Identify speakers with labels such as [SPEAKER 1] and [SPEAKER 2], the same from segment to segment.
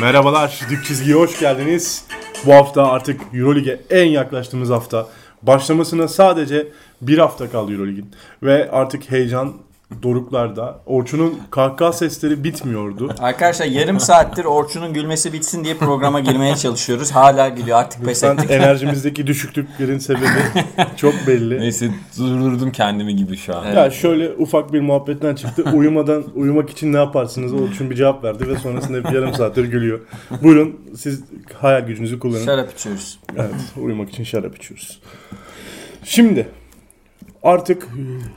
[SPEAKER 1] Merhabalar, Dik Çizgi'ye hoş geldiniz. Bu hafta artık Eurolig'e en yaklaştığımız hafta. Başlamasına sadece bir hafta kaldı Eurolig'in. Ve artık heyecan doruklarda. Orçun'un kahkaha sesleri bitmiyordu.
[SPEAKER 2] Arkadaşlar yarım saattir Orçun'un gülmesi bitsin diye programa girmeye çalışıyoruz. Hala gülüyor artık pes
[SPEAKER 1] Sen
[SPEAKER 2] ettik.
[SPEAKER 1] enerjimizdeki düşüklüklerin sebebi çok belli.
[SPEAKER 3] Neyse durdurdum kendimi gibi şu an.
[SPEAKER 1] Ya şöyle ufak bir muhabbetten çıktı. Uyumadan uyumak için ne yaparsınız? Orçun bir cevap verdi ve sonrasında hep yarım saattir gülüyor. Buyurun siz hayal gücünüzü kullanın.
[SPEAKER 2] Şarap içiyoruz.
[SPEAKER 1] Evet, uyumak için şarap içiyoruz. Şimdi artık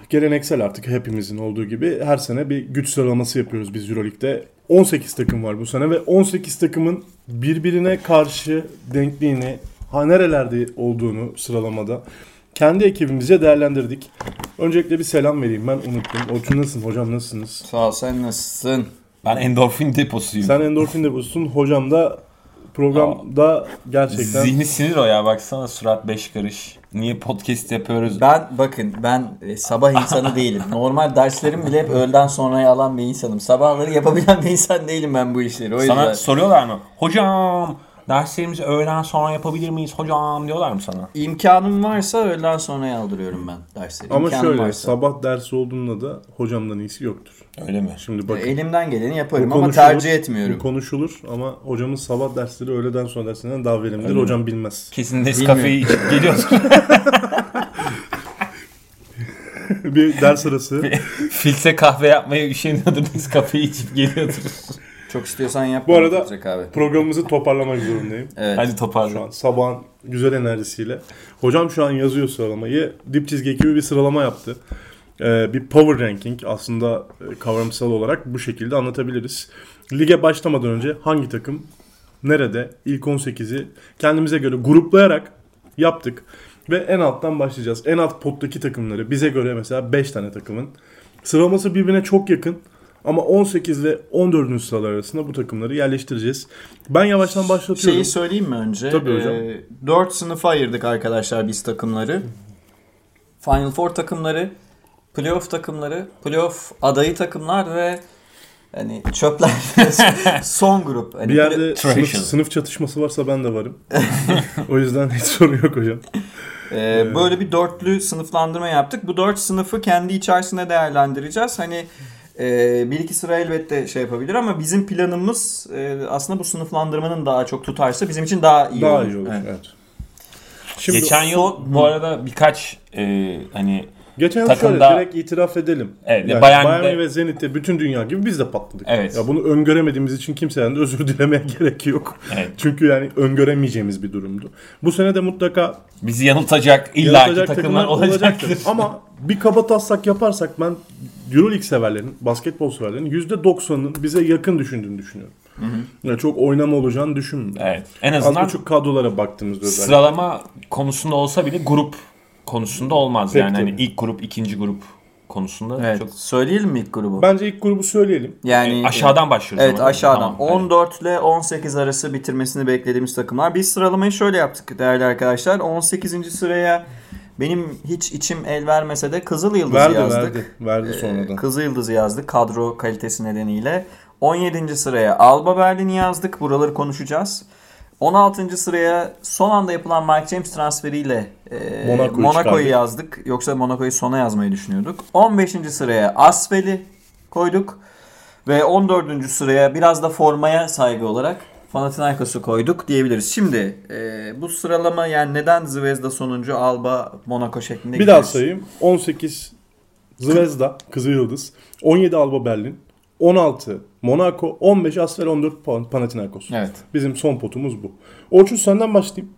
[SPEAKER 1] geleneksel artık hepimizin olduğu gibi her sene bir güç sıralaması yapıyoruz biz Euroleague'de. 18 takım var bu sene ve 18 takımın birbirine karşı denkliğini ha nerelerde olduğunu sıralamada kendi ekibimizce değerlendirdik. Öncelikle bir selam vereyim ben unuttum. Orçun nasılsın hocam nasılsınız?
[SPEAKER 2] Sağ ol sen nasılsın?
[SPEAKER 3] Ben endorfin deposuyum.
[SPEAKER 1] Sen endorfin de bulsun hocam da programda gerçekten
[SPEAKER 3] Zihni sinir o ya baksana surat beş karış. Niye podcast yapıyoruz?
[SPEAKER 2] Ben bakın ben e, sabah insanı değilim. Normal derslerim bile hep öğleden sonraya alan bir insanım. Sabahları yapabilen bir insan değilim ben bu işleri. O yüzden.
[SPEAKER 3] sana soruyorlar mı? Hocam derslerimizi öğlen sonra yapabilir miyiz hocam diyorlar mı sana?
[SPEAKER 2] İmkanım varsa öğleden sonraya aldırıyorum ben dersleri.
[SPEAKER 1] Ama
[SPEAKER 2] İmkanım
[SPEAKER 1] şöyle
[SPEAKER 2] varsa. E,
[SPEAKER 1] sabah dersi olduğunda da hocamdan iyisi yoktur.
[SPEAKER 3] Öyle mi?
[SPEAKER 1] Şimdi bakın.
[SPEAKER 2] Elimden geleni yaparım E, ama
[SPEAKER 1] konuşulur,
[SPEAKER 2] tercih
[SPEAKER 1] bu
[SPEAKER 2] etmiyorum.
[SPEAKER 1] konuşulur ama hocamın sabah dersleri öğleden sonra dersinden daha verimlidir. Hocam bilmez.
[SPEAKER 3] Kesin Nescafe'yi içip geliyorsun.
[SPEAKER 1] bir ders arası.
[SPEAKER 3] Filtre kahve şey- yapmaya üşeniyordur Nescafe'yi içip geliyordur.
[SPEAKER 2] Çok istiyorsan yap.
[SPEAKER 1] Bu arada-
[SPEAKER 2] Olacak Abi.
[SPEAKER 1] Programımızı toparlamak zorundayım.
[SPEAKER 2] Evet.
[SPEAKER 3] Hadi
[SPEAKER 1] Şu an
[SPEAKER 3] toparla.
[SPEAKER 1] sabahın güzel enerjisiyle. Hocam şu an yazıyor sıralamayı. Dip çizgi ekibi bir sıralama yaptı. Ee, bir power ranking aslında e, kavramsal olarak bu şekilde anlatabiliriz. Lige başlamadan önce hangi takım nerede ilk 18'i kendimize göre gruplayarak yaptık. Ve en alttan başlayacağız. En alt pottaki takımları bize göre mesela 5 tane takımın sıralaması birbirine çok yakın. Ama 18 ve 14. sıralar arasında bu takımları yerleştireceğiz. Ben yavaştan başlatıyorum.
[SPEAKER 2] Şeyi söyleyeyim mi önce?
[SPEAKER 1] Tabii hocam.
[SPEAKER 2] 4 sınıfa ayırdık arkadaşlar biz takımları. Final Four takımları, playoff takımları, playoff adayı takımlar ve yani çöpler son grup. Hani
[SPEAKER 1] Bir yerde sınıf,
[SPEAKER 3] Tradition.
[SPEAKER 1] sınıf çatışması varsa ben de varım. o yüzden hiç sorun yok hocam.
[SPEAKER 2] Ee, böyle bir dörtlü sınıflandırma yaptık. Bu dört sınıfı kendi içerisinde değerlendireceğiz. Hani e, bir iki sıra elbette şey yapabilir ama bizim planımız e, aslında bu sınıflandırmanın daha çok tutarsa bizim için daha iyi
[SPEAKER 1] Daha
[SPEAKER 2] olur.
[SPEAKER 1] iyi olur.
[SPEAKER 2] Evet.
[SPEAKER 1] Evet. Şimdi geçen,
[SPEAKER 3] Geçen yıl bu arada birkaç e, hani
[SPEAKER 1] yıl
[SPEAKER 3] takımda-
[SPEAKER 1] şöyle direkt itiraf edelim.
[SPEAKER 3] Evet,
[SPEAKER 1] yani
[SPEAKER 3] Bayern'de-
[SPEAKER 1] Bayern ve Zenit'te bütün dünya gibi biz de patladık.
[SPEAKER 3] Evet.
[SPEAKER 1] Ya bunu öngöremediğimiz için kimseden de özür dilemeye gerek yok.
[SPEAKER 3] Evet.
[SPEAKER 1] Çünkü yani öngöremeyeceğimiz bir durumdu. Bu sene de mutlaka
[SPEAKER 3] bizi yanıltacak illaki
[SPEAKER 1] yaratacak
[SPEAKER 3] takımlar, olacaktır.
[SPEAKER 1] Ama bir kaba taslak yaparsak ben Euroleague severlerin, basketbol severlerin %90'ının bize yakın düşündüğünü düşünüyorum. Yani çok oynama olacağını düşünmüyorum.
[SPEAKER 3] Evet. En
[SPEAKER 1] Az
[SPEAKER 3] azından
[SPEAKER 1] buçuk kadrolara baktığımızda özellikle.
[SPEAKER 3] sıralama konusunda olsa bile grup konusunda olmaz
[SPEAKER 1] Pek
[SPEAKER 3] yani hani
[SPEAKER 1] tabii.
[SPEAKER 3] ilk grup ikinci grup konusunda
[SPEAKER 2] Evet.
[SPEAKER 3] çok
[SPEAKER 2] Söyleyelim mi ilk grubu?
[SPEAKER 1] Bence ilk grubu söyleyelim.
[SPEAKER 2] yani
[SPEAKER 3] E, aşağıdan başlıyoruz.
[SPEAKER 2] Evet
[SPEAKER 3] ama.
[SPEAKER 2] aşağıdan.
[SPEAKER 3] Tamam,
[SPEAKER 2] 14 ile 18 arası bitirmesini beklediğimiz takımlar. Biz sıralamayı şöyle yaptık değerli arkadaşlar. 18. sıraya benim hiç içim el vermese de Kızıl Yıldız
[SPEAKER 1] Verdi
[SPEAKER 2] yazdık.
[SPEAKER 1] verdi. Verdi
[SPEAKER 2] Ee,
[SPEAKER 1] sonradan.
[SPEAKER 2] Kızıl Yıldız yazdık kadro kalitesi nedeniyle. 17. sıraya Alba Berlin'i yazdık. Buraları konuşacağız. 16. sıraya son anda yapılan Mike James transferiyle e,
[SPEAKER 1] Monaco'yu
[SPEAKER 2] Monaco'yu
[SPEAKER 1] çıkardık.
[SPEAKER 2] yazdık. Yoksa Monaco'yu sona yazmayı düşünüyorduk. 15. sıraya Asfel'i koyduk. Ve 14. sıraya biraz da formaya saygı olarak Panathinaikos'u koyduk diyebiliriz. Şimdi e, bu sıralama yani neden Zvezda sonuncu Alba Monaco şeklinde
[SPEAKER 1] bir daha sayayım. 18 Zvezda, Kızıl Yıldız. 17 Alba Berlin. 16 Monaco. 15 Asfer, 14 Pan- Panathinaikos.
[SPEAKER 2] Evet.
[SPEAKER 1] Bizim son potumuz bu. Orçun senden başlayayım.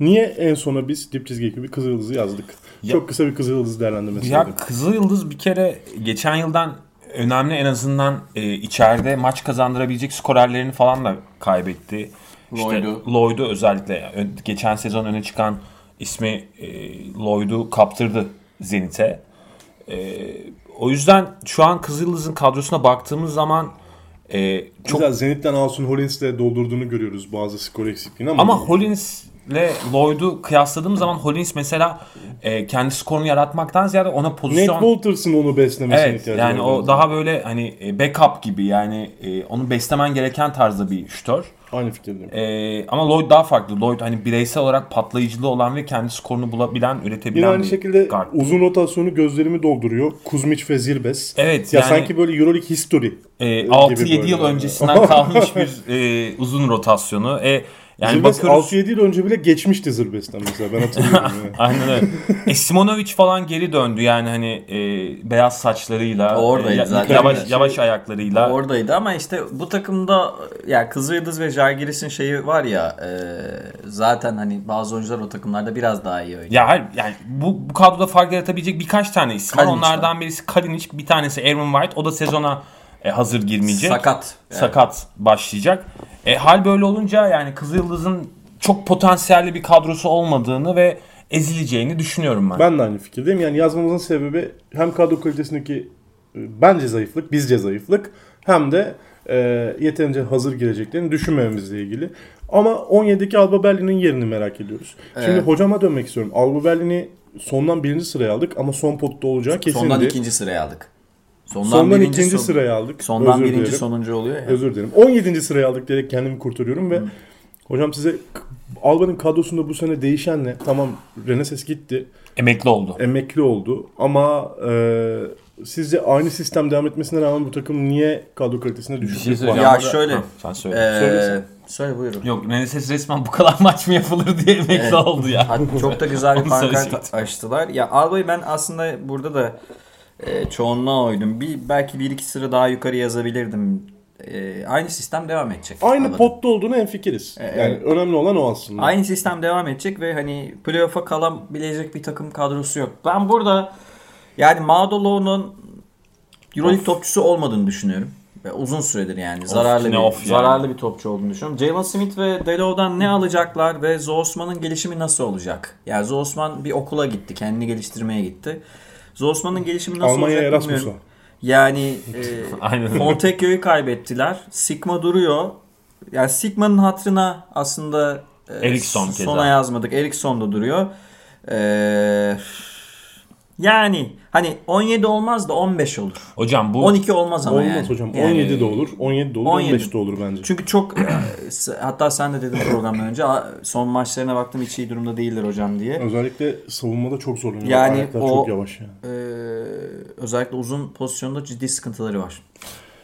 [SPEAKER 1] Niye en sona biz dip çizgi ekibi Kızıl Yıldız'ı yazdık?
[SPEAKER 3] Ya-
[SPEAKER 1] Çok kısa bir Kızıl Yıldız değerlendirmesi.
[SPEAKER 3] Ya
[SPEAKER 1] dedim.
[SPEAKER 3] Kızıl Yıldız bir kere geçen yıldan önemli en azından e, içeride maç kazandırabilecek skorerlerini falan da kaybetti.
[SPEAKER 2] Lloyd'u.
[SPEAKER 3] Lloyd'u özellikle Ö- geçen sezon öne çıkan ismi e, Lloyd'u kaptırdı Zenit'e. E, o yüzden şu an Kızıl Yıldız'ın kadrosuna baktığımız zaman e, çok
[SPEAKER 1] Güzel Zenit'ten Asun Hollins'le doldurduğunu görüyoruz bazı skor eksikliğini ama,
[SPEAKER 3] ama Hollins ile Lloyd'u kıyasladığım zaman Hollins mesela e, kendi skorunu yaratmaktan ziyade ona
[SPEAKER 1] Nate
[SPEAKER 3] pozisyon
[SPEAKER 1] Walters'ın onu beslemesine
[SPEAKER 3] Evet
[SPEAKER 1] ihtiyacı
[SPEAKER 3] yani
[SPEAKER 1] var.
[SPEAKER 3] o daha böyle hani e, backup gibi yani e, onu beslemen gereken tarzda bir şütör.
[SPEAKER 1] Aynı fikirdeyim.
[SPEAKER 3] E, ama Lloyd daha farklı. Lloyd hani bireysel olarak patlayıcılığı olan ve kendi skorunu bulabilen, üretebilen
[SPEAKER 1] Yine aynı
[SPEAKER 3] bir
[SPEAKER 1] şekilde
[SPEAKER 3] guard.
[SPEAKER 1] uzun rotasyonu gözlerimi dolduruyor. Kuzmiç ve Zirbes.
[SPEAKER 3] Evet
[SPEAKER 1] Ya
[SPEAKER 3] yani
[SPEAKER 1] sanki böyle Euroleague history.
[SPEAKER 3] e,
[SPEAKER 1] gibi
[SPEAKER 3] 6-7
[SPEAKER 1] böyle
[SPEAKER 3] yıl
[SPEAKER 1] yani.
[SPEAKER 3] öncesinden kalmış bir e, uzun rotasyonu. E, yani
[SPEAKER 1] Yani
[SPEAKER 3] bakıyoruz
[SPEAKER 1] 6-7 yıl önce bile geçmişti Zirbes'ten mesela ben hatırlıyorum. yani.
[SPEAKER 3] Aynen öyle. e, Simonovic falan geri döndü yani hani e, beyaz saçlarıyla, e,
[SPEAKER 2] Oradaydı
[SPEAKER 3] ya-
[SPEAKER 2] zaten. Şey-
[SPEAKER 3] yavaş yavaş ayaklarıyla.
[SPEAKER 2] Oradaydı ama işte bu takımda ya Kızıldız ve Jargiris'in şeyi var ya e, zaten hani bazı oyuncular o takımlarda biraz daha iyi oynuyor.
[SPEAKER 3] Ya hayır yani bu, bu kadroda fark yaratabilecek birkaç tane isim var.
[SPEAKER 2] Kalinic
[SPEAKER 3] Onlardan birisi Kalinic, bir tanesi Aaron White. O da sezona e, hazır girmeyecek.
[SPEAKER 2] Sakat. Yani.
[SPEAKER 3] Sakat başlayacak. E, hal böyle olunca yani Kızıldız'ın çok potansiyelli bir kadrosu olmadığını ve ezileceğini düşünüyorum ben.
[SPEAKER 1] Ben de aynı fikirdeyim. Yani yazmamızın sebebi hem kadro kalitesindeki e, bence zayıflık, bizce zayıflık hem de e, yeterince hazır gireceklerini düşünmememizle ilgili. Ama 17'deki Alba Berlin'in yerini merak ediyoruz. Şimdi
[SPEAKER 2] Evet.
[SPEAKER 1] hocama dönmek istiyorum. Alba Berlin'i sondan birinci sıraya aldık ama son potta olacağı kesindi.
[SPEAKER 2] Sondan ikinci sıraya aldık. Sondan,
[SPEAKER 1] Sondan
[SPEAKER 2] birinci
[SPEAKER 1] ikinci
[SPEAKER 2] son-
[SPEAKER 1] sıraya aldık.
[SPEAKER 2] Sondan
[SPEAKER 1] Özür
[SPEAKER 2] birinci
[SPEAKER 1] dilerim.
[SPEAKER 2] sonuncu oluyor ya.
[SPEAKER 1] Özür dilerim. 17. sıraya aldık diyerek kendimi kurtarıyorum ve hocam size Alba'nın kadrosunda bu sene değişen ne? Tamam Reneses gitti.
[SPEAKER 3] Emekli oldu.
[SPEAKER 1] Emekli oldu ama e, sizce aynı sistem devam etmesine rağmen bu takım niye kadro kalitesinde
[SPEAKER 3] şey
[SPEAKER 1] düşüklük var?
[SPEAKER 2] şey söyleyeceğim. Ya şöyle,
[SPEAKER 3] Ha, sen söyle.
[SPEAKER 2] Ee,
[SPEAKER 1] Söylesene.
[SPEAKER 2] söyle buyurun.
[SPEAKER 3] Yok Menezes resmen bu kadar maç mı yapılır diye emekli
[SPEAKER 2] Evet.
[SPEAKER 3] oldu ya.
[SPEAKER 2] Hatta çok da güzel bir
[SPEAKER 3] Onu
[SPEAKER 2] pankart
[SPEAKER 3] söyleyecektim.
[SPEAKER 2] açtılar. Ya Albay'ı ben aslında burada da e, çoğunluğa oydum. Bir, belki bir iki sıra daha yukarı yazabilirdim. E, aynı sistem devam edecek.
[SPEAKER 1] Aynı
[SPEAKER 2] Alba'da.
[SPEAKER 1] potta olduğunu enfikiriz.
[SPEAKER 2] E,
[SPEAKER 1] yani önemli olan o aslında.
[SPEAKER 2] Aynı sistem devam edecek ve hani playoff'a kalabilecek bir takım kadrosu yok. Ben burada yani Madolo'nun Euroleague topçusu olmadığını düşünüyorum. Ve uzun süredir yani zararlı
[SPEAKER 3] yine
[SPEAKER 2] bir,
[SPEAKER 3] of yani.
[SPEAKER 2] zararlı bir topçu olduğunu düşünüyorum. Jalen Smith ve Delo'dan ne alacaklar ve Zosman'ın gelişimi nasıl olacak? Yani Zosman bir okula gitti, kendini geliştirmeye gitti. Zosman'ın gelişimi nasıl
[SPEAKER 1] Almanya
[SPEAKER 2] olacak
[SPEAKER 1] Erasmus'a.
[SPEAKER 2] bilmiyorum. Yani e,
[SPEAKER 3] Aynen öyle.
[SPEAKER 2] Fontecchio'yu kaybettiler. Sigma duruyor. Yani Sigma'nın hatırına aslında e,
[SPEAKER 3] Eriksson
[SPEAKER 2] sona
[SPEAKER 3] keza.
[SPEAKER 2] yazmadık. Eriksson da duruyor. E, yani hani 17 olmaz da 15 olur.
[SPEAKER 3] Hocam bu
[SPEAKER 2] 12 olmaz ama
[SPEAKER 1] Olmaz
[SPEAKER 2] yani.
[SPEAKER 1] hocam.
[SPEAKER 2] Yani
[SPEAKER 1] 17 de olur, 17 de olur,
[SPEAKER 2] 17.
[SPEAKER 1] 15 de olur bence.
[SPEAKER 2] Çünkü çok e, s- hatta sen de dedin programdan önce "Aa, son maçlarına baktım hiç iyi durumda değiller hocam diye.
[SPEAKER 1] Özellikle savunmada çok zorlanıyor.
[SPEAKER 2] Yani
[SPEAKER 1] Ayaklar
[SPEAKER 2] o-
[SPEAKER 1] çok yavaş yani.
[SPEAKER 2] E, özellikle uzun pozisyonda ciddi sıkıntıları var.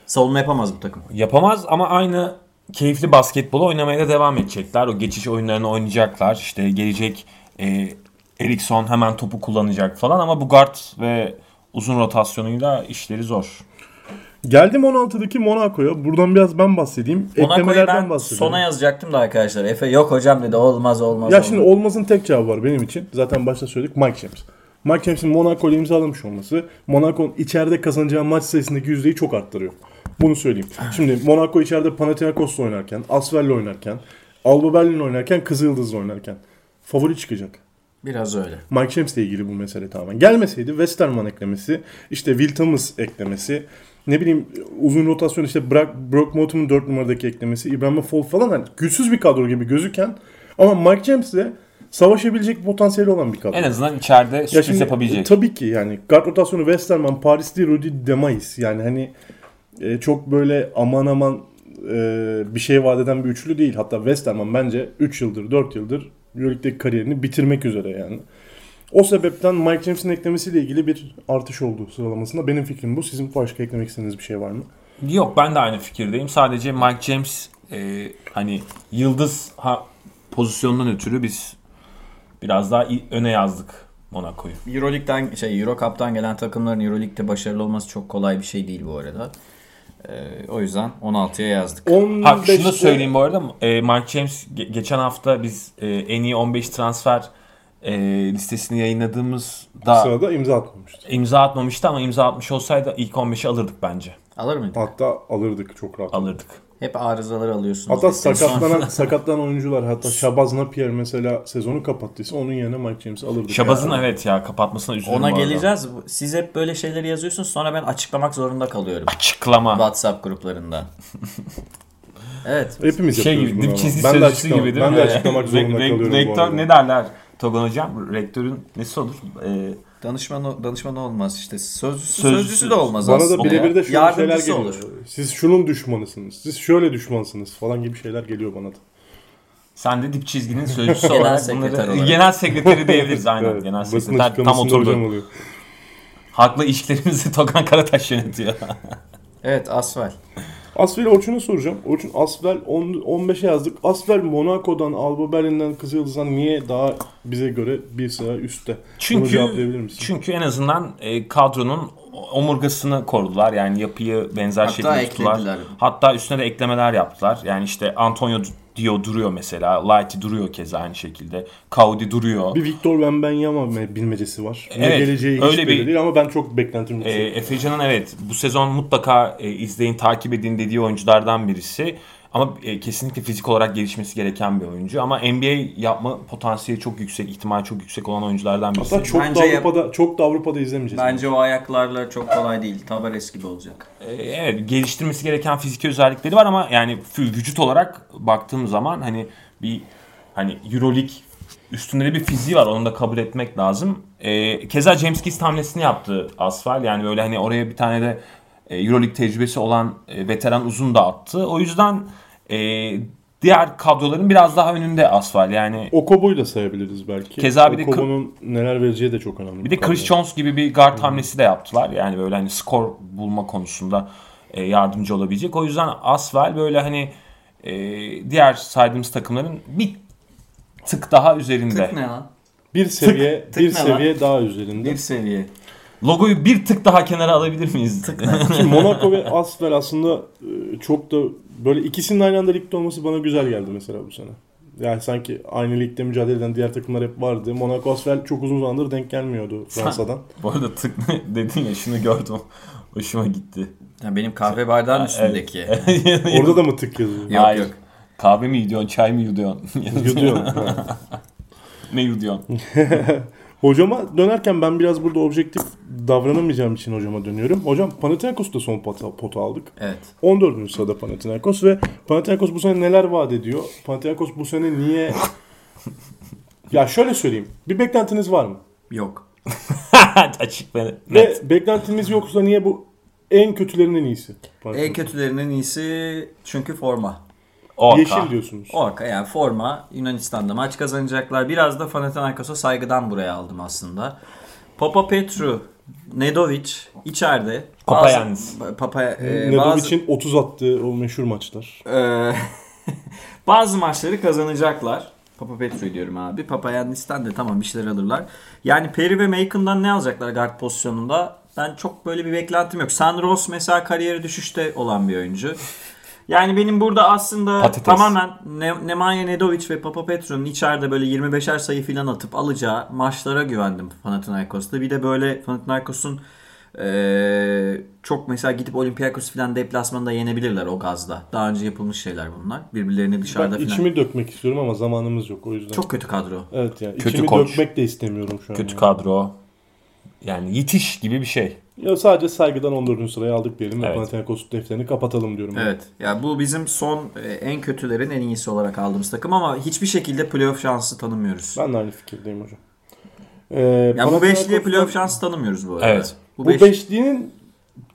[SPEAKER 2] Savunma yapamaz bu takım.
[SPEAKER 3] Yapamaz ama aynı keyifli basketbolu oynamaya da devam edecekler. O geçiş oyunlarını oynayacaklar. İşte gelecek e, Erikson hemen topu kullanacak falan ama bu guard ve uzun rotasyonuyla işleri zor.
[SPEAKER 1] Geldim 16'daki Monaco'ya. Buradan biraz ben bahsedeyim.
[SPEAKER 2] Monaco'yu
[SPEAKER 1] Eklemelerden
[SPEAKER 2] ben
[SPEAKER 1] bahsedeyim.
[SPEAKER 2] sona yazacaktım da arkadaşlar. Efe yok hocam dedi olmaz olmaz.
[SPEAKER 1] Ya
[SPEAKER 2] olmaz.
[SPEAKER 1] şimdi olmazın tek cevabı var benim için. Zaten başta söyledik Mike James. Mike James'in Monaco ile imzalamış olması Monaco'nun içeride kazanacağı maç sayısındaki yüzdeyi çok arttırıyor. Bunu söyleyeyim. Şimdi Monaco içeride Panathinaikos'la oynarken, Asvel'le oynarken, Alba Berlin'le oynarken, Kızıldız'la oynarken favori çıkacak.
[SPEAKER 2] Biraz öyle.
[SPEAKER 1] Mike James'le ilgili bu mesele tamamen. Gelmeseydi Westerman eklemesi, işte Will Thomas eklemesi, ne bileyim uzun rotasyon işte Brock, Brock Motum'un 4 numaradaki eklemesi, İbrahim Fall falan hani güçsüz bir kadro gibi gözüken ama Mike James'le savaşabilecek potansiyeli olan bir kadro.
[SPEAKER 3] En azından içeride
[SPEAKER 1] Ya
[SPEAKER 3] sürpriz
[SPEAKER 1] şimdi,
[SPEAKER 3] yapabilecek.
[SPEAKER 1] Tabii ki yani guard rotasyonu Westerman, Parisli Rudy Demais yani hani e, çok böyle aman aman e, bir şey vaat eden bir üçlü değil. Hatta Westerman bence 3 yıldır 4 yıldır Euroleague'deki kariyerini bitirmek üzere yani. O sebepten Mike James'in eklemesiyle ilgili bir artış oldu sıralamasında. Benim fikrim bu. Sizin başka eklemek istediğiniz bir şey var mı?
[SPEAKER 3] Yok ben de aynı fikirdeyim. Sadece Mike James e, hani yıldız ha, pozisyonundan ötürü biz biraz daha i- öne yazdık Monaco'yu.
[SPEAKER 2] Euroleague'den şey Euro Cup'tan gelen takımların Euroleague'de başarılı olması çok kolay bir şey değil bu arada. Ee, o yüzden 16'ya yazdık.
[SPEAKER 1] 15'te...
[SPEAKER 3] Ha şunu da söyleyeyim bu arada. E, Mark James ge- geçen hafta biz e, en iyi 15 transfer e, listesini yayınladığımızda
[SPEAKER 1] Sırada imza atmamıştı.
[SPEAKER 3] imza atmamıştı ama imza atmış olsaydı ilk 15'i alırdık bence.
[SPEAKER 2] Alır mıydık?
[SPEAKER 1] Hatta alırdık çok rahat.
[SPEAKER 3] Alırdık.
[SPEAKER 2] Hep arızaları alıyorsunuz.
[SPEAKER 1] Hatta
[SPEAKER 2] Biz de
[SPEAKER 1] sakatlanan sakatlanan oyuncular hatta Şabaz Napier mesela sezonu kapattıysa onun yerine Mike James'i alırdık.
[SPEAKER 3] Şabaz'ın
[SPEAKER 1] yani.
[SPEAKER 3] evet ya kapatmasına üzülüyorum.
[SPEAKER 2] Ona
[SPEAKER 3] bu arada.
[SPEAKER 2] geleceğiz. Bu- Siz hep böyle şeyleri yazıyorsunuz sonra ben açıklamak zorunda kalıyorum.
[SPEAKER 3] Açıklama.
[SPEAKER 2] WhatsApp gruplarında. Evet.
[SPEAKER 1] Hepimiz
[SPEAKER 3] Şey gibi,
[SPEAKER 1] yapıyoruz bunu
[SPEAKER 3] dip
[SPEAKER 1] ama.
[SPEAKER 3] çizgi
[SPEAKER 1] ben de
[SPEAKER 3] sözcüsü
[SPEAKER 1] açıklamak,
[SPEAKER 3] gibi değil
[SPEAKER 1] ben
[SPEAKER 3] mi?
[SPEAKER 1] de
[SPEAKER 3] Yani
[SPEAKER 1] açıklamak
[SPEAKER 3] re-
[SPEAKER 1] zorunda
[SPEAKER 3] re-
[SPEAKER 1] kalıyorum bu
[SPEAKER 3] Rektör
[SPEAKER 1] arada.
[SPEAKER 3] ne derler Togan hocam? Rektörün nesi olur? Ee,
[SPEAKER 2] Danışman o- danışman olmaz işte. Sözcüsü,
[SPEAKER 3] Sözcüsü.
[SPEAKER 2] sözcüsü, de olmaz
[SPEAKER 1] Bana
[SPEAKER 2] aslında.
[SPEAKER 1] da birebir de şöyle
[SPEAKER 2] Yardımcısı
[SPEAKER 1] şeyler geliyor.
[SPEAKER 2] olur.
[SPEAKER 1] Siz şunun düşmanısınız. Siz şöyle düşmansınız falan gibi şeyler geliyor bana da.
[SPEAKER 3] sen de dip çizginin sözcüsü
[SPEAKER 2] Genel
[SPEAKER 3] olarak
[SPEAKER 2] sekreter
[SPEAKER 3] bunları
[SPEAKER 2] olarak.
[SPEAKER 3] genel sekreteri diyebiliriz aynen.
[SPEAKER 1] Evet,
[SPEAKER 3] genel
[SPEAKER 1] basın
[SPEAKER 3] sekreter tam
[SPEAKER 1] açıklamasında hocam
[SPEAKER 3] oturdu.
[SPEAKER 1] oluyor.
[SPEAKER 3] Haklı işlerimizi Togan Karataş yönetiyor.
[SPEAKER 2] Evet Asfal.
[SPEAKER 1] Asfel Orçun'a soracağım. Orçun Asfel 10 15'e yazdık. Asfel Monaco'dan, Alba Berlin'den, Kızıldız'dan niye daha bize göre bir sıra üstte? Bunu
[SPEAKER 3] Çünkü
[SPEAKER 1] cevaplayabilir misin?
[SPEAKER 3] çünkü en azından e, kadronun omurgasını korudular. Yani yapıyı benzer
[SPEAKER 2] Hatta
[SPEAKER 3] şekilde tuttular.
[SPEAKER 2] eklediler.
[SPEAKER 3] Hatta üstüne de eklemeler yaptılar. Yani işte Antonio Dio duruyor mesela. Lighty duruyor keza aynı şekilde. Kaudi duruyor.
[SPEAKER 1] Bir Victor Wembanyama me- bilmecesi var. Ne
[SPEAKER 3] Evet,
[SPEAKER 1] geleceği hiç
[SPEAKER 3] öyle
[SPEAKER 1] belli
[SPEAKER 3] bir-
[SPEAKER 1] değil ama ben çok beklentim
[SPEAKER 3] E,
[SPEAKER 1] yüksek.
[SPEAKER 3] Efecan'ın evet bu sezon mutlaka e, izleyin, takip edin dediği oyunculardan birisi. Ama e, kesinlikle fizik olarak gelişmesi gereken bir oyuncu. Ama NBA yapma potansiyeli çok yüksek, ihtimal çok yüksek olan oyunculardan birisi.
[SPEAKER 1] Hatta çok da
[SPEAKER 2] Bence yap-
[SPEAKER 1] Avrupa'da çok da Avrupa'da izlemeyeceğiz.
[SPEAKER 2] Bence o ayaklarla çok kolay değil. Tabares gibi olacak.
[SPEAKER 3] E, evet geliştirmesi gereken fiziki özellikleri var ama yani fü- vücut olarak baktığım zaman hani bir hani Euroleague üstünde de bir fiziği var onu da kabul etmek lazım. E, keza James Kidd hamlesini yaptı Asfal yani böyle hani oraya bir tane de e, Euroleague tecrübesi olan e, veteran uzun da attı. O yüzden e, diğer kadroların biraz daha önünde Asfal yani
[SPEAKER 1] Okobo'yu da sayabiliriz belki.
[SPEAKER 3] Keza bir de
[SPEAKER 1] Okobo'nun neler vereceği de çok önemli.
[SPEAKER 3] Bir de Chris Jones gibi bir guard hamlesi de yaptılar. Yani böyle hani skor bulma konusunda e, yardımcı olabilecek. O yüzden Asvel böyle hani e, diğer saydığımız takımların bir tık daha üzerinde.
[SPEAKER 2] Tık ne lan?
[SPEAKER 1] Bir seviye
[SPEAKER 2] tık
[SPEAKER 1] bir
[SPEAKER 2] ne lan?
[SPEAKER 1] seviye daha üzerinde.
[SPEAKER 2] Bir seviye.
[SPEAKER 3] Logoyu bir tık daha kenara alabilir miyiz?
[SPEAKER 1] Şimdi Monaco ve Asfel aslında e, çok da böyle ikisinin aynı anda ligde olması bana güzel geldi mesela bu sene. Yani sanki aynı ligde mücadele eden diğer takımlar hep vardı. Monaco Asfel çok uzun zamandır denk gelmiyordu
[SPEAKER 3] Sen-
[SPEAKER 1] Fransa'dan.
[SPEAKER 3] Bu arada tık ne dedin ya şunu gördüm. Hoşuma gitti.
[SPEAKER 2] Ya benim kahve bardağının üstündeki.
[SPEAKER 1] Orada da mı tık yazıyor?
[SPEAKER 2] Yok,
[SPEAKER 3] Hayır.
[SPEAKER 2] yok.
[SPEAKER 3] Kahve mi yutuyorsun, çay mı yutuyorsun?
[SPEAKER 1] Yazıyor. Ha.
[SPEAKER 3] ne yutuyorsun?
[SPEAKER 1] Hocama dönerken ben biraz burada objektif davranamayacağım için hocama dönüyorum. Hocam Panathinaikos'ta son pota, pota aldık.
[SPEAKER 2] Evet.
[SPEAKER 1] 14. sırada Panathinaikos ve Panathinaikos bu sene neler vaat ediyor? Panathinaikos bu sene niye... ya şöyle söyleyeyim. Bir beklentiniz var mı?
[SPEAKER 2] Yok.
[SPEAKER 3] Açık ve net.
[SPEAKER 1] Ve beklentimiz yoksa niye bu en kötülerinin iyisi?
[SPEAKER 2] En kötülerinin iyisi çünkü forma.
[SPEAKER 3] Orta.
[SPEAKER 1] Yeşil diyorsunuz.
[SPEAKER 2] Orka yani forma Yunanistan'da maç kazanacaklar. Biraz da Panathinaikos'a saygıdan buraya aldım aslında. Papa Petru, Nedovic içeride.
[SPEAKER 3] Papayans.
[SPEAKER 2] Bazı- Papa, e, bazı,
[SPEAKER 1] Nedovic'in 30 attığı o meşhur maçlar.
[SPEAKER 2] e, bazı maçları kazanacaklar. Papa Petru diyorum abi. Papa Yannis'ten de tamam işler alırlar. Yani Perry ve Macon'dan ne alacaklar guard pozisyonunda? Ben çok böyle bir beklentim yok. Sandros mesela kariyeri düşüşte olan bir oyuncu. Yani benim burada aslında
[SPEAKER 3] Patates.
[SPEAKER 2] tamamen ne- Nemanja Nedovic ve Papa Petro'nun içeride böyle 25'er sayı filan atıp alacağı maçlara güvendim Panathinaikos'ta. Bir de böyle Panathinaikos'un eee, çok mesela gidip Olympiakos filan deplasmanda yenebilirler o gazda. Daha önce yapılmış şeyler bunlar. Birbirlerini dışarıda
[SPEAKER 1] Bak
[SPEAKER 2] filan.
[SPEAKER 1] içimi dökmek istiyorum ama zamanımız yok o yüzden.
[SPEAKER 2] Çok kötü kadro.
[SPEAKER 1] Evet yani
[SPEAKER 3] Kötü
[SPEAKER 1] içimi
[SPEAKER 3] koç.
[SPEAKER 1] dökmek de istemiyorum şu an.
[SPEAKER 3] Kötü
[SPEAKER 1] yani.
[SPEAKER 3] kadro. Yani yitiş gibi bir şey.
[SPEAKER 1] Ya sadece saygıdan 14. sıraya aldık diyelim ve
[SPEAKER 3] Evet.
[SPEAKER 1] Panathinaikos defterini kapatalım diyorum. ben.
[SPEAKER 2] Evet. Ya bu bizim son e, en kötülerin en iyisi olarak aldığımız takım ama hiçbir şekilde playoff şansı tanımıyoruz.
[SPEAKER 1] Ben de aynı fikirdeyim hocam. Ee,
[SPEAKER 2] Ya bu beşliye
[SPEAKER 1] Panathinaikos'tan-
[SPEAKER 2] playoff şansı tanımıyoruz bu arada.
[SPEAKER 3] Evet.
[SPEAKER 1] Bu,
[SPEAKER 2] beş-
[SPEAKER 1] beşlinin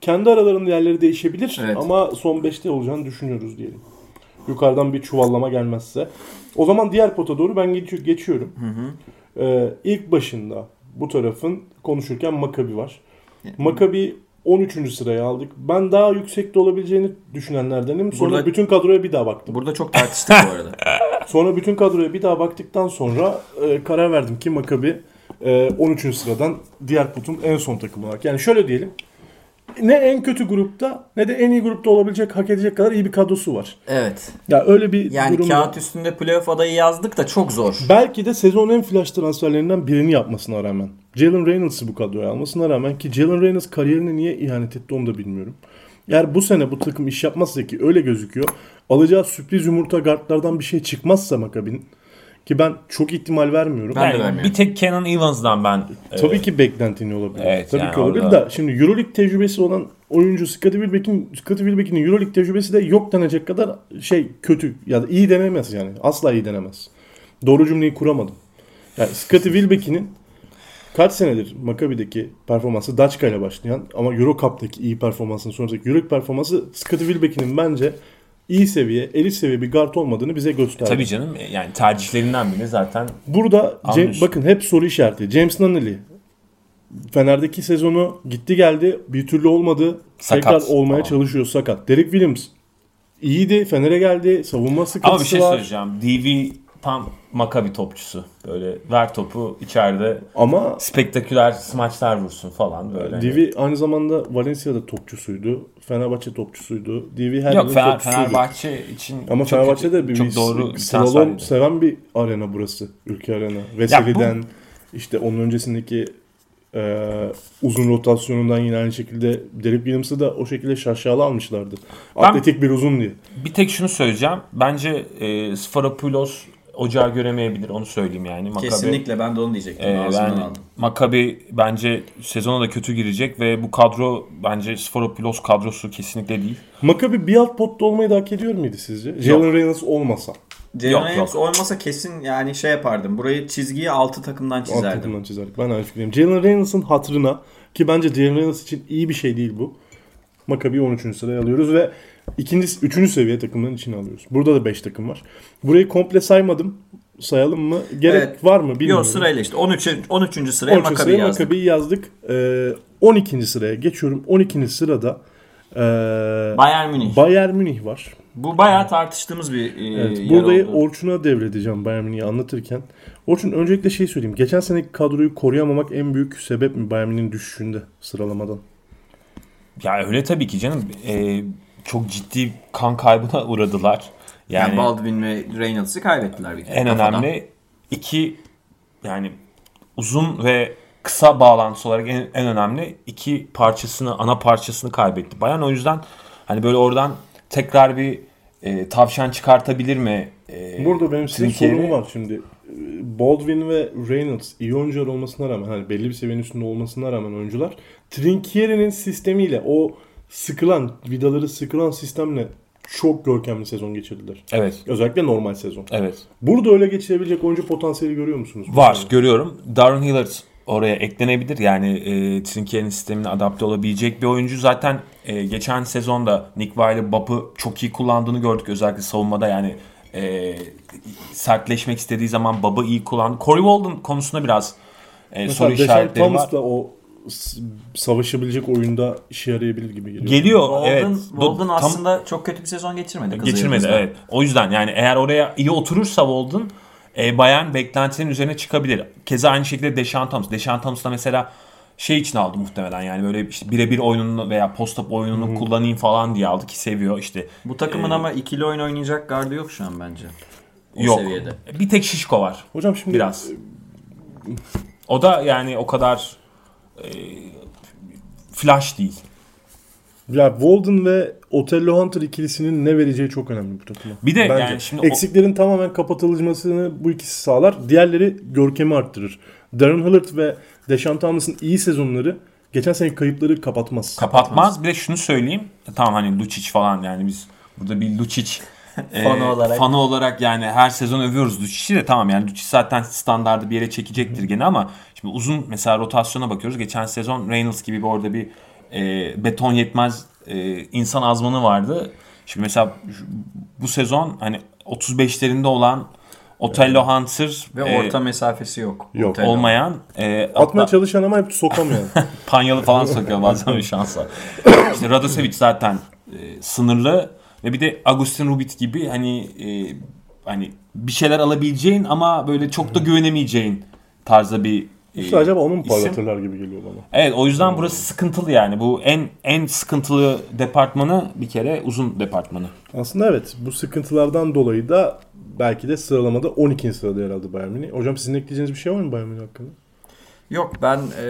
[SPEAKER 1] kendi aralarında yerleri değişebilir
[SPEAKER 2] Evet.
[SPEAKER 1] ama son beşte olacağını düşünüyoruz diyelim. Yukarıdan bir çuvallama gelmezse. O zaman diğer pota doğru ben geç- geçiyorum. Ee, ilk başında bu tarafın konuşurken Makabi var. Makabi 13. sıraya aldık. Ben daha yüksekte olabileceğini düşünenlerdenim. Sonra
[SPEAKER 2] Burada-
[SPEAKER 1] bütün kadroya bir daha baktım.
[SPEAKER 2] Burada çok tartıştık bu arada.
[SPEAKER 1] Sonra bütün kadroya bir daha baktıktan sonra e, karar verdim ki Makabi e, 13. sıradan diğer putum en son takım olarak. Yani şöyle diyelim. Ne en kötü grupta ne de en iyi grupta olabilecek, hak edecek kadar iyi bir kadrosu var.
[SPEAKER 2] Evet.
[SPEAKER 1] Ya öyle bir
[SPEAKER 2] Yani
[SPEAKER 1] durum
[SPEAKER 2] kağıt
[SPEAKER 1] var.
[SPEAKER 2] üstünde playoff adayı yazdık da çok zor.
[SPEAKER 1] Belki de sezonun en flash transferlerinden birini yapmasına rağmen. Jalen Reynolds'ı bu kadroya almasına rağmen ki Jalen Reynolds kariyerine niye ihanet etti onu da bilmiyorum. Eğer bu sene bu takım iş yapmazsa ki öyle gözüküyor. Alacağı sürpriz yumurta gardlardan bir şey çıkmazsa Makabi'nin ki ben çok ihtimal vermiyorum.
[SPEAKER 2] Ben de
[SPEAKER 3] Yani
[SPEAKER 2] vermiyorum.
[SPEAKER 3] bir tek Kenan Evans'dan ben e,
[SPEAKER 1] Tabii ki beklentini olabilir.
[SPEAKER 3] Evet,
[SPEAKER 1] Tabii
[SPEAKER 3] yani
[SPEAKER 1] ki olabilir
[SPEAKER 3] orada-
[SPEAKER 1] de şimdi EuroLeague tecrübesi olan oyuncu Scottie Wilbeck'in Scottie Wilbeck'in EuroLeague tecrübesi de yok denecek kadar şey kötü ya da iyi denemez yani. Asla iyi denemez. Doğru cümleyi kuramadım. Yani Scottie Wilbeck'in kaç senedir Maccabi'deki performansı Daçka ile başlayan ama Euro Cup'taki iyi performansının sonrasındaki Euro League performansı Scottie Wilbeck'in bence iyi seviye, elit seviye bir guard olmadığını bize gösterdi.
[SPEAKER 3] Tabii canım e, yani tercihlerinden bile zaten
[SPEAKER 1] Burada
[SPEAKER 3] Anlıyorsun.
[SPEAKER 1] James- bakın hep soru işareti. James Nunnally Fener'deki sezonu gitti geldi bir türlü olmadı.
[SPEAKER 3] Sakat.
[SPEAKER 1] Tekrar olmaya
[SPEAKER 3] Aa.
[SPEAKER 1] çalışıyor sakat. Derek Williams iyiydi Fener'e geldi. Savunma sıkıntısı
[SPEAKER 3] Ama bir şey
[SPEAKER 1] var.
[SPEAKER 3] söyleyeceğim. DV tam makabi topçusu. Böyle ver topu içeride
[SPEAKER 1] Ama
[SPEAKER 3] spektaküler smaçlar vursun falan böyle.
[SPEAKER 1] Divi aynı zamanda Valencia'da topçusuydu. Fenerbahçe topçusuydu. Divi her
[SPEAKER 3] Hani Yok
[SPEAKER 1] yılın
[SPEAKER 3] Fener-
[SPEAKER 1] topçusuydu.
[SPEAKER 3] Fenerbahçe için
[SPEAKER 1] Ama
[SPEAKER 3] çok
[SPEAKER 1] Fenerbahçe de
[SPEAKER 3] kötü-
[SPEAKER 1] bir,
[SPEAKER 3] çok doğru bir
[SPEAKER 1] bir
[SPEAKER 3] transfer
[SPEAKER 1] slalom
[SPEAKER 3] dedi.
[SPEAKER 1] seven bir arena burası. Ülke arena. Veseli'den işte onun öncesindeki e, uzun rotasyonundan yine aynı şekilde Derip Williams'ı da o şekilde şaşalı almışlardı. Atletik bir uzun diye.
[SPEAKER 3] Bir tek şunu söyleyeceğim. Bence e, Sfaropoulos ocağı göremeyebilir onu söyleyeyim yani. Makabi.
[SPEAKER 2] Kesinlikle ben de onu diyecektim.
[SPEAKER 3] E,
[SPEAKER 2] Ağzımdan
[SPEAKER 3] yani
[SPEAKER 2] aldım.
[SPEAKER 3] Makabi bence sezona da kötü girecek ve bu kadro bence Sfaropoulos kadrosu kesinlikle değil.
[SPEAKER 1] Maccabi bir alt potta olmayı da hak ediyor muydu sizce? Jalen Reynolds olmasa.
[SPEAKER 2] Jalen
[SPEAKER 3] Yok,
[SPEAKER 2] Williams olmasa kesin yani şey yapardım. Burayı çizgiyi altı takımdan
[SPEAKER 1] Alt
[SPEAKER 2] çizerdim.
[SPEAKER 1] takımdan çizerdik. Ben aynı fikirdeyim. Jalen Reynolds'ın hatırına ki bence Jalen Reynolds için iyi bir şey değil bu. Maccabi'yi 13. sıraya alıyoruz ve ikinci, 3. seviye takımların içine alıyoruz. Burada da 5 takım var. Burayı komple saymadım. Sayalım mı? Gerek
[SPEAKER 2] Evet.
[SPEAKER 1] var mı bilmiyorum.
[SPEAKER 2] Yok sırayla işte 13. 13. sıraya
[SPEAKER 1] 13.
[SPEAKER 2] Maccabi
[SPEAKER 1] sıraya
[SPEAKER 2] yazdım.
[SPEAKER 1] Maccabi'yi yazdık. Ee, 12. sıraya geçiyorum. 12. sırada ee,
[SPEAKER 2] Bayern Münih.
[SPEAKER 1] Bayern Münih var.
[SPEAKER 2] Bu bayağı tartıştığımız bir e,
[SPEAKER 1] Evet,
[SPEAKER 2] yer
[SPEAKER 1] burayı
[SPEAKER 2] oldu.
[SPEAKER 1] Orçun'a devredeceğim Bayern Münih'i anlatırken. Orçun öncelikle şey söyleyeyim. Geçen seneki kadroyu koruyamamak en büyük sebep mi Bayern Münih'in düşüşünde sıralamadan?
[SPEAKER 3] Ya öyle tabii ki canım. E, çok ciddi kan kaybına uğradılar.
[SPEAKER 2] yani, Baldwin ve Reynolds'ı kaybettiler bir kere.
[SPEAKER 3] en
[SPEAKER 2] kafadan.
[SPEAKER 3] önemli iki yani uzun ve kısa bağlantısı olarak en, en önemli iki parçasını ana parçasını kaybetti. Bayan o yüzden hani böyle oradan tekrar bir e, tavşan çıkartabilir mi? E,
[SPEAKER 1] Burada benim size
[SPEAKER 3] Trinkeri-
[SPEAKER 1] sorum var şimdi. Baldwin ve Reynolds iyi oyuncular olmasına rağmen hani belli bir seviyenin üstünde olmasına rağmen oyuncular Trinkieri'nin sistemiyle o sıkılan vidaları sıkılan sistemle çok görkemli sezon geçirdiler.
[SPEAKER 3] Evet.
[SPEAKER 1] Özellikle normal sezon.
[SPEAKER 3] Evet.
[SPEAKER 1] Burada öyle geçirebilecek oyuncu potansiyeli görüyor musunuz? bu
[SPEAKER 3] Var
[SPEAKER 1] sene?
[SPEAKER 3] görüyorum. Darren Hillard oraya eklenebilir. Yani e, Trinkier'in sistemine adapte olabilecek bir oyuncu. Zaten e, geçen sezonda Nick Wiley Bap'ı çok iyi kullandığını gördük. Özellikle savunmada yani e, sertleşmek istediği zaman Bap'ı iyi kullandı. Corey Walden konusunda biraz e, soru
[SPEAKER 1] Mesela Deşan
[SPEAKER 3] işaretleri var.
[SPEAKER 1] Thomas da o s- savaşabilecek oyunda işe yarayabilir gibi geliyor.
[SPEAKER 3] Geliyor
[SPEAKER 2] Walden,
[SPEAKER 3] evet. Do-
[SPEAKER 2] Walden
[SPEAKER 3] tam-
[SPEAKER 2] aslında çok kötü bir sezon geçirmedi. Kızı
[SPEAKER 3] geçirmedi
[SPEAKER 2] Yıldız'da.
[SPEAKER 3] evet. O yüzden yani eğer oraya iyi oturursa Walden e, Bayern beklentinin üzerine çıkabilir. Keza aynı şekilde Deşan Thomas. Deşan Thomas da mesela şey için aldı muhtemelen yani böyle işte birebir oyununu veya post-up oyununu kullanayım falan diye aldı ki seviyor işte.
[SPEAKER 2] Bu takımın
[SPEAKER 3] Ee,
[SPEAKER 2] ama ikili oyun oynayacak gardı yok şu an bence. O
[SPEAKER 3] yok.
[SPEAKER 2] seviyede.
[SPEAKER 3] Bir tek Şişko var
[SPEAKER 1] Hocam şimdi
[SPEAKER 3] biraz. O da yani o kadar e, flash değil.
[SPEAKER 1] ya Walden ve Otello Hunter ikilisinin ne vereceği çok önemli bu takıma.
[SPEAKER 3] Bir de
[SPEAKER 1] Bence.
[SPEAKER 3] yani şimdi o-
[SPEAKER 1] eksiklerin tamamen kapatılmasını bu ikisi sağlar. Diğerleri görkemi arttırır. Darren Hillard ve Deşan Thomas'ın iyi sezonları geçen sene kayıpları kapatmaz.
[SPEAKER 3] kapatmaz. Bir de şunu söyleyeyim. Tamam hani Lucic falan yani biz burada bir Lucic e,
[SPEAKER 2] Fanı olarak.
[SPEAKER 3] fanı olarak yani her sezon övüyoruz Lucic'i de tamam yani Lucic zaten standardı bir yere çekecektir gene ama şimdi uzun mesela rotasyona bakıyoruz. Geçen sezon Reynolds gibi bir orada bir e, beton yetmez e, insan azmanı vardı. Şimdi mesela şu- bu sezon hani 35'lerinde olan Otello Hunter
[SPEAKER 2] Ve
[SPEAKER 3] e,
[SPEAKER 2] orta mesafesi yok.
[SPEAKER 1] Yok,
[SPEAKER 2] Ortaya.
[SPEAKER 3] olmayan e,
[SPEAKER 1] Atmaya
[SPEAKER 3] hatta-
[SPEAKER 1] çalışan ama hep sokamayan.
[SPEAKER 3] Panyalı falan sokuyor bazen bir şansa. İşte Radosevic zaten e, sınırlı ve bir de Agustin Rubit gibi hani e, hani bir şeyler alabileceğin ama böyle çok da güvenemeyeceğin tarzda bir e,
[SPEAKER 1] işte acaba onu mu
[SPEAKER 3] isim.
[SPEAKER 1] parlatırlar gibi geliyor bana.
[SPEAKER 3] Evet o yüzden burası sıkıntılı yani. Bu en en sıkıntılı departmanı bir kere uzun departmanı.
[SPEAKER 1] Aslında evet bu sıkıntılardan dolayı da belki de sıralamada 12. sırada yer aldı Bayern Münih. Hocam sizin ekleyeceğiniz bir şey var mı Bayern Münih hakkında?
[SPEAKER 2] Yok ben e,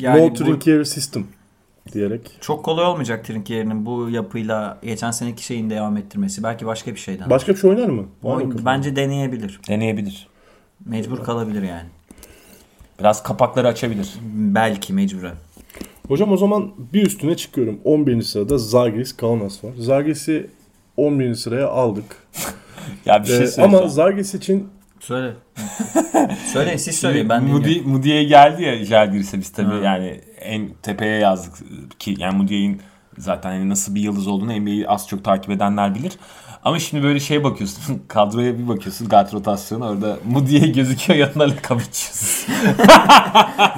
[SPEAKER 2] yani
[SPEAKER 1] no
[SPEAKER 2] bu-
[SPEAKER 1] Trinkier System diyerek.
[SPEAKER 2] çok kolay olmayacak Trinkier'in bu yapıyla geçen seneki şeyin devam ettirmesi. Belki başka bir şeyden.
[SPEAKER 1] Başka bir şey oynar mı? Var mı
[SPEAKER 2] Oyun-
[SPEAKER 1] kafanda?
[SPEAKER 2] bence deneyebilir.
[SPEAKER 3] Deneyebilir.
[SPEAKER 2] Mecbur kalabilir yani.
[SPEAKER 3] Biraz kapakları açabilir.
[SPEAKER 2] Belki mecburen.
[SPEAKER 1] Hocam o zaman bir üstüne çıkıyorum. 11. sırada Zagris Kaunas var. Zagris'i 11. sıraya aldık.
[SPEAKER 3] Ya bir şey
[SPEAKER 1] Ee,
[SPEAKER 3] söyleyeceğim.
[SPEAKER 1] ama Zagris için
[SPEAKER 2] Söyle. söyle siz söyleyin ben
[SPEAKER 3] Moody,
[SPEAKER 2] dinliyorum.
[SPEAKER 3] Moody'ye geldi ya Jalgiris'e biz tabii
[SPEAKER 2] Ha.
[SPEAKER 3] yani en tepeye yazdık ki yani Moody'in zaten yani nasıl bir yıldız olduğunu NBA'yi az çok takip edenler bilir. Ama şimdi böyle şey bakıyorsun kadroya bir bakıyorsun guard rotasyonu orada Moody'ye gözüküyor yanına Lekavicius.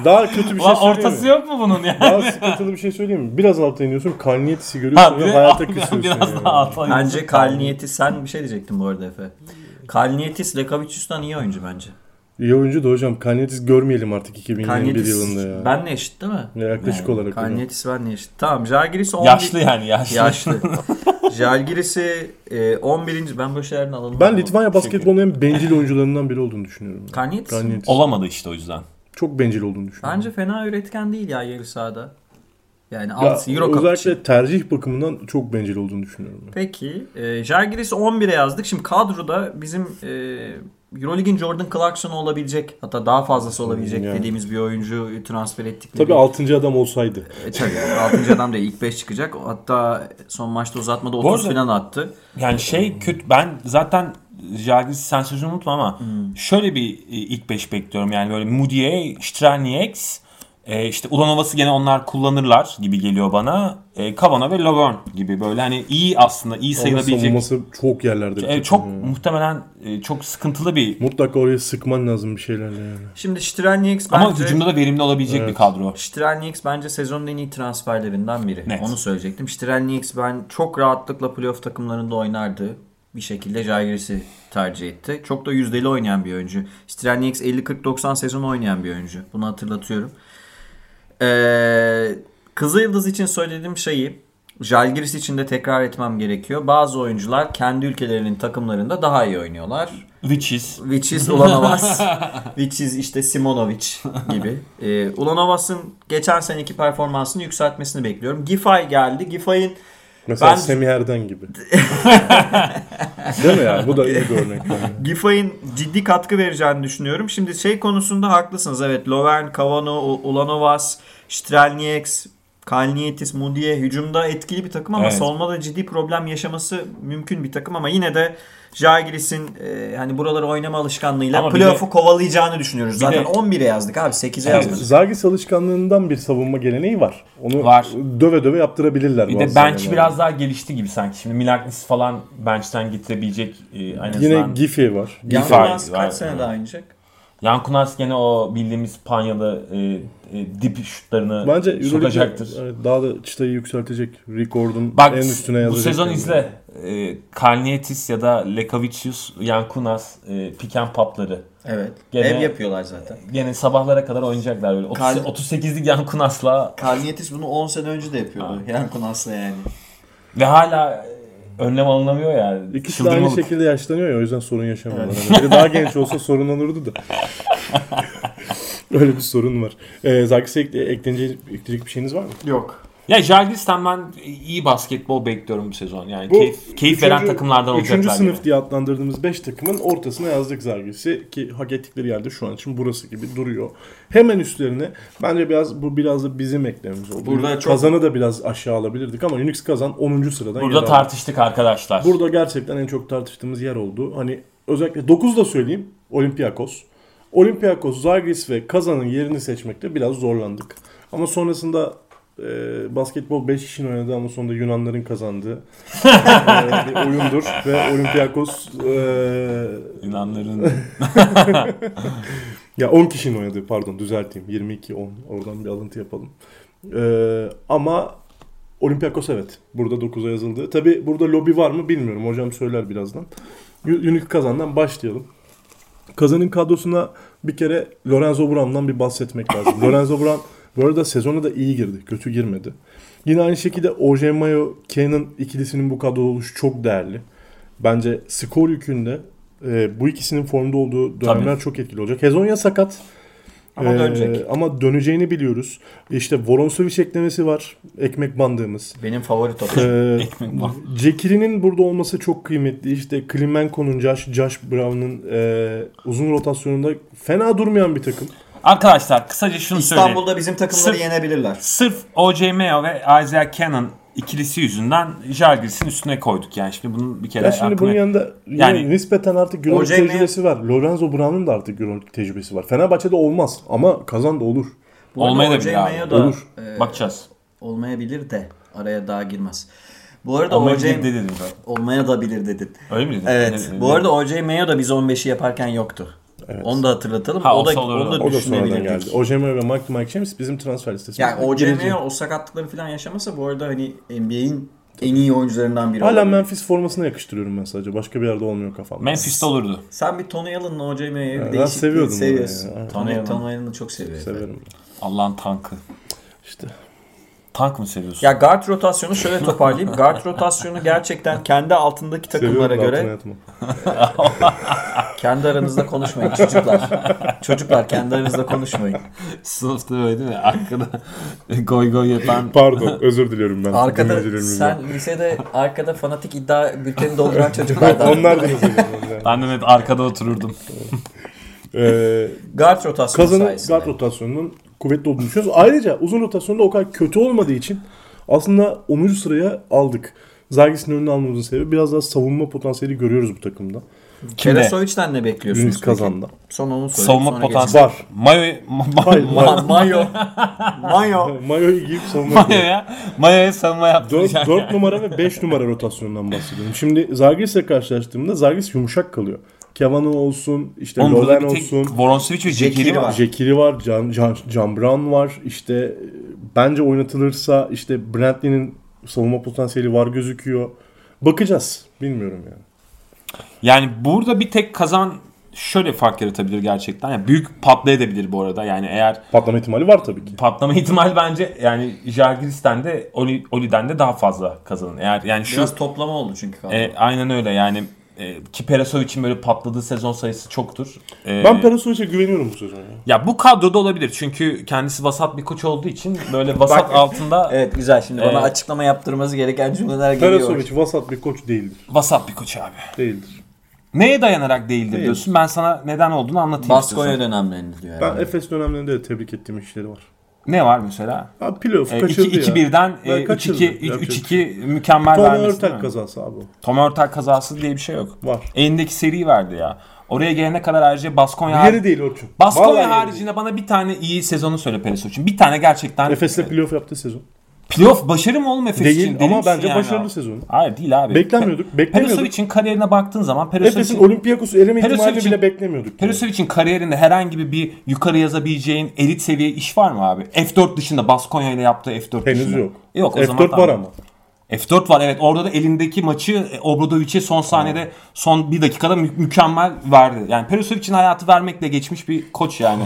[SPEAKER 1] daha kötü bir şey
[SPEAKER 3] Ulan
[SPEAKER 1] söyleyeyim
[SPEAKER 3] ortası
[SPEAKER 1] mi?
[SPEAKER 3] yok mu bunun ya?
[SPEAKER 1] Daha sıkıntılı bir şey söyleyeyim mi? Biraz alta iniyorsun. Kalniyetis'i
[SPEAKER 3] Ha,
[SPEAKER 1] görüyorsun
[SPEAKER 3] bir
[SPEAKER 1] ve şey
[SPEAKER 3] de
[SPEAKER 1] hayata
[SPEAKER 3] al-
[SPEAKER 1] küsüyorsun.
[SPEAKER 3] Biraz
[SPEAKER 1] yani.
[SPEAKER 3] daha alta
[SPEAKER 2] Bence Kalniyetis sen bir şey diyecektin bu arada Efe. Kalniyetis Lekavicius'tan iyi oyuncu bence.
[SPEAKER 1] İyi oyuncu da hocam. Kalniyetis görmeyelim artık 2021
[SPEAKER 2] Kalniyetis
[SPEAKER 1] yılında ya.
[SPEAKER 2] benle eşit değil mi?
[SPEAKER 1] Ya yaklaşık olarak. hocam.
[SPEAKER 2] Kalniyetis benle eşit. Tamam Jalgiris 11.
[SPEAKER 3] yaşlı yani yaşlı.
[SPEAKER 2] Yaşlı. Jalgiris'i e, 11. Ben böyle şeylerden alınmam.
[SPEAKER 1] Ben Litvanya basketbolunun en bencil oyuncularından biri olduğunu düşünüyorum. ya.
[SPEAKER 2] Kalniyetis mi?
[SPEAKER 1] Kalniyetis.
[SPEAKER 3] Olamadı işte o yüzden.
[SPEAKER 1] Çok bencil olduğunu düşünüyorum.
[SPEAKER 2] Bence fena üretken değil ya yarı sahada. Yani alt Euro Cup
[SPEAKER 1] özellikle
[SPEAKER 2] için.
[SPEAKER 1] tercih bakımından çok bencil olduğunu düşünüyorum. ben.
[SPEAKER 2] Peki. E, Jalgiris'i 11'e yazdık. Şimdi kadroda bizim e, Euroleague'in Jordan Clarkson'u olabilecek hatta daha fazlası olabilecek
[SPEAKER 1] Yani.
[SPEAKER 2] dediğimiz bir oyuncu transfer ettikleri.
[SPEAKER 1] Tabii 6. adam olsaydı.
[SPEAKER 2] E, tabii. Altıncı adam da ilk 5 çıkacak. Hatta son maçta uzatmada 30
[SPEAKER 3] arada-
[SPEAKER 2] falan attı.
[SPEAKER 3] Yani
[SPEAKER 1] Hmm.
[SPEAKER 3] şey kötü ben zaten Jagiris sen sözünü unutma ama
[SPEAKER 1] Hmm.
[SPEAKER 3] şöyle bir e, ilk beş bekliyorum. Yani böyle Moody, Stranieks, e, işte Ulanova'sı gene onlar kullanırlar gibi geliyor bana. E, Kavana ve Laverne gibi böyle hani iyi aslında iyi
[SPEAKER 1] Onun
[SPEAKER 3] sayılabilecek.
[SPEAKER 1] savunması çok yerlerde. bir
[SPEAKER 3] E,
[SPEAKER 1] takım
[SPEAKER 3] çok
[SPEAKER 1] ya.
[SPEAKER 3] muhtemelen e, çok sıkıntılı bir
[SPEAKER 1] Mutlaka oraya sıkman lazım bir şeylerle yani.
[SPEAKER 2] Şimdi Strelnyx
[SPEAKER 3] ama
[SPEAKER 2] bence...
[SPEAKER 3] hücumda da verimli olabilecek bir
[SPEAKER 1] Evet.
[SPEAKER 3] kadro.
[SPEAKER 2] Strelnyx bence sezonun en iyi transferlerinden biri.
[SPEAKER 3] Net.
[SPEAKER 2] Onu söyleyecektim. Strelnyx ben çok rahatlıkla playoff takımlarında oynardı. Bir şekilde Jairis'i tercih etti. Çok da yüzdeli oynayan bir oyuncu. Strelnyx 50-40-90 sezon oynayan bir oyuncu. Bunu hatırlatıyorum. Ee, Kızıldız için söylediğim şeyi Jalgiris için de tekrar etmem gerekiyor. Bazı oyuncular kendi ülkelerinin takımlarında daha iyi oynuyorlar.
[SPEAKER 3] Which is
[SPEAKER 2] Which is Ulanovas. Which is işte Simonovic gibi. Ee, Ulanovas'ın geçen seneki performansını yükseltmesini bekliyorum. Gifay geldi. Gifay'ın
[SPEAKER 1] Mesela
[SPEAKER 2] Ben-
[SPEAKER 1] Semih Erden gibi. Değil mi ya? Bu da iyi bir örnek. yani.
[SPEAKER 2] Gifay'ın ciddi katkı vereceğini düşünüyorum. Şimdi şey konusunda haklısınız. Evet Lovern, Kavano, U- Ulanovas, Strelnieks, Kalnietis, Mudiye hücumda etkili bir takım ama
[SPEAKER 3] Evet.
[SPEAKER 2] savunmada ciddi problem yaşaması mümkün bir takım ama yine de Jagiris'in e, hani buraları oynama alışkanlığıyla
[SPEAKER 3] Ama bir
[SPEAKER 2] playoff'u kovalayacağını düşünüyoruz. Zaten
[SPEAKER 3] de-
[SPEAKER 2] 11'e yazdık abi 8'e
[SPEAKER 3] Evet.
[SPEAKER 2] yazmadık.
[SPEAKER 1] Zagis alışkanlığından bir savunma geleneği var. Onu
[SPEAKER 3] Var.
[SPEAKER 1] döve döve yaptırabilirler.
[SPEAKER 3] bir
[SPEAKER 1] bazı
[SPEAKER 3] de bench
[SPEAKER 1] yerlerde.
[SPEAKER 3] biraz daha gelişti gibi sanki. Şimdi Milaknis falan bench'ten getirebilecek e, en
[SPEAKER 1] Yine
[SPEAKER 3] azından.
[SPEAKER 1] Gifi var.
[SPEAKER 3] Ya-
[SPEAKER 2] Yalnız
[SPEAKER 3] Bir fark var.
[SPEAKER 2] kaç sene daha oynayacak?
[SPEAKER 3] Yankunas gene o bildiğimiz panyalı e, e, dip şutlarını
[SPEAKER 1] Bence Euroleague
[SPEAKER 3] sokacaktır.
[SPEAKER 1] evet, daha da çıtayı yükseltecek. Record'un
[SPEAKER 3] Bak
[SPEAKER 1] en üstüne
[SPEAKER 3] bu
[SPEAKER 1] yazacak.
[SPEAKER 3] sezon
[SPEAKER 1] yani.
[SPEAKER 3] izle. E, Kalnietis ya da Lekavicius, Yankunas, e, Piken Papları.
[SPEAKER 2] Evet.
[SPEAKER 3] Gene-
[SPEAKER 2] Ev yapıyorlar zaten.
[SPEAKER 3] Gene sabahlara kadar oynayacaklar böyle.
[SPEAKER 2] Kal-
[SPEAKER 3] 30, 38'lik Yankunas'la
[SPEAKER 2] Kalnietis bunu 10 sene önce de yapıyordu. Yankun Aslı yani.
[SPEAKER 3] ve hala e, önlem alınamıyor yani.
[SPEAKER 1] İkisi de aynı
[SPEAKER 3] Çıldırmalık.
[SPEAKER 1] şekilde yaşlanıyor ya o yüzden sorun yaşamıyorlar. Hani biri daha genç olsa sorun olurdu da. Öyle bir sorun var. Ee, Zagis'e ekle, eklenecek, ekleyecek bir şeyiniz var mı?
[SPEAKER 2] Yok.
[SPEAKER 3] Ya Jalgis'ten ben iyi basketbol bekliyorum bu sezon. Yani
[SPEAKER 1] Bu
[SPEAKER 3] keyif, keyif veren
[SPEAKER 1] üçüncü-
[SPEAKER 3] takımlardan olacaklar.
[SPEAKER 1] Üçüncü
[SPEAKER 3] gene.
[SPEAKER 1] sınıf diye adlandırdığımız 5 takımın ortasına yazdık Zalgiris'i ki hak ettikleri yerde şu an için burası gibi duruyor. Hemen üstlerine bence biraz bu biraz da bizim eklememiz oldu.
[SPEAKER 2] Burada çok-
[SPEAKER 1] Kazan'ı da biraz aşağı alabilirdik ama Unix Kazan 10. sıradan
[SPEAKER 3] Burada
[SPEAKER 1] yer aldı.
[SPEAKER 3] tartıştık arkadaşlar.
[SPEAKER 1] Burada gerçekten en çok tartıştığımız yer oldu. Hani özellikle 9 da söyleyeyim Olympiakos. Olympiakos, Zagris ve Kazan'ın yerini seçmekte biraz zorlandık. Ama sonrasında e, basketbol 5 kişinin oynadığı ama sonunda Yunanların kazandığı e, bir oyundur. Ve Olympiakos e,
[SPEAKER 3] Yunanların
[SPEAKER 1] ya 10 kişinin oynadığı pardon düzelteyim 22-10 oradan bir alıntı yapalım. E, ama Olympiakos evet. Burada 9'a yazıldı. Tabi burada lobi var mı bilmiyorum. Hocam söyler birazdan. Unique Kazan'dan başlayalım. Kazan'ın kadrosuna bir kere Lorenzo Brown'dan bir bahsetmek lazım. Lorenzo Brown bu arada sezona da iyi girdi. Kötü girmedi. Yine aynı şekilde Oje Mayo, Kenan ikilisinin bu kadroda oluşu çok değerli. Bence skor yükünde e, bu ikisinin formda olduğu dönemler çok etkili olacak. Hezonya sakat.
[SPEAKER 2] Ama dönecek.
[SPEAKER 1] Ee, Ama döneceğini biliyoruz. İşte Voronsovic eklemesi var. Ekmek bandığımız.
[SPEAKER 2] Benim favori topu.
[SPEAKER 1] Ee,
[SPEAKER 3] Ekmek var.
[SPEAKER 1] Cekiri'nin burada olması çok kıymetli. İşte Klimenko'nun, Josh, Josh Brown'ın e, uzun rotasyonunda fena durmayan bir takım.
[SPEAKER 3] Arkadaşlar kısaca şunu söyleyeyim.
[SPEAKER 2] İstanbul'da bizim takımları
[SPEAKER 3] Sırf-
[SPEAKER 2] yenebilirler.
[SPEAKER 3] Sırf O.J. Mayo ve Isaiah Cannon ikilisi yüzünden Jalgiris'in üstüne koyduk. Yani şimdi bunun bir kere
[SPEAKER 1] Ya şimdi bunun
[SPEAKER 3] aklına-
[SPEAKER 1] yanında yine
[SPEAKER 3] Yani-
[SPEAKER 1] nispeten artık Euroleague
[SPEAKER 2] Hocayı ne-
[SPEAKER 1] tecrübesi var. Lorenzo Brown'un da artık Euroleague tecrübesi var. Fenerbahçe'de olmaz ama kazan da olur.
[SPEAKER 2] Bu arada
[SPEAKER 3] Olmaya da
[SPEAKER 2] Ojey
[SPEAKER 3] bilir abi.
[SPEAKER 2] Mayo da,
[SPEAKER 1] Olur.
[SPEAKER 2] e,
[SPEAKER 3] bakacağız.
[SPEAKER 2] olmayabilir de araya daha girmez. Bu arada
[SPEAKER 3] Olmaya
[SPEAKER 2] Ojey-
[SPEAKER 3] gidip de dedim ben.
[SPEAKER 2] olmaya da bilir dedin.
[SPEAKER 3] Öyle mi dedin?
[SPEAKER 2] Evet.
[SPEAKER 3] Ne-
[SPEAKER 2] Bu arada OJ Mayo da biz 15'i yaparken yoktu. Onu da hatırlatalım.
[SPEAKER 3] Ha,
[SPEAKER 2] o da
[SPEAKER 3] olsa olur.
[SPEAKER 2] onu da
[SPEAKER 1] O da sonradan geldi.
[SPEAKER 2] düşünebilirdik.
[SPEAKER 1] Ojemir ve Mark Mike James bizim transfer listesinde.
[SPEAKER 2] Yani OJ
[SPEAKER 1] Birinci.
[SPEAKER 2] Mayo o sakatlıkları falan yaşamasa bu arada hani NBA'in en iyi oyuncularından biri.
[SPEAKER 1] Hala
[SPEAKER 2] olabilir.
[SPEAKER 1] Memphis formasına yakıştırıyorum ben sadece. Başka bir yerde olmuyor kafamda.
[SPEAKER 3] Memphis'te olurdu.
[SPEAKER 2] Sen bir Tony Allen'la OJ Mayo'yu
[SPEAKER 1] ben
[SPEAKER 2] bir değişik
[SPEAKER 1] seviyordum onu
[SPEAKER 2] seviyorsun.
[SPEAKER 1] ya, aynen.
[SPEAKER 2] Tony,
[SPEAKER 3] Tony
[SPEAKER 2] Tony Allen'ı çok seviyorum.
[SPEAKER 1] Severim.
[SPEAKER 3] Allah'ın tankı.
[SPEAKER 1] İşte.
[SPEAKER 3] Tank mı seviyorsun?
[SPEAKER 2] Ya guard rotasyonu şöyle toparlayayım. guard rotasyonu gerçekten kendi altındaki takımlara
[SPEAKER 1] Seviyorum da
[SPEAKER 2] göre
[SPEAKER 1] altına yatma.
[SPEAKER 2] kendi aranızda konuşmayın çocuklar. çocuklar kendi aranızda konuşmayın.
[SPEAKER 3] Sınıfta böyle değil mi? Arkada goy goy yapan
[SPEAKER 1] Pardon özür diliyorum ben.
[SPEAKER 2] Arkada
[SPEAKER 1] dinleyicilerimizden.
[SPEAKER 2] sen lisede arkada fanatik iddia bülteni dolduran çocuklardan.
[SPEAKER 1] Onlardınız. yani.
[SPEAKER 3] ben de net arkada otururdum.
[SPEAKER 1] Ee,
[SPEAKER 2] Guard rotasyonu
[SPEAKER 1] kazanın
[SPEAKER 2] sayesinde.
[SPEAKER 1] guard rotasyonunun kuvvetli olduğunu düşünüyoruz. Ayrıca uzun rotasyonda o kadar kötü olmadığı için aslında 10. sıraya aldık. Zagis'in önüne almamızın sebebi biraz daha savunma potansiyeli görüyoruz bu takımda.
[SPEAKER 3] Kimde?
[SPEAKER 2] Keresovic'den ne bekliyorsunuz?
[SPEAKER 1] Dün
[SPEAKER 2] peki?
[SPEAKER 1] kazandı.
[SPEAKER 2] Son onu söyle.
[SPEAKER 3] Savunma
[SPEAKER 2] sonra
[SPEAKER 3] potansiyeli.
[SPEAKER 1] Var.
[SPEAKER 3] Mayo, ma-
[SPEAKER 1] Hayır, var.
[SPEAKER 2] geçelim. Mayo. Mayo.
[SPEAKER 1] Mayo'yu giyip savunma
[SPEAKER 3] Mayo ya. Mayo'ya savunma yaptıracak.
[SPEAKER 1] 4, numara ve 5 numara rotasyonundan bahsediyorum. Şimdi Zagis'le karşılaştığımda Zagis yumuşak kalıyor. Kevano olsun, işte
[SPEAKER 3] Oğlum burada
[SPEAKER 1] Lolan
[SPEAKER 3] bir tek
[SPEAKER 1] olsun.
[SPEAKER 3] Voronsevic ve Jekiri
[SPEAKER 2] Jekiri
[SPEAKER 3] var.
[SPEAKER 2] var.
[SPEAKER 1] Jekiri var, Can, Can, Can Brown var. İşte e, bence oynatılırsa işte Brantley'nin savunma potansiyeli var gözüküyor. Bakacağız. Bilmiyorum yani.
[SPEAKER 3] Yani burada bir tek kazan şöyle fark yaratabilir gerçekten. Yani büyük patlayabilir bu arada. Yani eğer
[SPEAKER 1] Patlama ihtimali var tabii ki.
[SPEAKER 3] patlama ihtimali bence yani Jalgiris'ten de Oli, Oli'den de daha fazla kazanın. Eğer yani şu
[SPEAKER 2] Biraz toplama oldu çünkü kadro.
[SPEAKER 3] E, aynen öyle yani e, ki Perasov için böyle patladığı sezon sayısı çoktur. E,
[SPEAKER 1] Ben Perasovic'e güveniyorum bu sezon ya.
[SPEAKER 3] ya bu kadroda olabilir çünkü kendisi vasat bir koç olduğu için böyle vasat
[SPEAKER 2] Bak- e,
[SPEAKER 3] altında
[SPEAKER 2] Evet güzel şimdi bana
[SPEAKER 3] Ee,
[SPEAKER 2] açıklama yaptırması gereken cümleler geliyor.
[SPEAKER 1] Perasovic vasat bir koç değildir.
[SPEAKER 3] vasat bir koç abi.
[SPEAKER 1] Değildir.
[SPEAKER 3] Neye dayanarak değildir diyorsun? Ben sana neden olduğunu anlatayım.
[SPEAKER 2] Baskonya
[SPEAKER 3] istiyorsan.
[SPEAKER 2] dönemlerini diyor
[SPEAKER 1] Ben
[SPEAKER 2] herhalde.
[SPEAKER 1] Efes dönemlerinde de tebrik ettiğim işleri var.
[SPEAKER 3] Ne var mesela?
[SPEAKER 1] Abi playoff
[SPEAKER 3] E,
[SPEAKER 1] kaçırdı
[SPEAKER 3] iki-
[SPEAKER 1] ya.
[SPEAKER 3] 2-1'den e,
[SPEAKER 1] Ben kaçırdı.
[SPEAKER 3] 3-2
[SPEAKER 1] Yapacak bir şey
[SPEAKER 3] 3-2 mükemmel
[SPEAKER 1] Tom
[SPEAKER 3] vermesi. değil
[SPEAKER 1] Örtel
[SPEAKER 3] mi?
[SPEAKER 1] kazası abi. o.
[SPEAKER 3] Tom Örtel kazası diye bir şey yok.
[SPEAKER 1] Var.
[SPEAKER 3] Elindeki seri verdi ya. Oraya gelene kadar ayrıca Baskonya
[SPEAKER 1] Yeri değil Orçun. Vallahi
[SPEAKER 3] Baskonya
[SPEAKER 1] yeri
[SPEAKER 3] haricinde bana bir tane iyi sezonu söyle Perisic için. Bir tane gerçekten e,
[SPEAKER 1] değil. Efes'le playoff yaptığı sezon.
[SPEAKER 3] Playoff başarı mı oğlum Efes
[SPEAKER 1] Değil,
[SPEAKER 3] için? Deli
[SPEAKER 1] ama
[SPEAKER 3] misin
[SPEAKER 1] bence
[SPEAKER 3] yani
[SPEAKER 1] başarılı
[SPEAKER 3] abi?
[SPEAKER 1] sezon.
[SPEAKER 3] Hayır değil abi.
[SPEAKER 1] Beklemiyorduk. Beklemiyorduk.
[SPEAKER 3] Perisovic'in kariyerine baktığın zaman
[SPEAKER 1] Efes'in
[SPEAKER 3] Perisovic'in
[SPEAKER 1] Olympiakos'u eleme ihtimalini
[SPEAKER 3] Perisovic'in-
[SPEAKER 1] bile beklemiyorduk. yani.
[SPEAKER 3] Perisovic'in kariyerinde herhangi bir, bir yukarı yazabileceğin elit seviye iş var mı abi? F4 dışında Baskonya ile yaptığı F4
[SPEAKER 1] Henüz
[SPEAKER 3] dışında.
[SPEAKER 1] yok.
[SPEAKER 3] Yok o zaman
[SPEAKER 1] F4 var
[SPEAKER 3] tamam.
[SPEAKER 1] ama.
[SPEAKER 3] F4 var evet. Orada da elindeki maçı e, Obradovic'e son saniyede son bir dakikada mü- mükemmel verdi. Yani Perisovic'in hayatı vermekle geçmiş bir koç yani.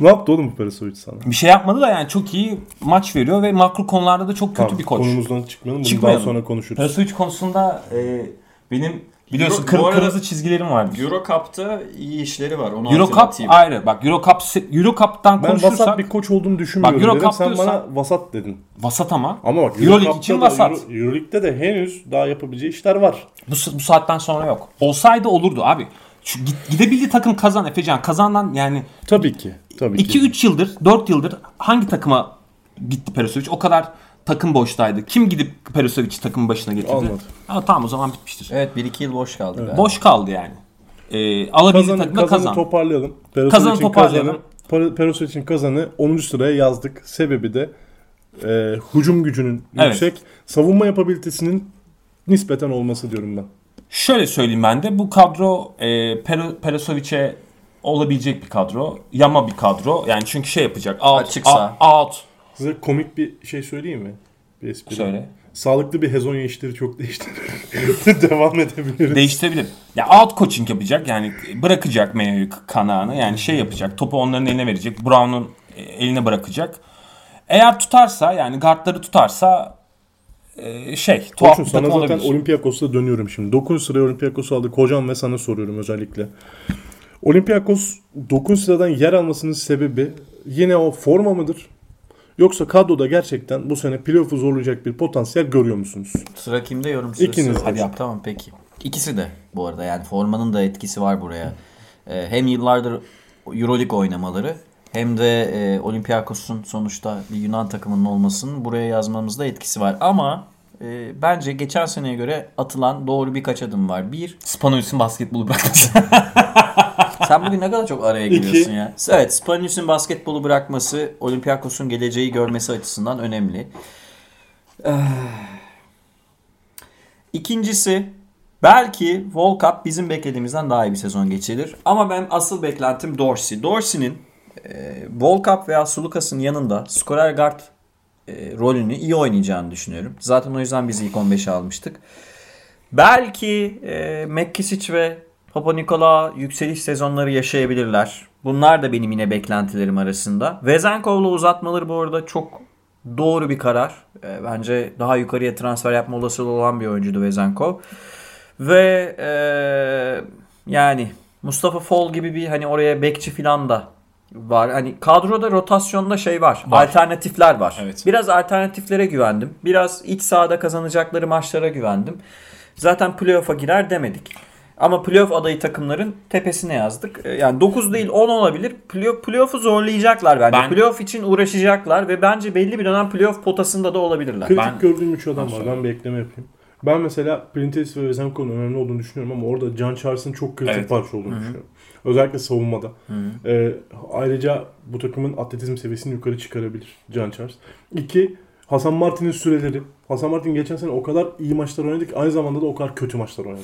[SPEAKER 1] ne yaptı oğlum bu Perisovic sana?
[SPEAKER 3] bir şey yapmadı da yani çok iyi maç veriyor ve makro konularda da çok kötü
[SPEAKER 1] Tamam,
[SPEAKER 3] bir koç.
[SPEAKER 1] Konumuzdan çıkmayalım. Bunu daha
[SPEAKER 3] Çıkmayalım.
[SPEAKER 1] sonra konuşuruz.
[SPEAKER 3] Perisic konusunda e, benim biliyorsun
[SPEAKER 2] Ee, Euro-
[SPEAKER 3] kır-
[SPEAKER 2] bu arada-
[SPEAKER 3] kırmızı çizgilerim vardı. Euro,
[SPEAKER 2] Euro Cup'ta iyi işleri var. Onu
[SPEAKER 3] Cup
[SPEAKER 2] hatırlatayım.
[SPEAKER 3] ayrı. Bak Euro Cup se- Euro Cup'tan
[SPEAKER 1] Ben
[SPEAKER 3] konuşursak
[SPEAKER 1] vasat bir koç olduğunu düşünmüyorum
[SPEAKER 3] Euro
[SPEAKER 1] dedim.
[SPEAKER 3] Cup
[SPEAKER 1] Sen
[SPEAKER 3] diyorsan-
[SPEAKER 1] bana vasat dedin.
[SPEAKER 3] vasat ama.
[SPEAKER 1] Ama bak
[SPEAKER 3] Euroleague
[SPEAKER 1] Cup'ta
[SPEAKER 3] için
[SPEAKER 1] da,
[SPEAKER 3] vasat.
[SPEAKER 1] Euro- Euroleague'de de henüz daha yapabileceği işler var.
[SPEAKER 3] Bu, s- bu saatten sonra yok. Olsaydı olurdu abi. Şu git- gidebildiği takım kazan Efecan. Kazandan yani
[SPEAKER 1] Tabii ki. Tabii ki.
[SPEAKER 3] 2-3 yıldır, 4 yıldır hangi takıma gitti Perisovic? O kadar takım boştaydı. Kim gidip Perisovic'i takımın başına getirdi?
[SPEAKER 1] Olmadı.
[SPEAKER 3] Ha, tamam o zaman bitmiştir.
[SPEAKER 2] Evet 1-2 yıl boş kaldı galiba.
[SPEAKER 3] Boş kaldı yani. Ee, alabildiği
[SPEAKER 1] Kazanı,
[SPEAKER 3] takımda
[SPEAKER 1] kazanı
[SPEAKER 3] kazan.
[SPEAKER 1] toparlayalım.
[SPEAKER 3] Kazanı toparlayalım.
[SPEAKER 1] Perosu için kazanı 10. sıraya yazdık. Sebebi de e, hücum gücünün
[SPEAKER 3] Evet.
[SPEAKER 1] yüksek, savunma yapabilitesinin nispeten olması diyorum ben.
[SPEAKER 3] Şöyle söyleyeyim ben de bu kadro e, Per- Perisovic'e olabilecek bir kadro. Yama bir kadro. Yani çünü şey yapacak. Out,
[SPEAKER 2] Açıksa.
[SPEAKER 3] a- out.
[SPEAKER 1] Size komik bir şey söyleyeyim mi? Bir espri.
[SPEAKER 3] Söyle.
[SPEAKER 1] Sağlıklı bir hezonya işleri çok değiştirir. Devam edebiliriz.
[SPEAKER 3] Değiştirebilir. Ya out coaching yapacak. Yani bırakacak Mayo'yu k- kanağını. Yani şey yapacak. Topu onların eline verecek. Brown'un e, eline bırakacak. Eğer tutarsa yani guardları tutarsa e, şey tuhaf
[SPEAKER 1] Koçum
[SPEAKER 3] bir
[SPEAKER 1] sana
[SPEAKER 3] takım
[SPEAKER 1] zaten
[SPEAKER 3] olabilir.
[SPEAKER 1] Olympiakos'ta dönüyorum şimdi. 9 sıraya Olympiakos'u aldık. Hocam ve sana soruyorum özellikle. Olympiakos 9 sıradan yer almasının sebebi yine o forma mıdır? Yoksa kadroda gerçekten bu sene playoff'u zorlayacak bir potansiyel görüyor musunuz?
[SPEAKER 2] Sıra kimde yorum sırası?
[SPEAKER 1] İkiniz de.
[SPEAKER 2] Hadi yap. Tamam peki. İkisi de bu arada yani formanın da etkisi var buraya. Ee, hem yıllardır Euroleague oynamaları hem de e, Olympiakos'un sonuçta bir Yunan takımının olmasının buraya yazmamızda etkisi var. Ama e, bence geçen seneye göre atılan doğru birkaç adım var. Bir,
[SPEAKER 3] Spanulis'in basketbolu bırakmış.
[SPEAKER 2] sen bugün ne kadar çok araya
[SPEAKER 1] İki.
[SPEAKER 2] giriyorsun ya. Evet, Spanius'un basketbolu bırakması Olympiakos'un geleceği görmesi açısından önemli. Eh. İkincisi belki World Cup bizim beklediğimizden daha iyi bir sezon geçirir. Ama ben asıl beklentim Dorsey. Dorsey'nin e, World Cup veya Sulukas'ın yanında skorer guard e, rolünü iyi oynayacağını düşünüyorum. Zaten o yüzden bizi ilk 15'e almıştık. Belki e, Mekkisic ve Papa Nikola yükseliş sezonları yaşayabilirler. Bunlar da benim yine beklentilerim arasında. Vezenkov'la uzatmaları bu arada çok doğru bir karar. E, bence daha yukarıya transfer yapma olasılığı olan bir oyuncuydu Vezenkov. Ve e, yani Mustafa Fol gibi bir hani oraya bekçi filan da var. Hani kadroda rotasyonda şey var.
[SPEAKER 3] Var.
[SPEAKER 2] Alternatifler var.
[SPEAKER 3] Evet.
[SPEAKER 2] Biraz alternatiflere güvendim. Biraz iç sahada kazanacakları maçlara güvendim. Zaten playoff'a girer demedik. Ama playoff adayı takımların tepesine yazdık. Ee, Yani 9 değil 10 olabilir. Playoff, playoff'u zorlayacaklar bence.
[SPEAKER 3] Ben-
[SPEAKER 2] Playoff için uğraşacaklar ve bence belli bir dönem playoff potasında da olabilirler.
[SPEAKER 1] Kritik
[SPEAKER 3] Ben-
[SPEAKER 1] gördüğüm üç adam
[SPEAKER 3] Ben
[SPEAKER 1] var.
[SPEAKER 3] sonra.
[SPEAKER 1] Ben bir ekleme yapayım. Ben mesela Prentice ve Vezenko'nun önemli olduğunu düşünüyorum ama orada Can Charles'ın çok kritik
[SPEAKER 3] Evet.
[SPEAKER 1] parça olduğunu düşünüyorum. Özellikle savunmada. Ee, ayrıca bu takımın atletizm seviyesini yukarı çıkarabilir Can Charles. İki, Hasan Martin'in süreleri. Hasan Martin geçen sene o kadar iyi maçlar oynadı ki aynı zamanda da o kadar kötü maçlar oynadı.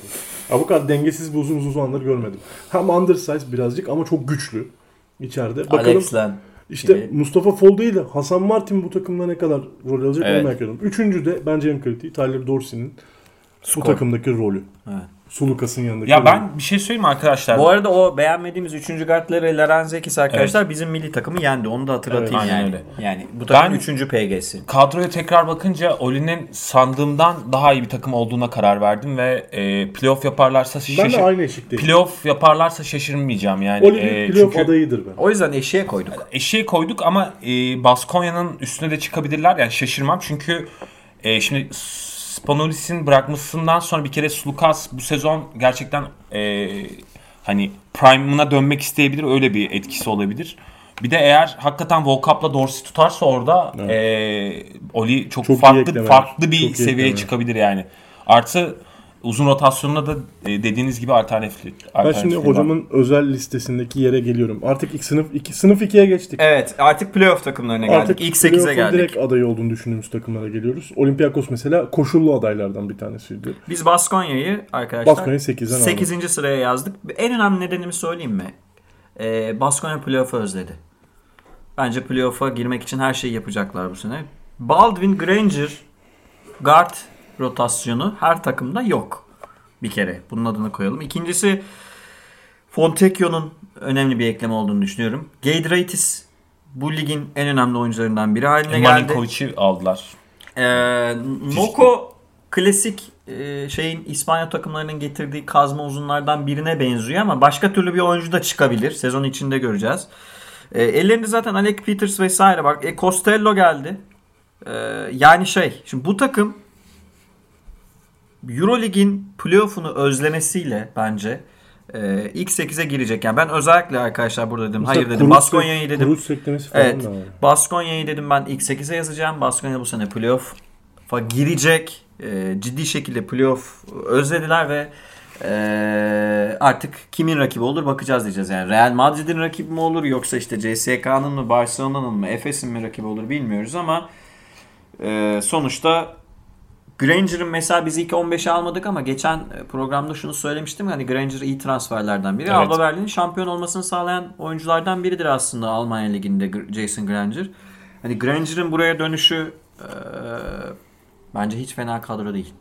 [SPEAKER 1] Ya bu kadar dengesiz bir uzun uzun zamanları görmedim. Hem undersize birazcık ama çok güçlü içeride. Bakalım
[SPEAKER 2] Alex Len.
[SPEAKER 1] işte
[SPEAKER 2] gibi.
[SPEAKER 1] Mustafa Fol değil de Hasan Martin bu takımda ne kadar rol alacak
[SPEAKER 2] Evet.
[SPEAKER 1] onu merak ediyorum. Üçüncü de bence en kritiği Tyler Dorsey'nin bu
[SPEAKER 2] Skor.
[SPEAKER 1] takımdaki rolü.
[SPEAKER 2] Evet.
[SPEAKER 1] Sulukas'ın yanındaki
[SPEAKER 3] ya
[SPEAKER 1] rolü.
[SPEAKER 3] ben bir şey söyleyeyim mi arkadaşlar.
[SPEAKER 2] Bu arada o beğenmediğimiz 3. kartları Laranzekis arkadaşlar bizim milli takımı yendi. Onu da hatırlatayım
[SPEAKER 3] Evet, aynen
[SPEAKER 2] yani.
[SPEAKER 3] öyle.
[SPEAKER 2] Yani bu takımın
[SPEAKER 3] Ben-
[SPEAKER 2] 3. PG'si.
[SPEAKER 3] Kadroya tekrar bakınca Oli'nin sandığımdan daha iyi bir takım olduğuna karar verdim ve e, playoff yaparlarsa
[SPEAKER 1] Ben de
[SPEAKER 3] şaşır...
[SPEAKER 1] aynı eşikteyim.
[SPEAKER 3] Playoff yaparlarsa şaşırmayacağım yani.
[SPEAKER 1] Oliver
[SPEAKER 2] Ee,
[SPEAKER 3] E,
[SPEAKER 1] playoff
[SPEAKER 3] çünkü-
[SPEAKER 1] adayıdır ben.
[SPEAKER 2] O yüzden eşeğe koyduk.
[SPEAKER 3] eşiği koyduk ama e, Baskonya'nın üstüne de çıkabilirler. Yani şaşırmam çünkü e, şimdi Spanolis'in bırakmasından sonra bir kere Sulukas bu sezon gerçekten e, hani prime'ına dönmek isteyebilir. Öyle bir etkisi olabilir. Bir de eğer hakikaten World Cup'la Dorsey tutarsa orada e, Oli çok,
[SPEAKER 1] Çok iyi
[SPEAKER 3] farklı
[SPEAKER 1] eklemeler.
[SPEAKER 3] farklı bir
[SPEAKER 1] Çok iyi
[SPEAKER 3] seviyeye
[SPEAKER 1] eklemeler.
[SPEAKER 3] çıkabilir yani. Artı uzun rotasyonuna da e, dediğiniz gibi alternatifli.
[SPEAKER 1] Ben şimdi hocamın özel listesindeki yere geliyorum. Artık ilk sınıf 2 sınıf 2'ye geçtik.
[SPEAKER 2] Evet artık playoff takımlarına geldik.
[SPEAKER 1] Artık
[SPEAKER 2] İlk
[SPEAKER 1] playoff'un
[SPEAKER 2] 8'e geldik.
[SPEAKER 1] direkt adayı olduğunu düşündüğümüz takımlara geliyoruz. Olympiakos mesela koşullu adaylardan bir tanesiydi.
[SPEAKER 2] Biz Baskonya'yı arkadaşlar
[SPEAKER 1] Baskonya'yı sekizden aldık.
[SPEAKER 2] 8. sıraya yazdık. En önemli nedenimi söyleyeyim mi? Ee, Baskonya playoff'u özledi. Bence playoff'a girmek için her şeyi yapacaklar bu sene. Baldwin Granger guard rotasyonu her takımda yok. Bir kere bunun adını koyalım. İkincisi Fontecchio'nun önemli bir ekleme olduğunu düşünüyorum. Giedraitis bu ligin en önemli oyuncularından biri haline geldi.
[SPEAKER 3] Malinkovic'i aldılar.
[SPEAKER 2] Ee, Moko klasik e, şeyin İspanya takımlarının getirdiği kazma uzunlardan birine benziyor ama başka türlü bir oyuncu da çıkabilir. Sezon içinde göreceğiz. E, ellerinde zaten Alec Peters vesaire var. E, Costello geldi. E, yani şey, şimdi bu takım Eurolig'in playoff'unu özlemesiyle bence e, ilk 8'e girecek. Yani ben özellikle arkadaşlar burada dedim. Hayır dedim.
[SPEAKER 1] Kurut-
[SPEAKER 2] Baskonya'yı dedim.
[SPEAKER 1] Kurut seklemesi falan
[SPEAKER 2] Evet.
[SPEAKER 1] da var.
[SPEAKER 2] Baskonya'yı dedim ben ilk 8'e yazacağım. Baskonya bu sene playoff'a girecek. Ee, ciddi şekilde playoff özlediler ve ee, artık kimin rakibi olur bakacağız diyeceğiz. Yani Real Madrid'in rakibi mi olur yoksa işte CSK'nın mı Barcelona'nın mı Efes'in mi rakibi olur bilmiyoruz ama ee, sonuçta Granger'ın mesela biz ilk 15'e almadık ama geçen e, programda şunu söylemiştim ya, hani Granger iyi transferlerden biri.
[SPEAKER 3] Evet.
[SPEAKER 2] Abla Berlin'in şampiyon olmasını sağlayan oyunculardan biridir aslında Almanya Ligi'nde Gr- Jason Granger. Hani Granger'ın buraya dönüşü e, bence hiç fena kadro değil.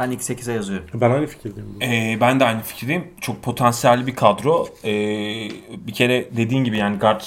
[SPEAKER 2] Ben ilk 8'e yazıyorum.
[SPEAKER 1] Ben aynı fikirdeyim.
[SPEAKER 3] Ee, ben de aynı fikirdeyim. Çok potansiyelli bir kadro. Ee, bir kere dediğin gibi yani guard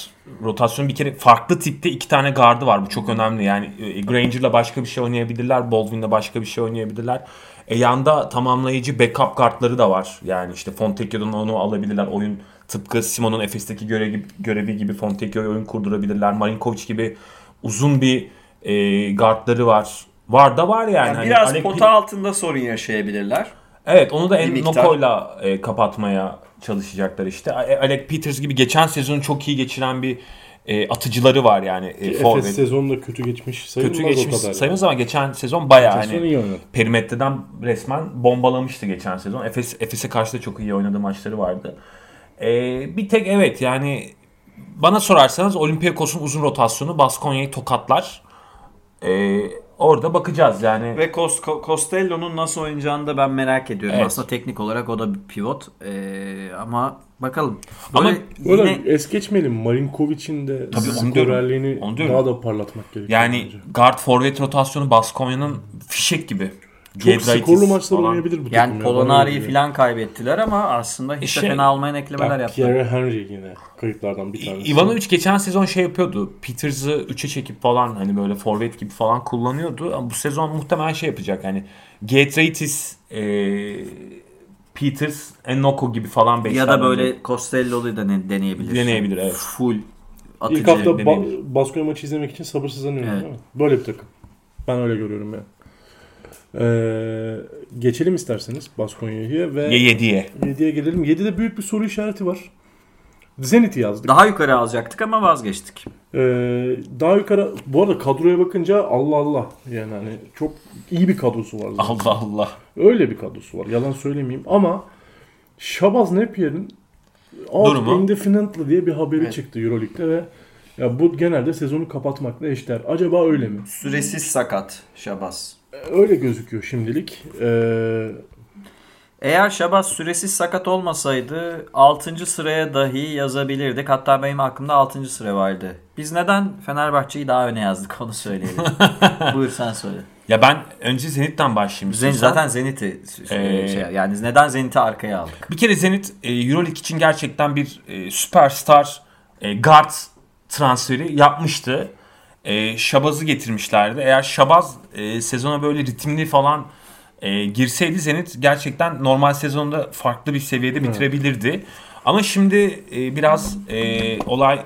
[SPEAKER 3] rotasyonu bir kere farklı tipte iki tane gardı var. Bu çok önemli. Yani e, Granger'la başka bir şey oynayabilirler. Baldwin'le başka bir şey oynayabilirler. E, yanda tamamlayıcı backup guardları da var. Yani işte Fontecchio'dan onu alabilirler. Oyun tıpkı Simon'un Efes'teki görevi, görevi gibi Fontecchio'ya oyun kurdurabilirler. Marinkovic gibi uzun bir e, guardları var. Var da var yani. Hani Alec Pil-
[SPEAKER 2] altında sorun yaşayabilirler.
[SPEAKER 3] Evet onu da
[SPEAKER 2] Bir
[SPEAKER 3] en
[SPEAKER 2] miktar.
[SPEAKER 3] Noko'yla e, kapatmaya çalışacaklar işte. A- Alec Peters gibi geçen sezonu çok iyi geçiren bir e, atıcıları var yani. E,
[SPEAKER 1] Efes
[SPEAKER 3] forvet.
[SPEAKER 1] sezonu da kötü geçmiş sayılmaz
[SPEAKER 3] Kötü geçmiş
[SPEAKER 1] o kadar.
[SPEAKER 3] sayımız ama geçen sezon bayağı
[SPEAKER 1] Geçen sezon
[SPEAKER 3] hani
[SPEAKER 1] iyi oynadı.
[SPEAKER 3] perimetreden resmen bombalamıştı geçen sezon. Efes Efes'e karşı da çok iyi oynadığı maçları vardı. Ee, bir tek evet yani bana sorarsanız Olympiakos'un uzun rotasyonu Baskonya'yı tokatlar. Ee, orada bakacağız yani.
[SPEAKER 2] Ve Cos- Co- Costello'nun nasıl oynayacağını da ben merak ediyorum.
[SPEAKER 3] Evet.
[SPEAKER 2] Aslında teknik olarak o da bir pivot. Ee, ama bakalım.
[SPEAKER 3] Ama
[SPEAKER 2] Böyle
[SPEAKER 1] Bu arada
[SPEAKER 2] yine
[SPEAKER 1] es geçmeyelim. Marinkovic'in de
[SPEAKER 3] Tabii onu
[SPEAKER 1] skorerliğini
[SPEAKER 3] diyorum, onu diyorum.
[SPEAKER 1] daha da parlatmak gerekiyor.
[SPEAKER 3] yani
[SPEAKER 1] bence.
[SPEAKER 3] guard forvet rotasyonu Baskonya'nın fişek gibi.
[SPEAKER 1] çok
[SPEAKER 3] Giedraitis
[SPEAKER 1] skorlu maçlar
[SPEAKER 3] falan.
[SPEAKER 1] oynayabilir bu takım.
[SPEAKER 2] yani
[SPEAKER 1] ya, bana öyle
[SPEAKER 2] Polonari'yi
[SPEAKER 1] geliyor.
[SPEAKER 2] falan kaybettiler ama aslında hiç
[SPEAKER 3] Şey,
[SPEAKER 2] de fena almayan eklemeler
[SPEAKER 1] Bak
[SPEAKER 2] yaptılar.
[SPEAKER 1] Pierre Henry yine kayıplardan bir tanesi.
[SPEAKER 3] Ivanovic geçen sezon şey yapıyordu. Peters'ı 3'e çekip falan hani böyle forvet gibi falan kullanıyordu. Ama bu sezon muhtemelen şey yapacak. Hani Giedraitis, e, Peters, Enoko gibi falan beşler
[SPEAKER 2] Ya da
[SPEAKER 3] oynayacak.
[SPEAKER 2] böyle Costello'yu da ne- deneyebilir.
[SPEAKER 3] Deneyebilir, evet.
[SPEAKER 2] Full atıcı.
[SPEAKER 1] İlk hafta
[SPEAKER 3] deneyebilir.
[SPEAKER 1] ba- Baskonya maçı izlemek için sabırsızlanıyorum
[SPEAKER 2] Evet.
[SPEAKER 1] değil mi? Böyle bir takım. Ben öyle görüyorum ya. Ee, geçelim isterseniz Baskonya'ya ve
[SPEAKER 3] ya 7'ye.
[SPEAKER 1] 7'ye gelelim. 7'de büyük bir soru işareti var. Zenit'i yazdık.
[SPEAKER 2] Daha yukarı alacaktık ama vazgeçtik.
[SPEAKER 1] Ee, daha yukarı bu arada kadroya bakınca Allah Allah yani hani çok iyi bir kadrosu var zaten.
[SPEAKER 3] Allah Allah.
[SPEAKER 1] Öyle bir kadrosu var. Yalan söylemeyeyim ama Şabaz Napier'in out
[SPEAKER 3] Durumu.
[SPEAKER 1] indefinitely diye bir haberi
[SPEAKER 2] Evet.
[SPEAKER 1] çıktı EuroLeague'de ve ya bu genelde sezonu kapatmakla eşdeğer. Acaba öyle mi?
[SPEAKER 2] Süresiz sakat Şabas.
[SPEAKER 1] Öyle gözüküyor şimdilik. Ee,
[SPEAKER 2] Eğer Şabas süresiz sakat olmasaydı 6. sıraya dahi yazabilirdik. Hatta benim aklımda 6. sıra vardı. Biz neden Fenerbahçe'yi daha öne yazdık onu söyleyelim. Buyur sen söyle.
[SPEAKER 3] Ya ben önce Zenit'ten başlayayım.
[SPEAKER 2] Zen,
[SPEAKER 3] istiyorsan.
[SPEAKER 2] zaten Zenit'i
[SPEAKER 3] Ee,
[SPEAKER 2] şey, yani neden Zenit'i arkaya aldık?
[SPEAKER 3] Bir kere Zenit e, Euroleague için gerçekten bir e, süperstar e, guard transferi yapmıştı. E, Şabaz'ı getirmişlerdi. Eğer Şabaz e, sezona böyle ritimli falan e, girseydi Zenit gerçekten normal sezonda farklı bir seviyede bitirebilirdi. Ama şimdi e, biraz e, olay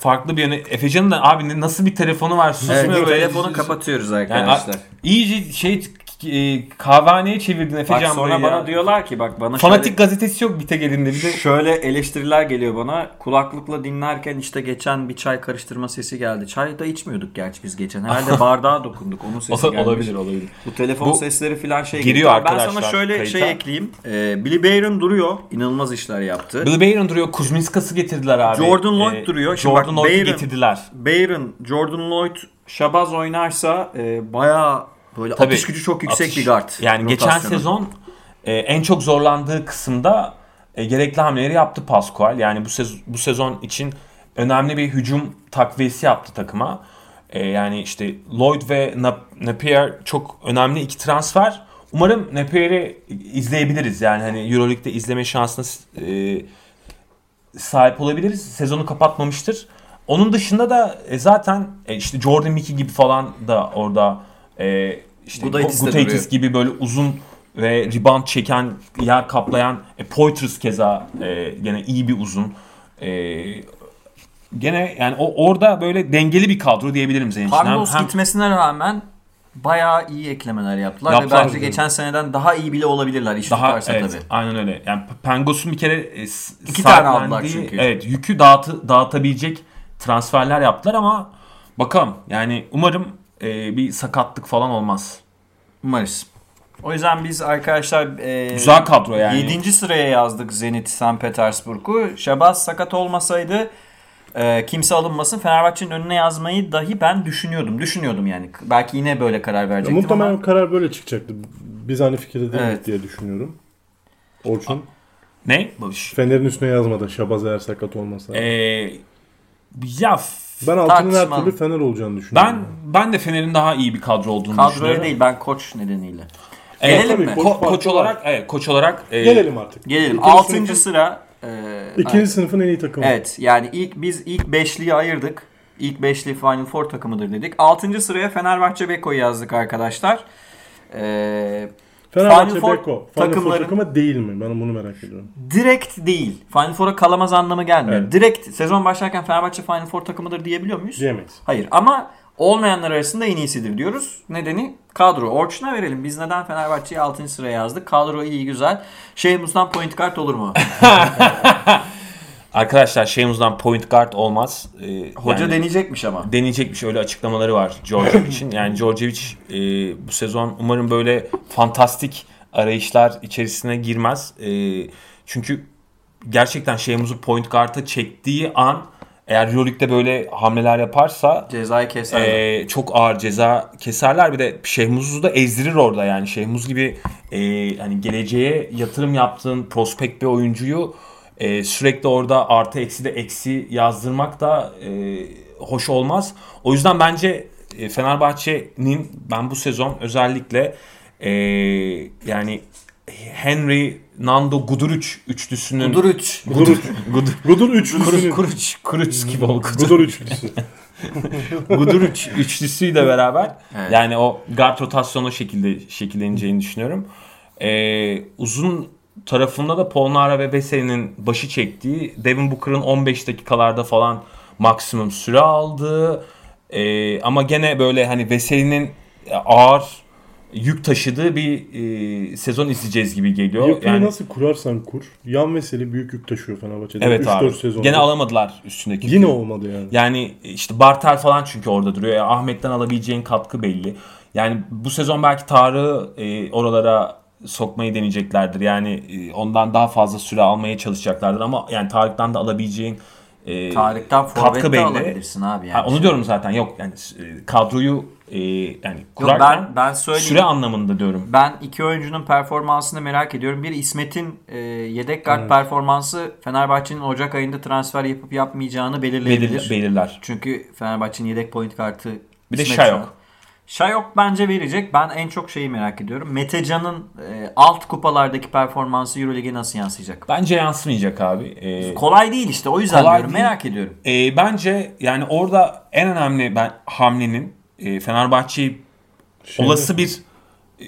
[SPEAKER 3] farklı bir yöne. Efecan'ın da abi ne- nasıl bir telefonu var susmuyor
[SPEAKER 2] Evet,
[SPEAKER 3] böyle.
[SPEAKER 2] telefonu kapatıyoruz
[SPEAKER 3] Yani,
[SPEAKER 2] arkadaşlar.
[SPEAKER 3] iyice şey e, kahvehaneye çevirdin Efecan
[SPEAKER 2] bak sonra
[SPEAKER 3] Bey'i
[SPEAKER 2] bana
[SPEAKER 3] ya.
[SPEAKER 2] diyorlar ki bak bana
[SPEAKER 3] Fanatik
[SPEAKER 2] şöyle-
[SPEAKER 3] gazetesi yok bite gelinde bir de.
[SPEAKER 2] Şöyle eleştiriler geliyor bana. Kulaklıkla dinlerken işte geçen bir çay karıştırma sesi geldi. Çay da içmiyorduk gerçi biz geçen. Herhalde bardağa dokunduk. Onun sesi
[SPEAKER 3] Ola-
[SPEAKER 2] gelmiş.
[SPEAKER 3] olabilir olabilir.
[SPEAKER 2] Bu telefon
[SPEAKER 3] Bu-
[SPEAKER 2] sesleri falan şey
[SPEAKER 3] Giriyor
[SPEAKER 2] geliyor.
[SPEAKER 3] arkadaşlar
[SPEAKER 2] Ben sana şöyle
[SPEAKER 3] kayıta.
[SPEAKER 2] şey ekleyeyim. Ee, Billy Bayron duruyor. İnanılmaz işler yaptı.
[SPEAKER 3] Bill Bayron duruyor. Kuzminskas'ı getirdiler abi. Ee,
[SPEAKER 2] Jordan Lloyd duruyor. Şimdi
[SPEAKER 3] Jordan
[SPEAKER 2] bak,
[SPEAKER 3] Lloyd'u
[SPEAKER 2] Bayron-
[SPEAKER 3] getirdiler.
[SPEAKER 2] Bayron, Jordan Lloyd, Şabaz oynarsa e, bayağı böyle
[SPEAKER 3] Tabii.
[SPEAKER 2] atış gücü çok yüksek
[SPEAKER 3] Atış.
[SPEAKER 2] bir guard.
[SPEAKER 3] Yani geçen
[SPEAKER 2] rotasyonu.
[SPEAKER 3] sezon e, en çok zorlandığı kısımda e, gerekli hamleleri yaptı Pascual. Yani bu sezon, bu sezon için önemli bir hücum takviyesi yaptı takıma. E, yani işte Lloyd ve Nap- Napier çok önemli iki transfer. Umarım Napier'i izleyebiliriz. Yani hani EuroLeague'de izleme şansına e, sahip olabiliriz. Sezonu kapatmamıştır. Onun dışında da e, zaten e, işte Jordan Mickey gibi falan da orada e, işte
[SPEAKER 2] Gudaitis de
[SPEAKER 3] Gu- Gudaitis
[SPEAKER 2] duruyor.
[SPEAKER 3] gibi böyle uzun ve rebound çeken, yer kaplayan e, Poitras keza e, gene iyi bir uzun. E, gene yani o orada böyle dengeli bir kadro diyebilirim senin için. Hem-
[SPEAKER 2] Pangos
[SPEAKER 3] hem-
[SPEAKER 2] gitmesine rağmen bayağı iyi eklemeler yaptılar.
[SPEAKER 3] Yaptılar
[SPEAKER 2] ve bence
[SPEAKER 1] tabii.
[SPEAKER 2] geçen seneden daha iyi bile olabilirler iş
[SPEAKER 3] daha
[SPEAKER 2] tutarsa
[SPEAKER 3] evet,
[SPEAKER 2] tabii.
[SPEAKER 3] aynen öyle. Yani P- Pangos'un bir kere e, s-
[SPEAKER 2] İki tane aldılar
[SPEAKER 3] sahiplendiği-
[SPEAKER 2] çünkü.
[SPEAKER 3] Evet, yükü dağıtı, dağıtabilecek transferler yaptılar ama bakalım. Yani umarım e, bir sakatlık falan olmaz.
[SPEAKER 2] Umarız. O yüzden biz arkadaşlar e,
[SPEAKER 3] Güzel kadro yani.
[SPEAKER 2] 7. sıraya yazdık Zenit San Petersburg'u. Şabaz sakat olmasaydı e, kimse alınmasın. Fenerbahçe'nin önüne yazmayı dahi ben düşünüyordum. Düşünüyordum yani. Belki yine böyle karar
[SPEAKER 1] ya
[SPEAKER 2] verecektim
[SPEAKER 1] muhtemelen
[SPEAKER 2] ama
[SPEAKER 1] karar böyle çıkacaktı. Biz aynı fikirde değiliz
[SPEAKER 2] Evet.
[SPEAKER 1] diye düşünüyorum. Orçun.
[SPEAKER 3] Ne? Bu ş-
[SPEAKER 1] Fener'in üstüne yazmadı Şabaz eğer sakat olmasa.
[SPEAKER 3] E, ya f-
[SPEAKER 1] ben altının her
[SPEAKER 2] tartışmalı.
[SPEAKER 1] türlü Fener olacağını düşünüyorum.
[SPEAKER 3] ben ben de Fener'in daha iyi bir kadro olduğunu
[SPEAKER 2] kadroya
[SPEAKER 3] düşünüyorum.
[SPEAKER 2] değil ben koç nedeniyle.
[SPEAKER 3] Evet,
[SPEAKER 2] Gelelim
[SPEAKER 3] tabii,
[SPEAKER 2] mi?
[SPEAKER 3] ko-
[SPEAKER 1] Koç
[SPEAKER 3] koç,
[SPEAKER 1] farkı var.
[SPEAKER 3] olarak evet koç olarak e,
[SPEAKER 1] Gelelim artık.
[SPEAKER 2] Ee, Gelelim.
[SPEAKER 1] İkinci
[SPEAKER 2] 6.
[SPEAKER 1] sınıfın-
[SPEAKER 2] sıra e,
[SPEAKER 1] İkinci sınıfın en iyi takımı.
[SPEAKER 2] Evet yani ilk biz ilk beşliyi ayırdık. İlk beşli Final Four takımıdır dedik. 6. sıraya Fenerbahçe Beko'yu yazdık arkadaşlar. Ee,
[SPEAKER 1] Fenerbahçe
[SPEAKER 2] Final Four
[SPEAKER 1] Beko. Final Four
[SPEAKER 2] takımların-
[SPEAKER 1] takımı değil mi? Ben bunu merak ediyorum.
[SPEAKER 2] direkt değil. Final Four'a kalamaz anlamı gelmiyor.
[SPEAKER 1] Evet.
[SPEAKER 2] Direkt sezon başlarken Fenerbahçe Final Four takımıdır diyebiliyor muyuz?
[SPEAKER 1] Diyemeyiz.
[SPEAKER 2] Hayır ama olmayanlar arasında en iyisidir diyoruz. Nedeni kadro. Orçun'a verelim. Biz neden Fenerbahçe'yi 6. sıraya yazdık? Kadro iyi güzel. Şey Mustan point kart olur mu?
[SPEAKER 3] Arkadaşlar Sheamus'dan point guard olmaz. Ee,
[SPEAKER 2] Hoca
[SPEAKER 3] yani-
[SPEAKER 2] deneyecekmiş ama.
[SPEAKER 3] deneyecekmiş öyle açıklamaları var Djordjevic için. Yani Djordjevic e, bu sezon umarım böyle fantastik arayışlar içerisine girmez. E, çünkü gerçekten şeyimizi point guard'a çektiği an eğer Euroleague'de böyle hamleler yaparsa
[SPEAKER 1] Ee,
[SPEAKER 2] Cezayı keser.
[SPEAKER 3] e, çok ağır ceza keserler. Bir de Şehmuz'u da ezdirir orada yani. Şehmuz gibi e, hani geleceğe yatırım yaptığın prospekt bir oyuncuyu e, sürekli orada artı eksi de eksi yazdırmak da e, hoş olmaz. O yüzden bence e, Fenerbahçe'nin ben bu sezon özellikle e, yani Henry, Nando, Guduric üçlüsünün
[SPEAKER 2] Dur 3.
[SPEAKER 1] Gudur, Gudur üçlüsünün.
[SPEAKER 3] Kuruç, kuruç, kuruç gibi oldu.
[SPEAKER 1] Gudur üçlüsü.
[SPEAKER 3] Gudur üç, üçlüsüyle beraber
[SPEAKER 2] Evet.
[SPEAKER 3] yani o guard rotasyonu o şekilde şekilleneceğini düşünüyorum. Ee, uzun tarafında da Polnara ve Veseli'nin başı çektiği, Devin Booker'ın 15 dakikalarda falan maksimum süre aldığı ee, ama gene böyle hani Veseli'nin ağır yük taşıdığı bir e, sezon izleyeceğiz gibi geliyor.
[SPEAKER 1] Yapıyı
[SPEAKER 3] yani
[SPEAKER 1] nasıl kurarsan kur. Yan mesele büyük yük taşıyor Fenerbahçe'de.
[SPEAKER 3] evet
[SPEAKER 1] 3-4
[SPEAKER 3] abi.
[SPEAKER 1] sezonda.
[SPEAKER 3] Gene alamadılar üstündeki.
[SPEAKER 1] Yine olmadı yani.
[SPEAKER 3] Yani e, işte Bartel falan çünkü orada duruyor. Yani Ahmet'ten alabileceğin katkı belli. Yani bu sezon belki Tarık'ı e, oralara sokmayı deneyeceklerdir. Yani e, ondan daha fazla süre almaya çalışacaklardır ama yani Tarık'tan da alabileceğin e,
[SPEAKER 2] Tarık'tan
[SPEAKER 3] Katkı
[SPEAKER 2] forvet de
[SPEAKER 3] belli.
[SPEAKER 2] alabilirsin abi yani.
[SPEAKER 3] ha, onu diyorum zaten. Yok yani e, kadroyu e, yani
[SPEAKER 2] Yok,
[SPEAKER 3] kurarken
[SPEAKER 2] ben, ben söyleyeyim.
[SPEAKER 3] süre anlamında diyorum.
[SPEAKER 2] Ben iki oyuncunun performansını merak ediyorum. Bir İsmet'in e, yedek kart performansı Fenerbahçe'nin Ocak ayında transfer yapıp yapmayacağını belirleyebilir.
[SPEAKER 3] Belir, belirler.
[SPEAKER 2] Çünkü Fenerbahçe'nin yedek point kartı
[SPEAKER 3] Bir de
[SPEAKER 2] İsmet
[SPEAKER 3] Şayok.
[SPEAKER 2] şu an. Şayok bence verecek. Ben en çok şeyi merak ediyorum. Metecan'ın e, alt kupalardaki performansı EuroLeague'e nasıl yansıyacak?
[SPEAKER 3] Bence yansımayacak abi. E,
[SPEAKER 2] Kolay değil işte. O yüzden
[SPEAKER 3] Kolay
[SPEAKER 2] diyorum.
[SPEAKER 3] değil.
[SPEAKER 2] Merak ediyorum.
[SPEAKER 3] E, bence yani orada en önemli ben hamlenin e, Fenerbahçe'yi
[SPEAKER 1] Şey-
[SPEAKER 3] olası bir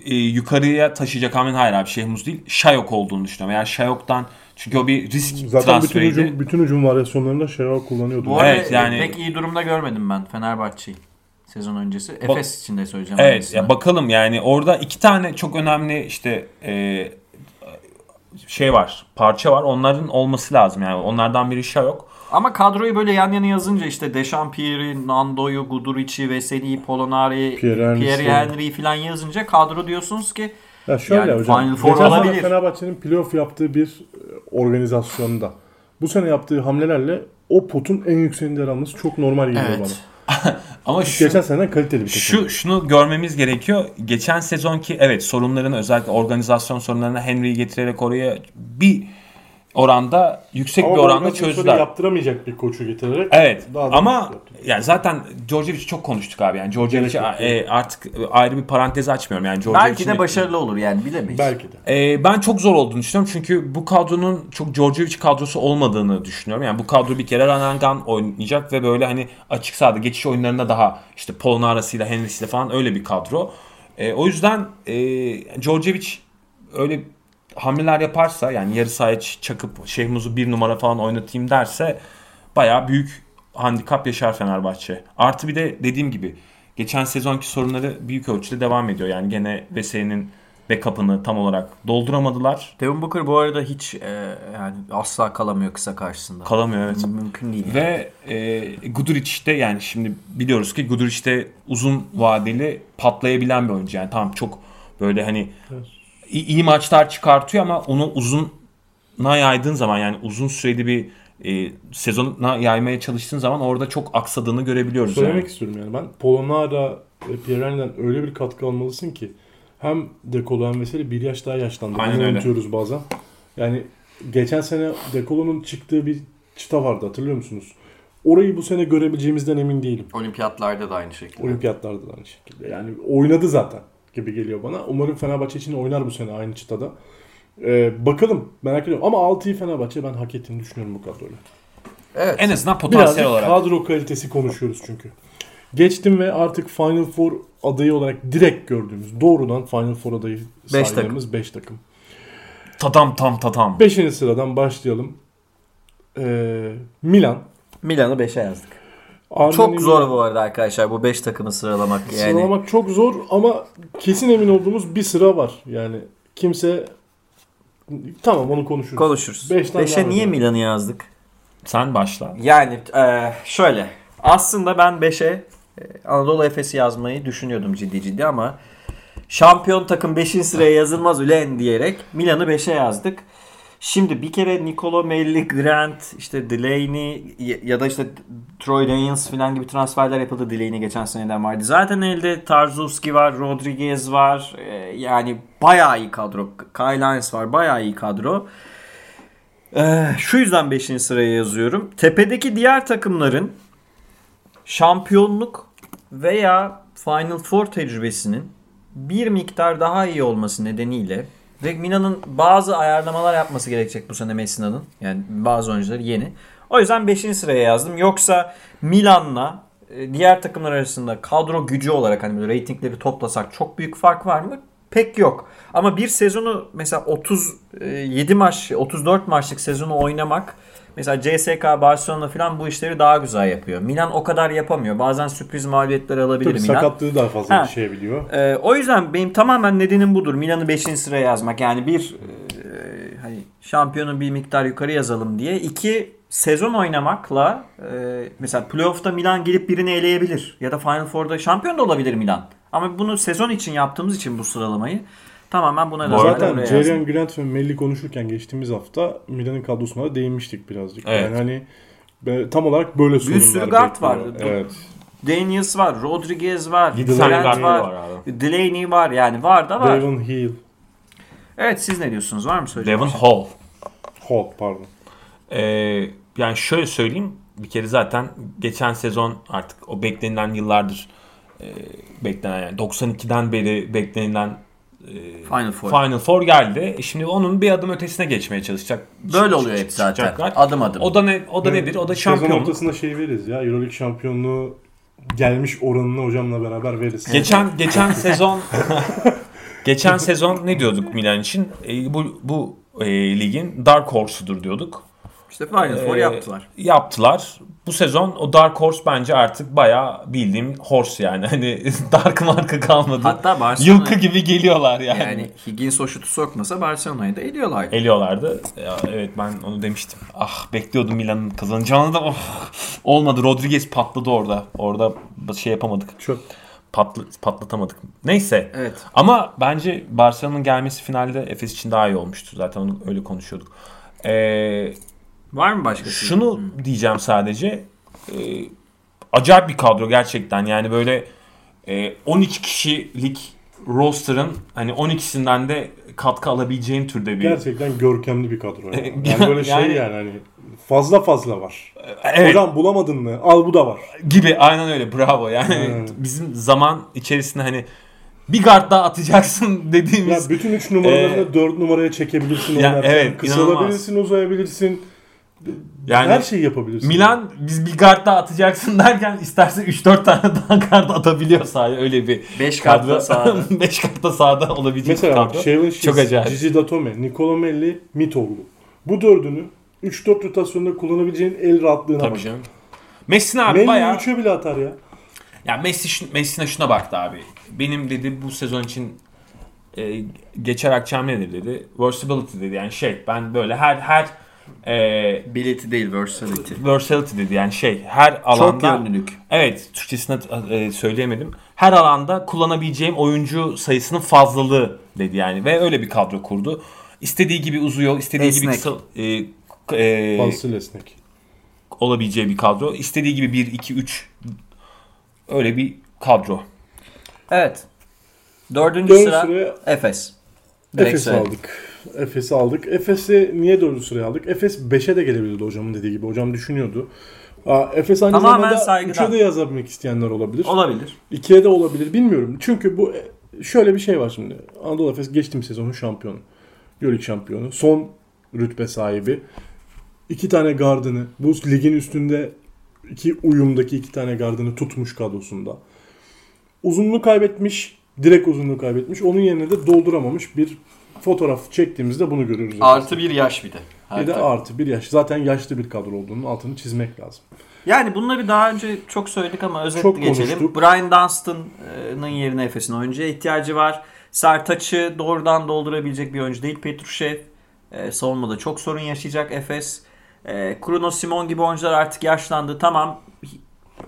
[SPEAKER 3] e, yukarıya taşıyacak hamle hayır abi Şehmuz değil Şayok olduğunu düşünüyorum. Eğer Şayok'tan çünkü o bir risk
[SPEAKER 1] Zaten bütün
[SPEAKER 3] transferiydi.
[SPEAKER 1] hücum, bütün hücum varyasyonlarında Şeral kullanıyordu.
[SPEAKER 2] Bu arada
[SPEAKER 3] Evet, yani-
[SPEAKER 2] pek iyi durumda görmedim ben Fenerbahçe'yi sezon öncesi. Efes için de söyleyeceğim.
[SPEAKER 3] Evet
[SPEAKER 2] aynısını.
[SPEAKER 3] ya bakalım yani orada iki tane çok önemli işte e, şey var parça var onların olması lazım yani onlardan biri Şayok.
[SPEAKER 2] Ama kadroyu böyle yan yana yazınca işte Dechampierre'i, Nando'yu, Guduric'i, Veseli'yi, Polonari'yi,
[SPEAKER 1] Pierre
[SPEAKER 2] Pierre,
[SPEAKER 1] Henry'si.
[SPEAKER 2] Henry'yi falan yazınca kadro diyorsunuz ki
[SPEAKER 1] Ya şöyle
[SPEAKER 2] Yani
[SPEAKER 1] hocam.
[SPEAKER 2] Final Four
[SPEAKER 1] geçen sene
[SPEAKER 2] olabilir.
[SPEAKER 1] Fenerbahçe'nin playoff yaptığı bir e, organizasyonda. Bu sene yaptığı hamlelerle o potun en yükseğinde yer alması çok normal geliyor bana.
[SPEAKER 2] evet.
[SPEAKER 3] Ama şu,
[SPEAKER 1] Geçen seneden kaliteli bir takım.
[SPEAKER 3] Şu şunu görmemiz gerekiyor. Geçen sezonki evet sorunlarını özellikle organizasyon sorunlarını Henry'i getirerek oraya bir oranda yüksek bir
[SPEAKER 1] bu
[SPEAKER 3] oranda
[SPEAKER 1] organizasyonu
[SPEAKER 3] çözdüler.
[SPEAKER 1] yaptıramayacak bir koçu getirerek.
[SPEAKER 3] Evet.
[SPEAKER 1] Daha da
[SPEAKER 3] ama
[SPEAKER 1] yaptı.
[SPEAKER 3] yani zaten Djordjevic'i çok konuştuk abi. Yani Djordjevic'i
[SPEAKER 1] Gerek yok.
[SPEAKER 3] e, artık ayrı bir parantez açmıyorum. Yani
[SPEAKER 2] Belki
[SPEAKER 3] Djordjevic'in-
[SPEAKER 2] de başarılı olur yani bilemeyiz.
[SPEAKER 1] Belki de.
[SPEAKER 3] E, ben çok zor olduğunu düşünüyorum. Çünkü bu kadronun çok Djordjevic kadrosu olmadığını düşünüyorum. Yani bu kadro bir kere Ranangan oynayacak ve böyle hani açık sahada geçiş oyunlarında daha işte Polnara'sıyla Henry'siyle falan öyle bir kadro. E, o yüzden e, Djordjevic öyle hamleler yaparsa yani yarı sahaya ç- çakıp Şehmuz'u bir numara falan oynatayım derse bayağı büyük handikap yaşar Fenerbahçe. Artı bir de dediğim gibi geçen sezonki sorunları büyük ölçüde devam ediyor. Yani gene Vesey'nin backup'ını tam olarak dolduramadılar.
[SPEAKER 2] Devin Booker bu arada hiç e, yani asla kalamıyor kısa karşısında.
[SPEAKER 3] Kalamıyor evet.
[SPEAKER 2] Mümkün değil.
[SPEAKER 3] Ve e, Guduric de yani şimdi biliyoruz ki Guduric de uzun vadeli patlayabilen bir oyuncu. Yani tamam çok böyle hani iyi, iyi maçlar çıkartıyor ama onu uzuna yaydığın zaman yani uzun süreli bir e, sezona yaymaya çalıştığın zaman orada çok aksadığını görebiliyoruz.
[SPEAKER 1] Söylemek
[SPEAKER 3] Yani.
[SPEAKER 1] istiyorum yani ben Polonara ve Pierre'den öyle bir katkı almalısın ki hem Dekolo hem Veseli bir yaş daha yaşlandı.
[SPEAKER 3] Aynen
[SPEAKER 1] Bunu
[SPEAKER 3] öyle.
[SPEAKER 1] unutuyoruz bazen. Yani geçen sene Dekolo'nun çıktığı bir çıta vardı hatırlıyor musunuz? Orayı bu sene görebileceğimizden emin değilim.
[SPEAKER 2] Olimpiyatlarda da aynı şekilde.
[SPEAKER 1] Olimpiyatlarda da aynı şekilde. Yani oynadı zaten gibi geliyor bana. Umarım Fenerbahçe için oynar bu sene aynı çıtada. Ee, bakalım merak ediyorum. Ama 6'yı Fenerbahçe ben hak ettiğini düşünüyorum bu kadroyla.
[SPEAKER 2] Evet.
[SPEAKER 3] En azından potansiyel
[SPEAKER 1] Birazcık
[SPEAKER 3] olarak.
[SPEAKER 1] kadro kalitesi konuşuyoruz çünkü. Geçtim ve artık Final Four adayı olarak direkt gördüğümüz doğrudan Final Four adayı
[SPEAKER 2] takım.
[SPEAKER 1] saydığımız 5 takım.
[SPEAKER 3] Tadam tam tadam.
[SPEAKER 1] 5. sıradan başlayalım. Ee, Milan.
[SPEAKER 2] Milan'ı 5'e yazdık.
[SPEAKER 1] Arna'nın-
[SPEAKER 2] Çok zor bu arada arkadaşlar bu 5 takımı sıralamak yani.
[SPEAKER 1] Sıralamak çok zor ama kesin emin olduğumuz bir sıra var. Yani kimse tamam onu konuşuruz.
[SPEAKER 2] Konuşuruz.
[SPEAKER 1] Beşten
[SPEAKER 2] 5'e
[SPEAKER 1] devam
[SPEAKER 2] niye
[SPEAKER 1] edelim.
[SPEAKER 2] Milan'ı yazdık?
[SPEAKER 3] Sen başla.
[SPEAKER 2] Yani e, şöyle. Aslında ben 5'e e, Anadolu Efes'i yazmayı düşünüyordum ciddi ciddi ama şampiyon takım 5. sıraya yazılmaz ülen diyerek Milan'ı 5'e yazdık. Şimdi bir kere Nicolo Melli, Grant, işte Delaney ya- ya da işte Troy Daniels falan gibi transferler yapıldı. Delaney geçen seneden vardı. Zaten elde Tarzowski var, Rodriguez var. E, yani bayağı iyi kadro. Kyle Lines var. Bayağı iyi kadro. Ee, şu yüzden 5. sıraya yazıyorum. Tepedeki diğer takımların şampiyonluk veya Final Four tecrübesinin bir miktar daha iyi olması nedeniyle ve Milan'ın bazı ayarlamalar yapması gerekecek bu sene Messina'nın. Yani bazı oyuncuları yeni. O yüzden 5. sıraya yazdım. Yoksa Milan'la e, diğer takımlar arasında kadro gücü olarak hani böyle reytingleri toplasak çok büyük fark var mı? Pek yok. Ama bir sezonu mesela 37 maç, 34 maçlık sezonu oynamak mesela CSK, Barcelona falan bu işleri daha güzel yapıyor. Milan o kadar yapamıyor. Bazen sürpriz mağlubiyetler alabilir
[SPEAKER 1] Tabii
[SPEAKER 2] Milan.
[SPEAKER 1] sakatlığı daha fazla şey
[SPEAKER 2] Ha.
[SPEAKER 1] yaşayabiliyor.
[SPEAKER 2] Ee, o yüzden benim tamamen nedenim budur. Milan'ı 5. sıraya yazmak. Yani bir e, hani şampiyonu bir miktar yukarı yazalım diye. İki sezon oynamakla e, mesela playoff'ta Milan gelip birini eleyebilir. Ya da Final Four'da şampiyon da olabilir Milan. Ama bunu sezon için yaptığımız için bu sıralamayı tamamen buna
[SPEAKER 3] Bu
[SPEAKER 2] rağmen
[SPEAKER 1] Zaten
[SPEAKER 2] oraya
[SPEAKER 1] Ceren
[SPEAKER 2] yazdım.
[SPEAKER 1] Grant ve Melli konuşurken geçtiğimiz hafta Milan'ın kadrosuna da değinmiştik birazcık.
[SPEAKER 3] Evet.
[SPEAKER 1] Yani hani e, tam olarak böyle sorunlar
[SPEAKER 2] sürü guard
[SPEAKER 1] bekliyor.
[SPEAKER 2] vardı.
[SPEAKER 1] Evet.
[SPEAKER 2] Daniels var, Rodriguez var,
[SPEAKER 3] Yedi tane
[SPEAKER 2] Grant
[SPEAKER 3] gardiyan
[SPEAKER 2] var,
[SPEAKER 3] var abi.
[SPEAKER 2] Delaney var yani var da var.
[SPEAKER 1] Devon Hill.
[SPEAKER 2] Evet siz ne diyorsunuz? Var mı söyleyeceğim?
[SPEAKER 3] Devon Hall.
[SPEAKER 1] Hall pardon.
[SPEAKER 3] Ee, yani şöyle söyleyeyim. Bir kere zaten geçen sezon artık o beklenilen yıllardır e, beklenen yani 92'den beri beklenilen
[SPEAKER 2] şey? Final Four.
[SPEAKER 3] Final Four geldi. E Şimdi onun bir adım ötesine geçmeye çalışacak.
[SPEAKER 2] Böyle oluyor hep zaten.
[SPEAKER 3] Çıkacaklar.
[SPEAKER 2] Adım adım.
[SPEAKER 3] O da ne o da nedir? O da
[SPEAKER 1] Sezon
[SPEAKER 3] şampiyonluk.
[SPEAKER 1] ortasında şey veririz ya. Euroleague şampiyonluğu gelmiş oranını hocamla beraber veririz.
[SPEAKER 3] Geçen geçen sezon geçen sezon ne diyorduk Milan için? E, bu bu e, ligin dark horse'udur diyorduk.
[SPEAKER 2] İşte Final Four
[SPEAKER 3] Ee,
[SPEAKER 2] yaptılar.
[SPEAKER 3] Yaptılar. Bu sezon o Dark Horse bence artık bayağı bildiğim horse yani. Hani Dark marka kalmadı.
[SPEAKER 2] Hatta Barcelona
[SPEAKER 3] Yılkı gibi geliyorlar yani.
[SPEAKER 2] yani Higgins o şutu sokmasa Barcelona'yı da ediyorlardı.
[SPEAKER 3] Eliyorlardı. Ya, evet ben onu demiştim. Ah bekliyordum Milan'ın kazanacağını da oh, olmadı. Rodriguez patladı orada. Orada şey yapamadık.
[SPEAKER 1] Çöp.
[SPEAKER 3] Patlı, patlatamadık. Neyse.
[SPEAKER 2] Evet.
[SPEAKER 3] Ama bence Barcelona'nın gelmesi finalde Efes için daha iyi olmuştu. Zaten onu öyle konuşuyorduk. Ee,
[SPEAKER 2] Var mı başka? şey?
[SPEAKER 3] şunu diyeceğim sadece. Ee, acayip bir kadro gerçekten. Yani böyle e, 12 kişilik roster'ın hani 12'sinden de katkı alabileceğin türde bir
[SPEAKER 1] Gerçekten görkemli bir kadro. Yani,
[SPEAKER 3] Yani-
[SPEAKER 1] yani böyle şey yani hani fazla fazla var.
[SPEAKER 3] Evet.
[SPEAKER 1] Hocam bulamadın mı? Al bu da var.
[SPEAKER 3] gibi aynen öyle bravo yani
[SPEAKER 1] Evet.
[SPEAKER 3] bizim zaman içerisinde hani bir guard daha atacaksın
[SPEAKER 1] Ya
[SPEAKER 3] dediğimiz
[SPEAKER 1] bütün 3 numaralarını 4 numaraya çekebilirsin
[SPEAKER 3] Ee, Ya
[SPEAKER 1] oynarken.
[SPEAKER 3] evet,
[SPEAKER 1] Kısalabilirsin, uzayabilirsin.
[SPEAKER 3] yani
[SPEAKER 1] Her şey- şeyi yapabilirsin.
[SPEAKER 3] Milan biz bir guard daha atacaksın derken isterse 3-4 tane daha guard atabiliyor sahaya öyle bir
[SPEAKER 2] 5
[SPEAKER 3] kadro
[SPEAKER 2] kartla sağda.
[SPEAKER 3] 5 kartta sahada olabilecek
[SPEAKER 1] Mesela
[SPEAKER 3] bir kadro.
[SPEAKER 1] bak Shailene Schiss,
[SPEAKER 3] Çok acayip.
[SPEAKER 1] Gigi Datome, Nicola Melli, Mitoğlu. Bu dördünü 3-4 rotasyonda kullanabileceğin el rahatlığına
[SPEAKER 3] Tabii
[SPEAKER 1] bak.
[SPEAKER 3] canım. Messi'ne abi
[SPEAKER 1] Melli
[SPEAKER 3] bayağı
[SPEAKER 1] 3'e bile atar ya.
[SPEAKER 3] Ya Messi şu- Messi'ne şuna baktı abi. Benim dedi bu sezon için e, geçer akşam nedir dedi. Versatility dedi yani şey ben böyle her her e,
[SPEAKER 2] Bileti değil, versatility.
[SPEAKER 3] versatility dedi yani şey her alanda
[SPEAKER 2] Çok yönlülük.
[SPEAKER 3] Evet, Türkçesine e, söyleyemedim. Her alanda kullanabileceğim oyuncu sayısının fazlalığı dedi yani ve öyle bir kadro kurdu. İstediği gibi uzuyor, istediği gibi
[SPEAKER 2] Esnek.
[SPEAKER 3] kısa, e, k- e,
[SPEAKER 1] Fazla esnek.
[SPEAKER 3] olabileceği bir kadro. İstediği gibi 1 2 3 öyle bir kadro.
[SPEAKER 2] Evet. Dördüncü
[SPEAKER 1] Dördüncü
[SPEAKER 2] sıra
[SPEAKER 1] sıraya
[SPEAKER 2] Efes. Direkt
[SPEAKER 1] Efes
[SPEAKER 2] söyle.
[SPEAKER 1] aldık. Efes'i aldık. Efes'i niye dördüncü sıraya aldık? Efes 5'e de gelebilirdi hocamın dediği gibi. Hocam düşünüyordu. Aa, Efes aynı
[SPEAKER 2] Tamamen
[SPEAKER 1] zamanda
[SPEAKER 2] saygıdan.
[SPEAKER 1] 3'e de yazabilmek isteyenler olabilir.
[SPEAKER 2] Olabilir.
[SPEAKER 1] İkiye de olabilir bilmiyorum. Çünkü bu e, şöyle bir şey var şimdi. Anadolu Efes geçtiğim sezonun şampiyonu. Euroleague şampiyonu. Son rütbe sahibi. İki tane gardını bu ligin üstünde iki uyumdaki iki tane gardını tutmuş kadrosunda. Uzunluğu kaybetmiş. Direkt uzunluğu kaybetmiş. Onun yerine de dolduramamış bir fotoğraf çektiğimizde bunu görürüz.
[SPEAKER 2] Artı bir yaş bir de.
[SPEAKER 1] bir de artı bir yaş. Zaten yaşlı bir kadro olduğunun altını çizmek lazım.
[SPEAKER 2] Yani bunları daha önce çok söyledik ama özetle
[SPEAKER 1] Çok
[SPEAKER 2] geçelim.
[SPEAKER 1] konuştuk.
[SPEAKER 2] Brian Dunstan'ın yerine Efes'in oyuncuya ihtiyacı var. Sertaç'ı e, doğrudan doldurabilecek bir oyuncu değil Petrushev. Ee, savunmada çok sorun yaşayacak Efes. E, Bruno Simon gibi oyuncular artık yaşlandı. Tamam.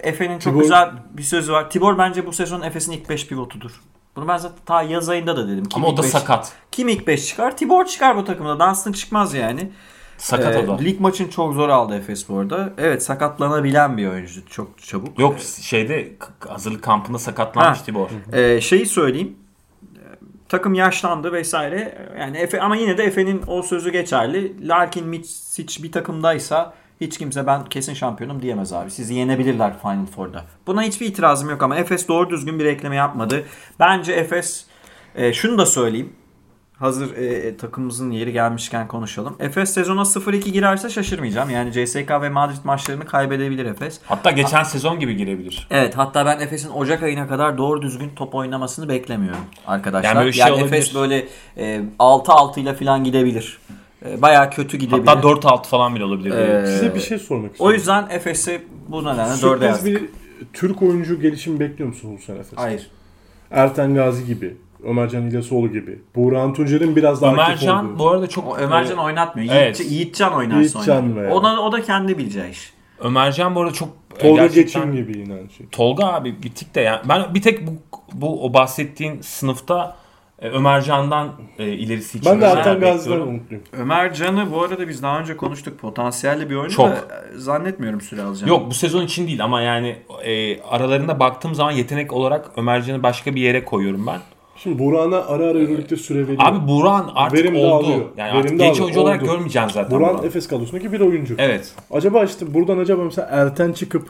[SPEAKER 2] Efe'nin çok
[SPEAKER 1] Tibor-
[SPEAKER 2] güzel bir sözü var. Tibor bence bu sezon Efes'in ilk 5 pivotudur. Bunu ben zaten ta yaz ayında da dedim. Kim
[SPEAKER 3] Ama o
[SPEAKER 2] ilk
[SPEAKER 3] da
[SPEAKER 2] beş-
[SPEAKER 3] sakat.
[SPEAKER 2] Kim ilk 5 çıkar? Tibor çıkar bu takımda. Dunstan çıkmaz yani.
[SPEAKER 3] Sakat
[SPEAKER 2] Ee,
[SPEAKER 3] o da.
[SPEAKER 2] Lig maçını çok zor aldı Efes bu arada. Evet sakatlanabilen bir oyuncu çok çabuk.
[SPEAKER 3] Yok şeyde k- hazırlık kampında sakatlanmış
[SPEAKER 2] Ha.
[SPEAKER 3] Tibor.
[SPEAKER 2] Ee, şeyi söyleyeyim. Ee, Takım yaşlandı vesaire. Yani Efe ama yine de Efe'nin o sözü geçerli. Larkin, Mitsic bir takımdaysa hiç kimse ben kesin şampiyonum diyemez abi. Sizi yenebilirler Final Four'da. Buna hiçbir itirazım yok ama Efes doğru düzgün bir ekleme yapmadı. Bence Efes e, şunu da söyleyeyim. Hazır e, e, takımımızın yeri gelmişken konuşalım. Efes sezona 0-2 girerse şaşırmayacağım. Yani CSK ve Madrid maçlarını kaybedebilir Efes.
[SPEAKER 3] Hatta geçen sezon gibi girebilir.
[SPEAKER 2] Evet hatta ben Efes'in Ocak ayına kadar doğru düzgün top oynamasını beklemiyorum arkadaşlar.
[SPEAKER 3] Yani
[SPEAKER 2] Yani,
[SPEAKER 3] böyle şey olabilir.
[SPEAKER 2] Efes böyle e, 6-6 ile falan gidebilir. E, bayağı kötü gidebilir.
[SPEAKER 3] Hatta 4-6 falan bile olabilir.
[SPEAKER 2] Ee,
[SPEAKER 1] Size bir şey sormak istiyorum.
[SPEAKER 2] O yüzden Efes'i bu nedenle 4'e
[SPEAKER 1] Sürpriz
[SPEAKER 2] yazdık.
[SPEAKER 1] bir Türk oyuncu gelişimi bekliyor musun bu sene? Efes'te?
[SPEAKER 2] Hayır.
[SPEAKER 1] Erten Gazi gibi, Ömercan İlyasoğlu gibi, Buğra Tuncer'in biraz daha aktif
[SPEAKER 3] Ömercan
[SPEAKER 1] olduğu.
[SPEAKER 3] bu arada çok e,
[SPEAKER 2] O Ömercan oynatmıyor.
[SPEAKER 3] Evet.
[SPEAKER 2] Yiğit, Yiğitcan oynar
[SPEAKER 1] Yiğitcan
[SPEAKER 2] sonra.
[SPEAKER 1] ve-
[SPEAKER 2] O da, o da kendi bileceği iş.
[SPEAKER 3] Ömercan bu arada çok e,
[SPEAKER 1] Tolga
[SPEAKER 3] gerçekten-
[SPEAKER 1] Geçim gibi yine aynı şey.
[SPEAKER 3] Tolga abi bir tık da yani ben bir tek bu, bu o bahsettiğin sınıfta e, Ömercan'dan e, ilerisi için
[SPEAKER 1] Ben de
[SPEAKER 3] özel
[SPEAKER 1] Erten Gazi'den
[SPEAKER 3] bekliyorum.
[SPEAKER 1] umutluyum.
[SPEAKER 2] Ömercan'ı bu arada biz daha önce konuştuk. Potansiyelli bir oyuncu
[SPEAKER 3] Çok.
[SPEAKER 2] da e, zannetmiyorum süre alacağını.
[SPEAKER 3] Yok bu sezon için değil ama yani e, aralarında baktığım zaman yetenek olarak Ömercan'ı başka bir yere koyuyorum ben.
[SPEAKER 1] Şimdi Buğra'na ara ara yürürlükte süre veriyor.
[SPEAKER 3] Abi Buran artık
[SPEAKER 1] Verim de
[SPEAKER 3] oldu.
[SPEAKER 1] alıyor.
[SPEAKER 3] Yani
[SPEAKER 1] Verim
[SPEAKER 3] artık
[SPEAKER 1] de
[SPEAKER 3] genç
[SPEAKER 1] alıyor.
[SPEAKER 3] oyuncu olarak
[SPEAKER 1] Oldu.
[SPEAKER 3] görmeyeceksin zaten.
[SPEAKER 1] Buran
[SPEAKER 3] Burak'ı.
[SPEAKER 1] Efes kadrosundaki bir oyuncu.
[SPEAKER 3] Evet.
[SPEAKER 1] Acaba işte buradan acaba mesela Erten çıkıp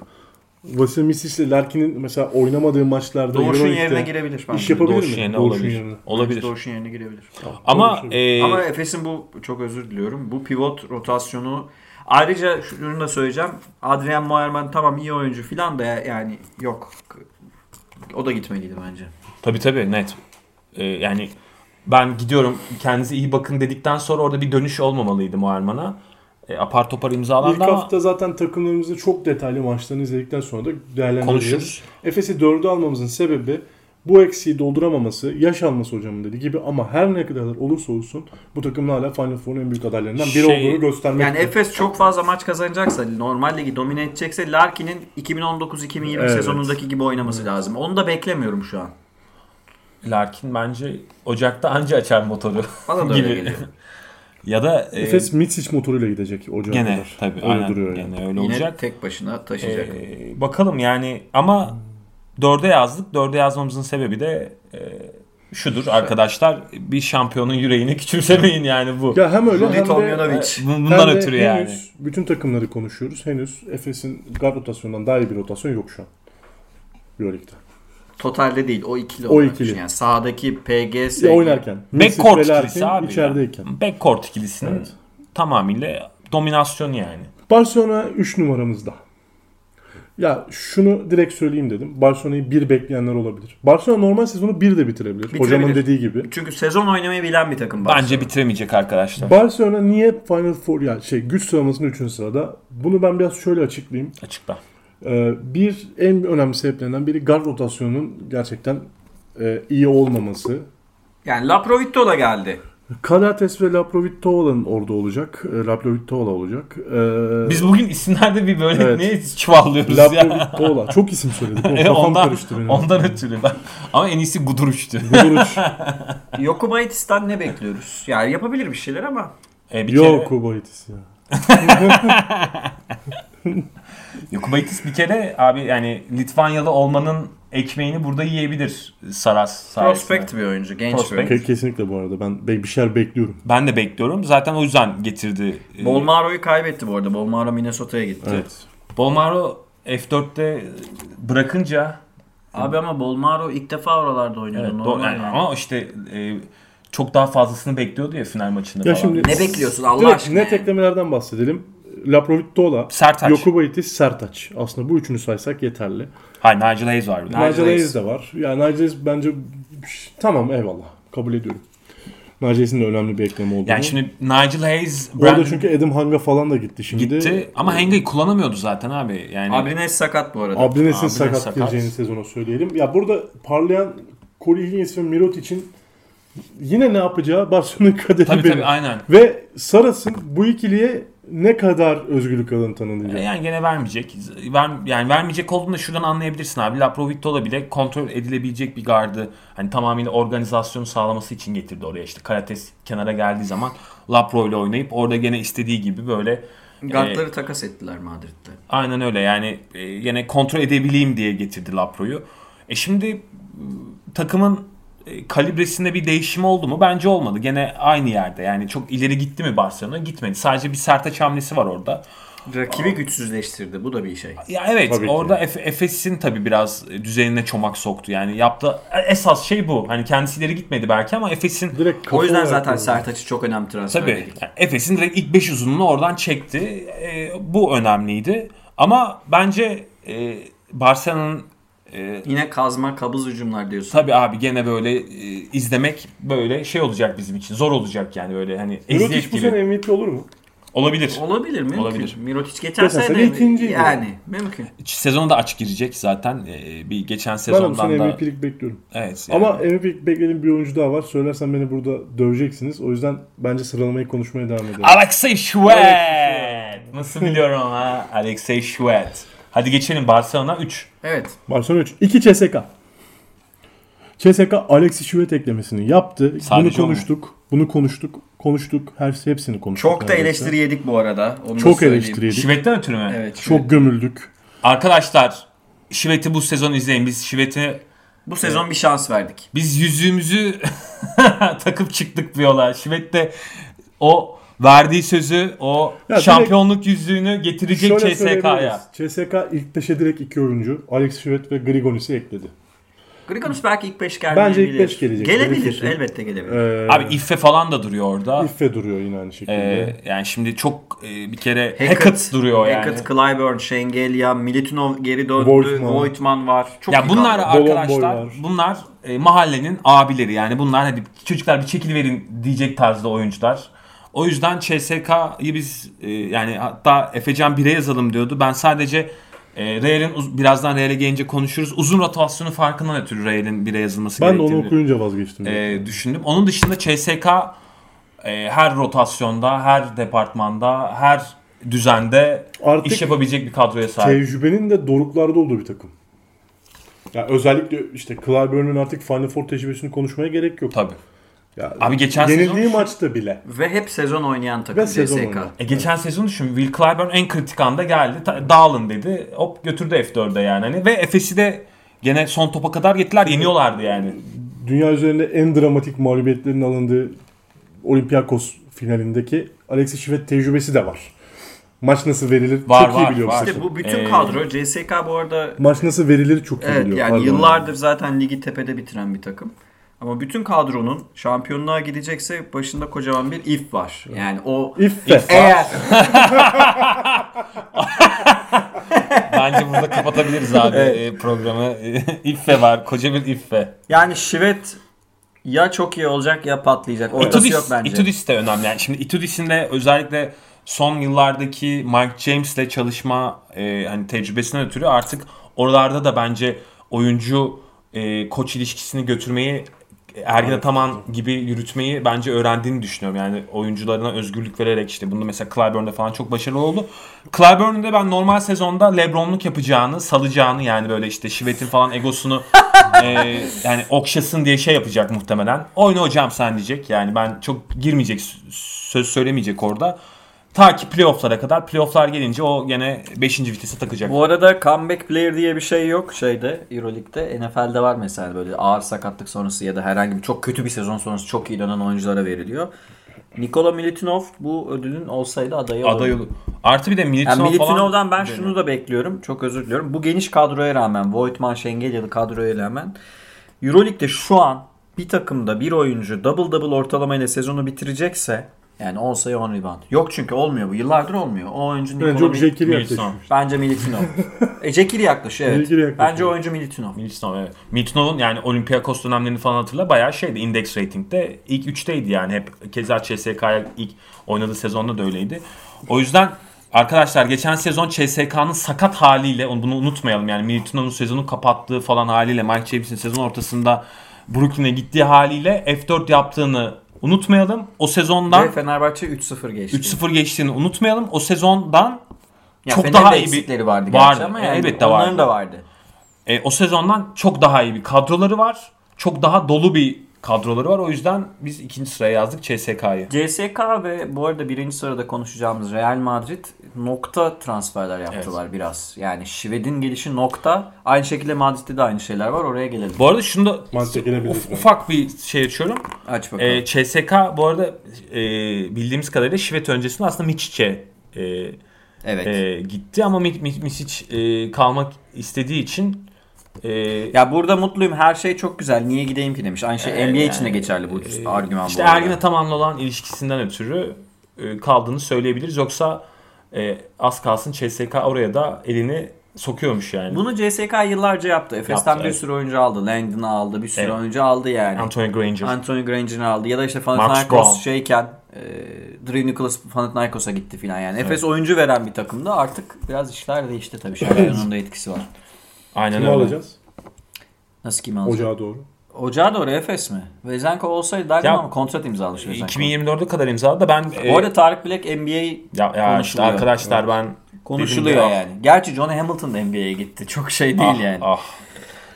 [SPEAKER 1] Vasil Misic ile Larkin'in mesela oynamadığı maçlarda
[SPEAKER 2] Doğuş'un
[SPEAKER 1] Euroleague'de
[SPEAKER 2] yerine girebilir bence.
[SPEAKER 1] iş yapabilir
[SPEAKER 3] Doğuş'un
[SPEAKER 1] mi?
[SPEAKER 3] yerine
[SPEAKER 1] Doğuş'un
[SPEAKER 3] olabilir.
[SPEAKER 1] yerine.
[SPEAKER 3] Olabilir.
[SPEAKER 2] Doğuş'un yerine girebilir.
[SPEAKER 3] Ama
[SPEAKER 1] Doğuş'un-
[SPEAKER 3] e,
[SPEAKER 2] Ama Efes'in bu çok özür diliyorum. Bu pivot rotasyonu ayrıca şunu da söyleyeceğim. Adrian Moerman tamam iyi oyuncu filan da ya- yani yok. O da gitmeliydi bence.
[SPEAKER 3] Tabii tabii net. Ee, yani ben gidiyorum kendinize iyi bakın dedikten sonra orada bir dönüş olmamalıydı Muharman'a. E, apar topar
[SPEAKER 1] İlk
[SPEAKER 3] imzalandı ama
[SPEAKER 1] hafta zaten takımlarımızın çok detaylı maçlarını izledikten sonra da değerlendireceğiz.
[SPEAKER 3] konuşuruz.
[SPEAKER 1] Efes'i 4'e almamızın sebebi bu eksiği dolduramaması, yaş alması hocamın dediği gibi ama her ne kadar olursa olsun bu takımın hala Final Four'un en büyük adaylarından biri
[SPEAKER 3] Şey-
[SPEAKER 1] olduğunu göstermek.
[SPEAKER 2] Yani Efes çok fazla maç kazanacaksa, normal ligi domine edecekse Larkin'in 2019-2020
[SPEAKER 1] Evet.
[SPEAKER 2] sezonundaki gibi oynaması lazım. Onu da beklemiyorum şu an.
[SPEAKER 3] Larkin bence Ocak'ta anca açar motoru.
[SPEAKER 2] Bana da öyle
[SPEAKER 3] Gibi.
[SPEAKER 2] geliyor.
[SPEAKER 3] ya da e,
[SPEAKER 1] Efes Mitsic motoruyla gidecek ocağa
[SPEAKER 3] gene
[SPEAKER 1] kadar.
[SPEAKER 3] tabii
[SPEAKER 1] Öyle
[SPEAKER 3] aynen,
[SPEAKER 1] duruyor yani.
[SPEAKER 3] gene öyle
[SPEAKER 2] Yine
[SPEAKER 3] olacak.
[SPEAKER 2] tek başına taşıyacak.
[SPEAKER 3] E, bakalım yani
[SPEAKER 1] Hmm.
[SPEAKER 3] ama dörde yazdık. Dörde yazmamızın sebebi de e, şudur arkadaşlar bir şampiyonun yüreğini küçümsemeyin yani bu.
[SPEAKER 1] Ya hem öyle
[SPEAKER 2] Rudy
[SPEAKER 1] hem de
[SPEAKER 2] Tomjanovic.
[SPEAKER 3] Bu- Bundan
[SPEAKER 1] Hem de
[SPEAKER 3] ötürü yani.
[SPEAKER 1] henüz bütün takımları konuşuyoruz. Henüz Efes'in guard rotasyonundan daha iyi bir rotasyon yok şu an. Euroleague'de.
[SPEAKER 2] Totalde değil. O ikili
[SPEAKER 1] O
[SPEAKER 2] olarak
[SPEAKER 1] ikili.
[SPEAKER 2] düşün. Yani sağdaki PGS.
[SPEAKER 1] Ya oynarken. Misic ve
[SPEAKER 3] Backcourt
[SPEAKER 1] Larkin
[SPEAKER 3] ikilisi abi.
[SPEAKER 1] içerideyken.
[SPEAKER 3] ya. Backcourt ikilisinin tamamıyla dominasyon yani.
[SPEAKER 1] Barcelona 3 numaramızda. Ya şunu direkt söyleyeyim dedim. Barcelona'yı bir bekleyenler olabilir. Barcelona normal sezonu bir de bitirebilir. Hocamın dediği gibi.
[SPEAKER 2] Çünkü sezon oynamayı bilen bir takım.
[SPEAKER 3] Bence
[SPEAKER 2] Barcelona.
[SPEAKER 3] bitiremeyecek arkadaşlar.
[SPEAKER 1] Barcelona niye Final Four ya şey güç sıralamasının 3. sırada? Bunu ben biraz şöyle açıklayayım.
[SPEAKER 3] Açıkla.
[SPEAKER 1] Ee, bir en önemli sebeplerinden biri guard rotasyonunun gerçekten e, iyi olmaması.
[SPEAKER 2] Yani Laprovitto da geldi.
[SPEAKER 1] Kalates ve Laprovittoğlu'nun orada olacak. E, Laprovittoğlu olacak. E,
[SPEAKER 3] Biz bugün isimlerde bir böyle
[SPEAKER 1] Evet.
[SPEAKER 3] niye çuvallıyoruz ya?
[SPEAKER 1] Laprovittoğlu. Çok isim söyledik.
[SPEAKER 3] E,
[SPEAKER 1] Kafam
[SPEAKER 3] ondan,
[SPEAKER 1] karıştı benim.
[SPEAKER 3] ondan ötürü. Ben- Ama en iyisi Guduruş'tu.
[SPEAKER 1] Guduruç.
[SPEAKER 2] Yokubaitis'ten ne bekliyoruz? Yani yapabilir bir şeyler ama
[SPEAKER 3] E, bir
[SPEAKER 1] Yok
[SPEAKER 3] kere,
[SPEAKER 1] Kubaitis ya.
[SPEAKER 3] Yokubaitis bir kere abi yani Litvanyalı olmanın ekmeğini burada yiyebilir Saras sayesinde.
[SPEAKER 2] prospect bir oyuncu, genç
[SPEAKER 3] Prospect.
[SPEAKER 2] bir oyuncu.
[SPEAKER 1] Ke- Kesinlikle bu arada. Ben be- bir şeyler bekliyorum.
[SPEAKER 3] Ben de bekliyorum. Zaten o yüzden getirdi. e,
[SPEAKER 2] Bolmaro'yu kaybetti bu arada. Bolmaro Minnesota'ya gitti.
[SPEAKER 1] Evet.
[SPEAKER 3] Ee, Bolmaro F4'te bırakınca
[SPEAKER 2] Abi ama Bolmaro ilk defa oralarda oynuyordu.
[SPEAKER 3] Evet, do-
[SPEAKER 2] normal
[SPEAKER 3] yani
[SPEAKER 2] yani.
[SPEAKER 3] ama işte e, çok daha fazlasını bekliyordu ya final maçında
[SPEAKER 1] Ya
[SPEAKER 3] falan.
[SPEAKER 1] şimdi
[SPEAKER 2] Ne bekliyorsun Allah
[SPEAKER 1] Direkt
[SPEAKER 2] aşkına?
[SPEAKER 1] net eklemelerden bahsedelim. Laprovittola,
[SPEAKER 3] Sertaç.
[SPEAKER 1] Yokubaitis, Sertaç. Aslında bu üçünü saysak yeterli.
[SPEAKER 3] Hayır Nigel Hayes var. bir de.
[SPEAKER 2] Nigel
[SPEAKER 1] Nigel
[SPEAKER 2] Hayes.
[SPEAKER 1] Hayes de var. Ya Nigel Hayes bence tamam eyvallah. Kabul ediyorum. Nigel Hayes'in de önemli bir eklemi olduğunu.
[SPEAKER 3] Yani şimdi Nigel Hayes,
[SPEAKER 1] Orada
[SPEAKER 3] Brandon
[SPEAKER 1] çünkü Adam Hanga falan da gitti şimdi.
[SPEAKER 3] gitti ama Henga'yı kullanamıyordu zaten abi. Yani
[SPEAKER 2] Abrines sakat bu arada.
[SPEAKER 1] Abdines'in
[SPEAKER 3] Abdines
[SPEAKER 1] sakat,
[SPEAKER 3] sakat.
[SPEAKER 1] gireceğini sezona söyleyelim. Ya burada parlayan Corey Higgins ve Mirot için yine ne yapacağı Barcelona'nın kaderi
[SPEAKER 3] tabii
[SPEAKER 1] belli.
[SPEAKER 3] tabii aynen.
[SPEAKER 1] Ve Saras'ın bu ikiliye ne kadar özgürlük alanı tanınacak?
[SPEAKER 3] E, Yani gene vermeyecek. Z- Ver, yani vermeyecek olduğunu da şuradan anlayabilirsin abi. La Provitola bile kontrol edilebilecek bir gardı. Hani tamamıyla organizasyonu sağlaması için getirdi oraya. işte Karates kenara geldiği zaman La Pro ile oynayıp orada gene istediği gibi böyle e,
[SPEAKER 2] Gardları takas ettiler Madrid'de.
[SPEAKER 3] Aynen öyle yani e, yine kontrol edebileyim diye getirdi Lapro'yu. E şimdi e, takımın e, kalibresinde bir değişim oldu mu? Bence olmadı. Gene aynı yerde. Yani çok ileri gitti mi Barcelona? Gitmedi. Sadece bir sertaç hamlesi var orada.
[SPEAKER 2] Rakibi güçsüzleştirdi. Bu da bir şey.
[SPEAKER 3] Ya evet
[SPEAKER 1] Tabii ki.
[SPEAKER 3] orada Efe- Efes'in tabii biraz e, düzenine çomak soktu. Yani yaptı esas şey bu. Hani kendisi ileri gitmedi belki ama Efes'in
[SPEAKER 1] Direkt kafa
[SPEAKER 2] O yüzden
[SPEAKER 1] olarak
[SPEAKER 2] zaten
[SPEAKER 1] görüyorum.
[SPEAKER 2] Sertaç'ı çok önemli transfer
[SPEAKER 3] Tabii.
[SPEAKER 2] dedik.
[SPEAKER 3] Yani Efes'in direkt ilk 5 uzununu oradan çekti. E, bu önemliydi. Ama bence e, Barcelona'nın e,
[SPEAKER 2] Yine kazma kabız hücumlar diyorsun.
[SPEAKER 3] Tabii abi gene böyle e, izlemek böyle şey olacak bizim için. Zor olacak yani böyle hani
[SPEAKER 1] Mirotic
[SPEAKER 3] eziyet
[SPEAKER 1] bu
[SPEAKER 3] gibi.
[SPEAKER 1] sene MVP olur mu?
[SPEAKER 3] Olabilir.
[SPEAKER 2] Olabilir mümkün.
[SPEAKER 3] Olabilir.
[SPEAKER 2] Mirotic
[SPEAKER 1] Geçen
[SPEAKER 2] geçerse
[SPEAKER 1] sene ikinciydi.
[SPEAKER 2] de yani mümkün.
[SPEAKER 3] Sezonu da aç girecek zaten. E, bir geçen
[SPEAKER 1] Ben bu
[SPEAKER 3] sezondan
[SPEAKER 1] sene
[SPEAKER 3] da.
[SPEAKER 1] MVP'lik bekliyorum.
[SPEAKER 3] Evet.
[SPEAKER 1] Ama MVP beklediğim bir oyuncu daha var. Söylersen beni burada döveceksiniz. O yüzden bence sıralamayı konuşmaya devam edelim.
[SPEAKER 3] Alexey Şuet. Nasıl biliyorum ha? Alexey Şuet. Hadi geçelim Barcelona 3.
[SPEAKER 2] Evet.
[SPEAKER 1] Barcelona 3. 2 CSK. CSK Alexis Şüvet eklemesini yaptı.
[SPEAKER 3] Sadece
[SPEAKER 1] bunu konuştuk. Bunu konuştuk. Konuştuk. Her şey hepsini konuştuk.
[SPEAKER 2] Çok da
[SPEAKER 1] neredeyse.
[SPEAKER 2] eleştiri yedik bu arada. Onu da
[SPEAKER 1] Çok
[SPEAKER 2] söyleyeyim.
[SPEAKER 1] eleştiri yedik.
[SPEAKER 3] Şivet'ten ötürü mü?
[SPEAKER 2] Evet.
[SPEAKER 1] Çok
[SPEAKER 2] Çok.
[SPEAKER 1] gömüldük.
[SPEAKER 3] Arkadaşlar Şivet'i bu sezon izleyin. Biz Şivet'i
[SPEAKER 2] Bu sezon bir şans verdik.
[SPEAKER 3] Biz yüzüğümüzü takıp çıktık bir yola. Şivet de o verdiği sözü, o
[SPEAKER 1] direkt-
[SPEAKER 3] şampiyonluk yüzüğünü getirecek
[SPEAKER 1] Şöyle
[SPEAKER 3] CSK'ya.
[SPEAKER 1] söyleyebiliriz. CSK ilk beşe direkt iki oyuncu. Alexis Şüvet ve Grigonis'i ekledi.
[SPEAKER 2] Grigonis belki ilk 5 gelmeyebilir.
[SPEAKER 1] Bence ilk beş gelecek. Benim
[SPEAKER 2] Gelebilir.
[SPEAKER 1] fikrim.
[SPEAKER 2] Elbette
[SPEAKER 1] Ee,
[SPEAKER 2] gelebilir.
[SPEAKER 3] Abi iffe falan da duruyor orada.
[SPEAKER 1] İffe duruyor yine aynı şekilde.
[SPEAKER 3] Ee, yani şimdi çok e, bir kere Hackett, duruyor yani.
[SPEAKER 2] Hackett, Clyburn, Şengelya, Militinov geri döndü.
[SPEAKER 1] Voigtman.
[SPEAKER 2] Voigtman, var. Çok
[SPEAKER 3] ya
[SPEAKER 2] iyi
[SPEAKER 3] bunlar
[SPEAKER 2] kadro.
[SPEAKER 1] Bolon boy
[SPEAKER 3] arkadaşlar,
[SPEAKER 1] var.
[SPEAKER 3] bunlar e, mahallenin abileri yani. Bunlar hadi çocuklar bir çekiliverin diyecek tarzda oyuncular. O yüzden CSK'yı biz e, yani hatta Efecan 1'e yazalım diyordu. Ben sadece e, Real'in uz- birazdan Real'e gelince konuşuruz. Uzun rotasyonu farkından ötürü Real'in 1'e yazılması
[SPEAKER 1] ben de
[SPEAKER 3] gerektiğini
[SPEAKER 1] onu okuyunca vazgeçtim.
[SPEAKER 3] e, düşündüm. Onun dışında CSK e, her rotasyonda, her departmanda, her düzende
[SPEAKER 1] Artık
[SPEAKER 3] iş yapabilecek bir kadroya sahip.
[SPEAKER 1] tecrübenin de doruklarda olduğu bir takım. Ya özellikle işte Clyburn'un artık Final Four tecrübesini konuşmaya gerek yok.
[SPEAKER 3] Tabii.
[SPEAKER 1] Ya,
[SPEAKER 3] Abi geçen
[SPEAKER 1] yenildiği
[SPEAKER 3] sezon-
[SPEAKER 1] maçta bile.
[SPEAKER 2] Ve hep sezon oynayan takım
[SPEAKER 1] Ve sezon
[SPEAKER 2] CSK.
[SPEAKER 1] oynayan.
[SPEAKER 3] E geçen sezon düşün Will Clyburn en kritik anda geldi. Ta- dağılın dedi. Hop götürdü F4'e yani. Hani. Ve Efes'i de gene son topa kadar gittiler. Yeniyorlardı yani.
[SPEAKER 1] Dünya üzerinde en dramatik mağlubiyetlerin alındığı Olympiakos finalindeki Alexis Şivet tecrübesi de var. Maç nasıl verilir
[SPEAKER 3] Var,
[SPEAKER 1] çok iyi
[SPEAKER 3] var,
[SPEAKER 1] biliyor
[SPEAKER 3] var.
[SPEAKER 1] bu
[SPEAKER 2] İşte
[SPEAKER 1] takım.
[SPEAKER 2] bu bütün
[SPEAKER 3] Ee,
[SPEAKER 2] kadro CSK bu arada
[SPEAKER 1] Maç nasıl verilir çok iyi
[SPEAKER 2] evet
[SPEAKER 1] biliyor.
[SPEAKER 2] yani
[SPEAKER 1] Pardon.
[SPEAKER 2] yıllardır zaten ligi tepede bitiren bir takım. Ama bütün kadronun şampiyonluğa gidecekse başında kocaman bir if var. Yani o
[SPEAKER 1] İffe.
[SPEAKER 2] eğer
[SPEAKER 3] Bence burada kapatabiliriz abi e, programı. iffe var. Koca bir iffe.
[SPEAKER 2] yani Şivet ya çok iyi olacak ya patlayacak. Ortası yok
[SPEAKER 3] İtudis,
[SPEAKER 2] bence.
[SPEAKER 3] İtudis de önemli. Yani şimdi Itudis'in de özellikle son yıllardaki Mike James'le çalışma e, hani tecrübesinden ötürü artık oralarda da bence oyuncu e, koç ilişkisini götürmeyi e, Ergin Ataman gibi yürütmeyi bence öğrendiğini düşünüyorum. Yani oyuncularına özgürlük vererek işte bunu mesela Clyburn'da falan çok başarılı oldu. Clyburn'un da ben normal sezonda Lebron'luk yapacağını, salacağını yani böyle işte Şivet'in falan egosunu e, yani okşasın diye şey yapacak muhtemelen. Oyna hocam sen diyecek. Yani ben çok girmeyecek, s- söz söylemeyecek orada. Ta ki playofflara kadar. Playofflar gelince o gene 5. vitese takacak.
[SPEAKER 2] Bu arada comeback player diye bir şey yok şeyde EuroLeague'de. NFL'de var mesela böyle ağır sakatlık sonrası ya da herhangi bir çok kötü bir sezon sonrası çok iyi dönen oyunculara veriliyor. Nikola Milutinov bu ödülün olsaydı adayı
[SPEAKER 3] Aday
[SPEAKER 2] olurdu.
[SPEAKER 3] olur. Artı bir de Militinov
[SPEAKER 2] Yani
[SPEAKER 3] falan.
[SPEAKER 2] Milutinov'dan ben şunu da bekliyorum. Çok özür diliyorum. Bu geniş kadroya rağmen, Voigtman, Şengelyalı kadroya rağmen EuroLeague'de şu an bir takımda bir oyuncu double double ortalamayla sezonu bitirecekse yani 10 sayı 10 rebound. Yok çünkü olmuyor bu. Yıllardır olmuyor. O oyuncu Nikola
[SPEAKER 1] Yani çok
[SPEAKER 2] Milutinov-
[SPEAKER 1] Jekyll'i
[SPEAKER 3] Wilson.
[SPEAKER 1] yaklaşıyor.
[SPEAKER 2] Bence Militinov. e Cekiri yaklaşıyor evet.
[SPEAKER 1] Cekiri yaklaşıyor.
[SPEAKER 2] Bence oyuncu Militinov.
[SPEAKER 3] Militinov evet. Militinov'un yani Olympiakos dönemlerini falan hatırla bayağı şeydi. Index ratingde ilk 3'teydi yani. Hep keza CSK'ya ilk oynadığı sezonda da öyleydi. O yüzden arkadaşlar geçen sezon CSK'nın sakat haliyle onu- bunu unutmayalım yani Militinov'un sezonu kapattığı falan haliyle Mike James'in sezon ortasında Brooklyn'e gittiği haliyle F4 yaptığını unutmayalım. O
[SPEAKER 2] Ve
[SPEAKER 3] sezondan
[SPEAKER 2] Fenerbahçe 3-0 geçti.
[SPEAKER 3] 3-0 geçtiğini unutmayalım. O sezondan
[SPEAKER 2] Ya
[SPEAKER 3] çok
[SPEAKER 2] Fener'in
[SPEAKER 3] daha
[SPEAKER 2] de
[SPEAKER 3] iyi bir-
[SPEAKER 2] eksikleri vardı,
[SPEAKER 3] Vardı,
[SPEAKER 2] gerçi ama yani
[SPEAKER 3] elbette
[SPEAKER 2] onların
[SPEAKER 3] vardı.
[SPEAKER 2] da vardı.
[SPEAKER 3] E, o sezondan çok daha iyi bir kadroları var. Çok daha dolu bir kadroları var. O yüzden biz ikinci sıraya yazdık CSK'yı.
[SPEAKER 2] CSK ve bu arada birinci sırada konuşacağımız Real Madrid nokta transferler yaptılar biraz. Yani Şived'in gelişi nokta. Aynı şekilde Madrid'de de aynı şeyler var. Oraya gelelim.
[SPEAKER 3] Bu arada şunu da
[SPEAKER 1] Maçta gelebiliriz
[SPEAKER 3] uf-
[SPEAKER 1] bence.
[SPEAKER 3] ufak bir şey açıyorum.
[SPEAKER 2] Aç bakalım.
[SPEAKER 3] E, CSK bu arada e, bildiğimiz kadarıyla Şivet öncesinde aslında Miçic'e e,
[SPEAKER 2] evet.
[SPEAKER 3] e, gitti ama Mi- Mi- Miçic e, kalmak istediği için e,
[SPEAKER 2] ya burada mutluyum. Her şey çok güzel. Niye gideyim ki demiş. Aynı şey NBA
[SPEAKER 3] Ee, yani,
[SPEAKER 2] için de geçerli bu
[SPEAKER 3] e,
[SPEAKER 2] argüman
[SPEAKER 3] işte
[SPEAKER 2] bu arada.
[SPEAKER 3] Ergin Ataman'la olan ilişkisinden ötürü e, kaldığını söyleyebiliriz. Yoksa e, az kalsın CSK oraya da elini sokuyormuş yani.
[SPEAKER 2] Bunu CSK yıllarca yaptı. Efes'ten
[SPEAKER 3] Yaptı,
[SPEAKER 2] bir
[SPEAKER 3] evet.
[SPEAKER 2] sürü oyuncu aldı. Langdon'ı aldı. Bir sürü
[SPEAKER 3] Evet.
[SPEAKER 2] oyuncu aldı yani.
[SPEAKER 3] Antonio Granger.
[SPEAKER 2] Anthony Granger'ını aldı. Ya da işte
[SPEAKER 3] Brown.
[SPEAKER 2] Panathinaikos şeyken e, Drew Nicholas Panathinaikos'a gitti filan yani. Efes oyuncu veren bir takımda artık biraz işler değişti tabii. Şampiyonun da etkisi var.
[SPEAKER 3] Aynen
[SPEAKER 1] Kimi
[SPEAKER 3] öyle.
[SPEAKER 1] alacağız?
[SPEAKER 2] Nasıl kim alacak?
[SPEAKER 1] Ocağa doğru.
[SPEAKER 2] Ocağa doğru Efes mi? Vezenko olsaydı derdim
[SPEAKER 3] Ya-
[SPEAKER 2] ama kontrat imzalamış Vezenko.
[SPEAKER 3] 2024'e kadar imzaladı da ben e,
[SPEAKER 2] Bu arada Tarık Bilek NBA
[SPEAKER 3] ya, ya işte
[SPEAKER 2] konuşuluyor.
[SPEAKER 3] arkadaşlar ben
[SPEAKER 2] konuşuluyor
[SPEAKER 3] Dedim ya.
[SPEAKER 2] yani. Gerçi John Hamilton da NBA'ye gitti. Çok şey değil
[SPEAKER 3] Ah,
[SPEAKER 2] yani.
[SPEAKER 3] ah.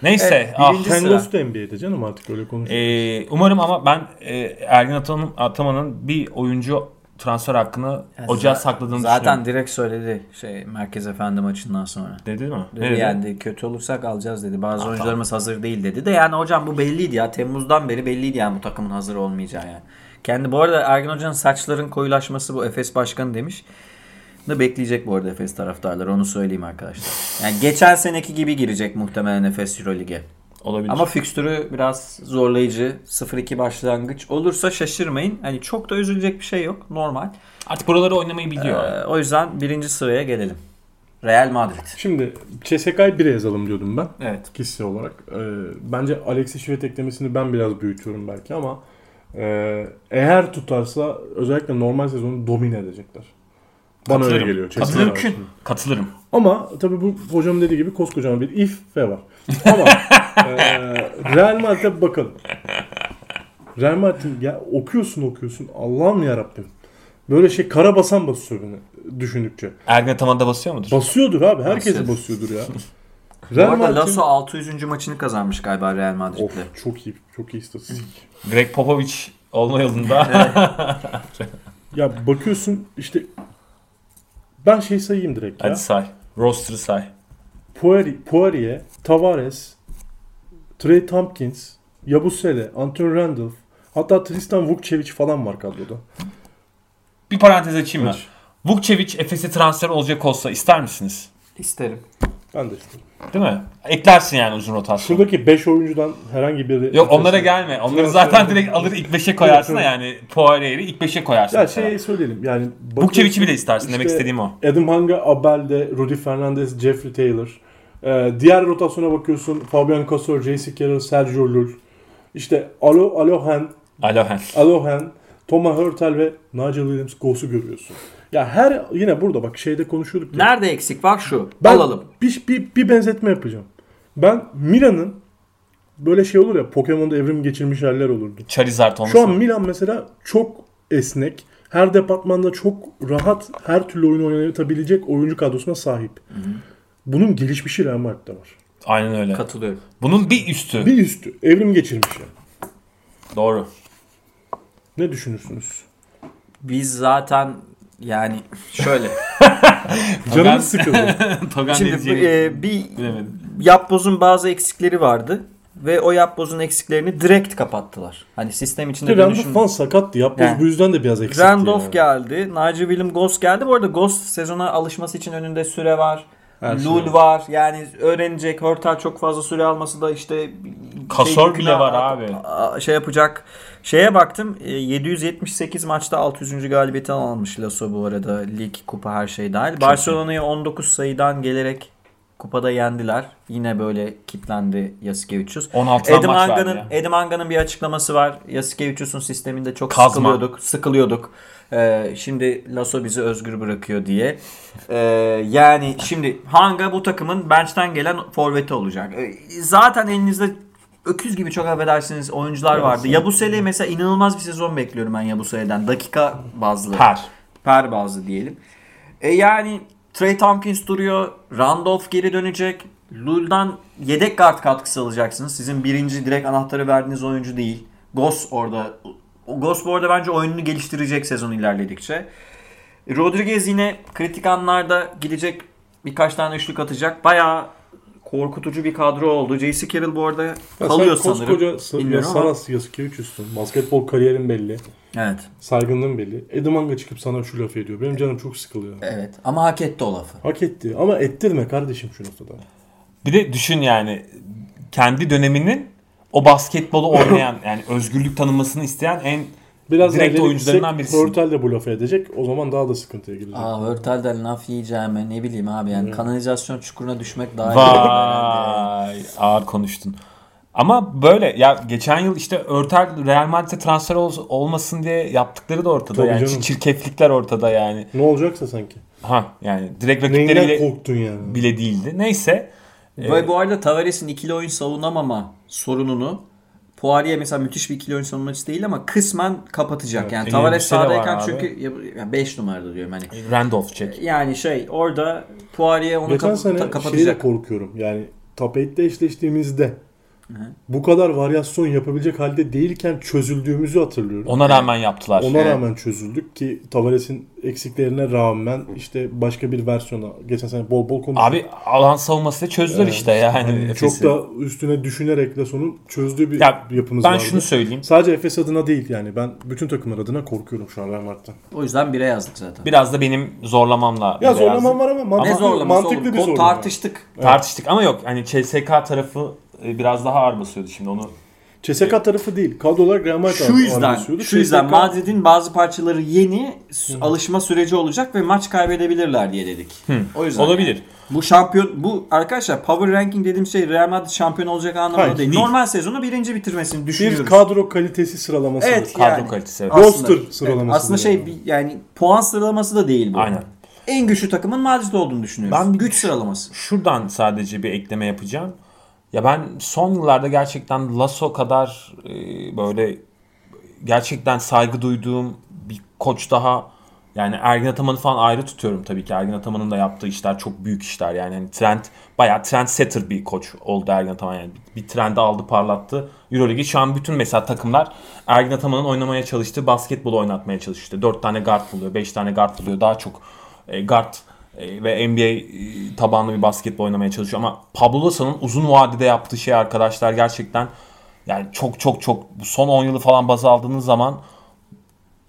[SPEAKER 3] Neyse
[SPEAKER 2] Evet,
[SPEAKER 3] ah.
[SPEAKER 2] birinci-
[SPEAKER 1] Tengos da NBA'de canım artık öyle konuş.
[SPEAKER 3] E, umarım ama ben e, Ergin Ataman- Ataman'ın bir oyuncu transfer hakkını ocağa sakladığını
[SPEAKER 2] Zaten direkt söyledi şey Merkez Efendi maçından sonra.
[SPEAKER 3] düşünüyorum. Dedi mi?
[SPEAKER 2] Dedi
[SPEAKER 3] Ne dedi?
[SPEAKER 2] yani kötü olursak alacağız dedi. Bazı oyuncularımız hazır değil dedi de yani hocam bu belliydi ya. Temmuz'dan beri belliydi yani bu takımın hazır olmayacağı yani. Kendi bu arada Ergin Hoca'nın saçların koyulaşması bu Efes Başkanı demiş. Bunu Da bekleyecek bu arada Efes taraftarları onu söyleyeyim arkadaşlar. Yani geçen seneki gibi girecek muhtemelen Efes Eurolig'e.
[SPEAKER 3] Olabilir.
[SPEAKER 2] Ama fikstürü biraz zorlayıcı. 0-2 başlangıç olursa şaşırmayın. Hani çok da üzülecek bir şey yok. Normal.
[SPEAKER 3] Artık buraları oynamayı
[SPEAKER 2] Ee,
[SPEAKER 3] biliyor.
[SPEAKER 2] o yüzden birinci sıraya gelelim. Real Madrid.
[SPEAKER 1] Şimdi CSK'yı 1'e yazalım diyordum ben.
[SPEAKER 2] Evet.
[SPEAKER 1] kişisel olarak. Ee, bence Alexi Şivet eklemesini ben biraz büyütüyorum belki ama e, eğer tutarsa özellikle normal sezonu domine edecekler. Bana öyle
[SPEAKER 3] Katılırım.
[SPEAKER 1] geliyor. CSKA
[SPEAKER 3] Katılırım.
[SPEAKER 1] için.
[SPEAKER 3] Katılırım.
[SPEAKER 1] Ama tabii bu hocam dediği gibi koskocaman bir if ve var. Ama e, Real Madrid'e bir bakalım. Real Madrid'in ya okuyorsun okuyorsun Allah'ım yarabbim. Böyle şey karabasan basıyor beni düşündükçe.
[SPEAKER 3] Ergin Ataman da basıyor mudur?
[SPEAKER 1] Basıyordur abi. Herkesi
[SPEAKER 2] Basıyordur.
[SPEAKER 1] basıyordur ya.
[SPEAKER 2] Bu arada
[SPEAKER 1] Madrid'in-
[SPEAKER 2] Lasso 600. maçını kazanmış galiba Real Madrid'le.
[SPEAKER 1] Of çok iyi. Çok iyi istatistik.
[SPEAKER 3] Greg Popovich olma yolunda.
[SPEAKER 1] Ya bakıyorsun işte ben şey sayayım direkt ya.
[SPEAKER 3] Hadi say. Roster say.
[SPEAKER 1] Poirier, Poirier, Tavares, Trey Tompkins, Yabusele, Anthony Randolph, hatta Tristan Vukcevic falan var kadroda.
[SPEAKER 3] Bir parantez açayım ben.
[SPEAKER 1] Aç.
[SPEAKER 3] Vukcevic Efes'e transfer olacak olsa ister misiniz?
[SPEAKER 2] İsterim.
[SPEAKER 1] Ben de istiyorum.
[SPEAKER 3] Değil mi? Eklersin yani uzun rotasyonu.
[SPEAKER 1] Şuradaki 5 oyuncudan herhangi biri...
[SPEAKER 3] Yok onlara gelme. Onları zaten direkt alır ilk 5'e koyarsın da yani. Poirier'i ilk 5'e koyarsın.
[SPEAKER 1] Ya
[SPEAKER 3] mesela.
[SPEAKER 1] şey söyleyelim yani...
[SPEAKER 3] Vukcevic'i
[SPEAKER 1] bakıyorsun
[SPEAKER 3] bile istersin demek
[SPEAKER 1] işte
[SPEAKER 3] istediğim o.
[SPEAKER 1] Adam Hanga, Abelde, Rudy Fernandez, Jeffrey Taylor. Ee, diğer rotasyona bakıyorsun Fabian Casor, J.C. Carroll, Sergio Llull. İşte Alo, Alohan,
[SPEAKER 3] Alohen.
[SPEAKER 1] Alohan, Thomas Hurtel ve Nigel Williams Ghost'u görüyorsun. Ya her yine burada bak şeyde konuşuyorduk. ya.
[SPEAKER 2] Nerede eksik var şu.
[SPEAKER 1] ben
[SPEAKER 2] Alalım.
[SPEAKER 1] Bir, bir, bir benzetme yapacağım. Ben Milan'ın böyle şey olur ya Pokemon'da evrim geçirmiş haller olurdu.
[SPEAKER 3] Charizard olmuş.
[SPEAKER 1] Şu an Milan mesela çok esnek. Her departmanda çok rahat her türlü oyun oynatabilecek oyuncu kadrosuna sahip. Bunun gelişmişi Real Madrid'de var.
[SPEAKER 3] Aynen öyle.
[SPEAKER 2] Katılıyorum.
[SPEAKER 3] Bunun bir üstü.
[SPEAKER 1] Bir üstü evrim geçirmiş. yani.
[SPEAKER 3] Doğru.
[SPEAKER 1] Ne düşünürsünüz?
[SPEAKER 2] Biz zaten yani şöyle.
[SPEAKER 1] Canınız sıkıldı.
[SPEAKER 3] Togan
[SPEAKER 2] Şimdi bu,
[SPEAKER 3] Denizci'yi
[SPEAKER 2] e, bir
[SPEAKER 3] bilemedim.
[SPEAKER 2] yapbozun bazı eksikleri vardı. Ve o yapbozun eksiklerini direkt kapattılar. Hani sistem içinde
[SPEAKER 1] Randolph
[SPEAKER 2] dönüşüm.
[SPEAKER 1] falan sakattı. Yapboz
[SPEAKER 2] Yani.
[SPEAKER 1] bu yüzden de biraz eksikti.
[SPEAKER 2] Randolph
[SPEAKER 1] yani.
[SPEAKER 2] geldi. Naci Willem Ghost geldi. Bu arada Ghost sezona alışması için önünde süre var.
[SPEAKER 1] Her şey
[SPEAKER 2] Lul var. Yani öğrenecek. Hörtel çok fazla süre alması da işte
[SPEAKER 3] Kasor
[SPEAKER 2] şey,
[SPEAKER 3] bile var abi.
[SPEAKER 2] a- şey yapacak. Şeye baktım. e, 778 maçta 600. galibiyeti almış Lasso bu arada. Lig, kupa her şey dahil. Barcelona'yı 19 sayıdan gelerek kupada yendiler. Yine böyle kitlendi Yasikevicius.
[SPEAKER 3] 16
[SPEAKER 2] Edim
[SPEAKER 3] maç
[SPEAKER 2] Anga'nın
[SPEAKER 3] verdi ya.
[SPEAKER 2] Edim Anga'nın bir açıklaması var. Yasikevicius'un sisteminde çok
[SPEAKER 3] Kazma.
[SPEAKER 2] sıkılıyorduk. Sıkılıyorduk. Ee, şimdi Lasso bizi özgür bırakıyor diye. Ee, yani şimdi Hanga bu takımın bench'ten gelen forveti olacak. Ee, zaten elinizde öküz gibi çok affedersiniz oyuncular vardı. Yabusele mesela inanılmaz bir sezon bekliyorum ben Yabusele'den. Dakika bazlı.
[SPEAKER 3] Her.
[SPEAKER 2] Per bazlı diyelim. E yani Trey Tompkins duruyor. Randolph geri dönecek. Lul'dan yedek kart katkısı alacaksınız. Sizin birinci direkt anahtarı verdiğiniz oyuncu değil. Goss orada. o Goss bu arada bence oyununu geliştirecek sezon ilerledikçe. Rodriguez yine kritik anlarda gidecek birkaç tane üçlük atacak. Bayağı korkutucu bir kadro oldu. J.C. Carroll bu arada kalıyor sanırım.
[SPEAKER 1] Koskoca ya
[SPEAKER 2] Bilmiyorum ama.
[SPEAKER 1] sana yasaki üçüsün. Basketbol kariyerin belli.
[SPEAKER 2] Evet.
[SPEAKER 1] Saygınlığın belli. Edimanga çıkıp sana şu lafı ediyor. Benim canım çok sıkılıyor.
[SPEAKER 2] Evet. Ama hak etti o lafı.
[SPEAKER 1] Hak etti. Ama ettirme kardeşim şu noktada.
[SPEAKER 3] Bir de düşün yani kendi döneminin o basketbolu oynayan yani özgürlük tanınmasını isteyen en
[SPEAKER 1] Biraz
[SPEAKER 3] Direkt
[SPEAKER 1] ileri
[SPEAKER 3] oyuncularından
[SPEAKER 1] gitsek,
[SPEAKER 3] birisi.
[SPEAKER 1] Hörtel de bu lafı edecek. O zaman daha da sıkıntıya girecek.
[SPEAKER 2] Aa Hörtel'den laf yiyeceğime ne bileyim abi yani kanalizasyon çukuruna düşmek daha iyi.
[SPEAKER 3] Vay ağır konuştun. Ama böyle ya geçen yıl işte Örtel Real Madrid'e transfer ol- olmasın diye yaptıkları da ortada.
[SPEAKER 1] Tabii
[SPEAKER 3] yani
[SPEAKER 1] canım.
[SPEAKER 3] çirkeflikler ortada yani.
[SPEAKER 1] Ne olacaksa sanki.
[SPEAKER 3] Ha yani direkt
[SPEAKER 1] Neyinden
[SPEAKER 3] rakipleriyle
[SPEAKER 1] korktun yani?
[SPEAKER 3] bile değildi. Neyse. E-
[SPEAKER 2] Ve bu arada Tavares'in ikili oyun savunamama sorununu Poirier mesela müthiş bir ikili oyun savunmacısı değil ama kısmen kapatacak. yani
[SPEAKER 3] en
[SPEAKER 2] Tavares
[SPEAKER 3] iyisi de var
[SPEAKER 2] sahadayken
[SPEAKER 3] abi.
[SPEAKER 2] çünkü 5 numarada diyorum hani.
[SPEAKER 3] Randolph çek.
[SPEAKER 2] Yani şey orada Poirier onu
[SPEAKER 1] Geçen
[SPEAKER 2] kapa- ta-
[SPEAKER 1] sene şeyi de
[SPEAKER 2] kapatacak.
[SPEAKER 1] korkuyorum. Yani top 8'de eşleştiğimizde bu kadar varyasyon yapabilecek halde değilken çözüldüğümüzü hatırlıyorum.
[SPEAKER 3] Ona rağmen yaptılar.
[SPEAKER 1] Ona rağmen çözüldük ki Tavares'in eksiklerine rağmen işte başka bir versiyona geçen sene bol bol konuştuk.
[SPEAKER 3] Abi alan savunması da çözdüler işte yani.
[SPEAKER 1] Hani
[SPEAKER 3] Efes'i.
[SPEAKER 1] çok da üstüne düşünerek Lason'un çözdüğü bir
[SPEAKER 3] Ya
[SPEAKER 1] yapımız
[SPEAKER 3] ben
[SPEAKER 1] vardı.
[SPEAKER 3] şunu söyleyeyim.
[SPEAKER 1] Sadece Efes adına değil yani ben bütün takımlar adına korkuyorum şu an Real Madrid'den.
[SPEAKER 2] O yüzden 1'e yazdık zaten.
[SPEAKER 3] Biraz da benim zorlamamla.
[SPEAKER 1] Ya
[SPEAKER 3] biraz
[SPEAKER 1] zorlamam var ama
[SPEAKER 2] ne
[SPEAKER 1] mantıklı,
[SPEAKER 2] zorlaması
[SPEAKER 1] mantıklı
[SPEAKER 2] oğlum?
[SPEAKER 1] bir
[SPEAKER 2] Ko-
[SPEAKER 1] zorlama.
[SPEAKER 2] Tartıştık.
[SPEAKER 3] Tartıştık ama yok hani CSK tarafı e, biraz daha ağır basıyordu şimdi onu.
[SPEAKER 1] CSK tarafı değil. Kadro olarak Real Madrid
[SPEAKER 2] Şu yüzden,
[SPEAKER 1] anlaşıyordu.
[SPEAKER 2] şu yüzden
[SPEAKER 1] CSK
[SPEAKER 2] Madrid'in bazı parçaları yeni s- alışma süreci olacak ve maç kaybedebilirler diye dedik. O yüzden.
[SPEAKER 3] Olabilir.
[SPEAKER 2] yani. Bu şampiyon bu arkadaşlar power ranking dediğim şey Real Madrid şampiyon olacak anlamda
[SPEAKER 1] Hayır,
[SPEAKER 2] değil.
[SPEAKER 1] değil.
[SPEAKER 2] Normal sezonu birinci bitirmesini
[SPEAKER 1] bir
[SPEAKER 2] düşünüyoruz.
[SPEAKER 1] kadro kalitesi sıralaması.
[SPEAKER 2] evet
[SPEAKER 3] Kadro
[SPEAKER 2] yani.
[SPEAKER 3] kalitesi, evet.
[SPEAKER 1] Roster
[SPEAKER 2] Aslında-
[SPEAKER 1] sıralaması
[SPEAKER 2] evet, aslında
[SPEAKER 1] diyor
[SPEAKER 2] şey bir- yani puan sıralaması da değil bu.
[SPEAKER 3] Aynen.
[SPEAKER 2] En güçlü takımın Madrid olduğunu düşünüyoruz.
[SPEAKER 3] Ben bir-
[SPEAKER 2] güç sıralaması.
[SPEAKER 3] Şuradan sadece bir ekleme yapacağım. Ya ben son yıllarda gerçekten Lasso kadar e, böyle gerçekten saygı duyduğum bir koç daha yani Ergin Ataman'ı falan ayrı tutuyorum tabii ki. Ergin Ataman'ın da yaptığı işler çok büyük işler. Yani hani trend bayağı trendsetter bir koç oldu Ergin Ataman. Yani bir trendi aldı parlattı. Euroligi şu an bütün mesela takımlar Ergin Ataman'ın oynamaya çalıştığı basketbolu oynatmaya çalışıyor. İşte 4 tane guard buluyor, 5 tane guard buluyor. Daha çok e, guard e, ve NBA e, tabanlı bir basketbol oynamaya çalışıyor. Ama Pablo Lasso'nun uzun vadede yaptığı şey arkadaşlar gerçekten yani çok çok çok bu son 10 yılı falan baz aldığınız zaman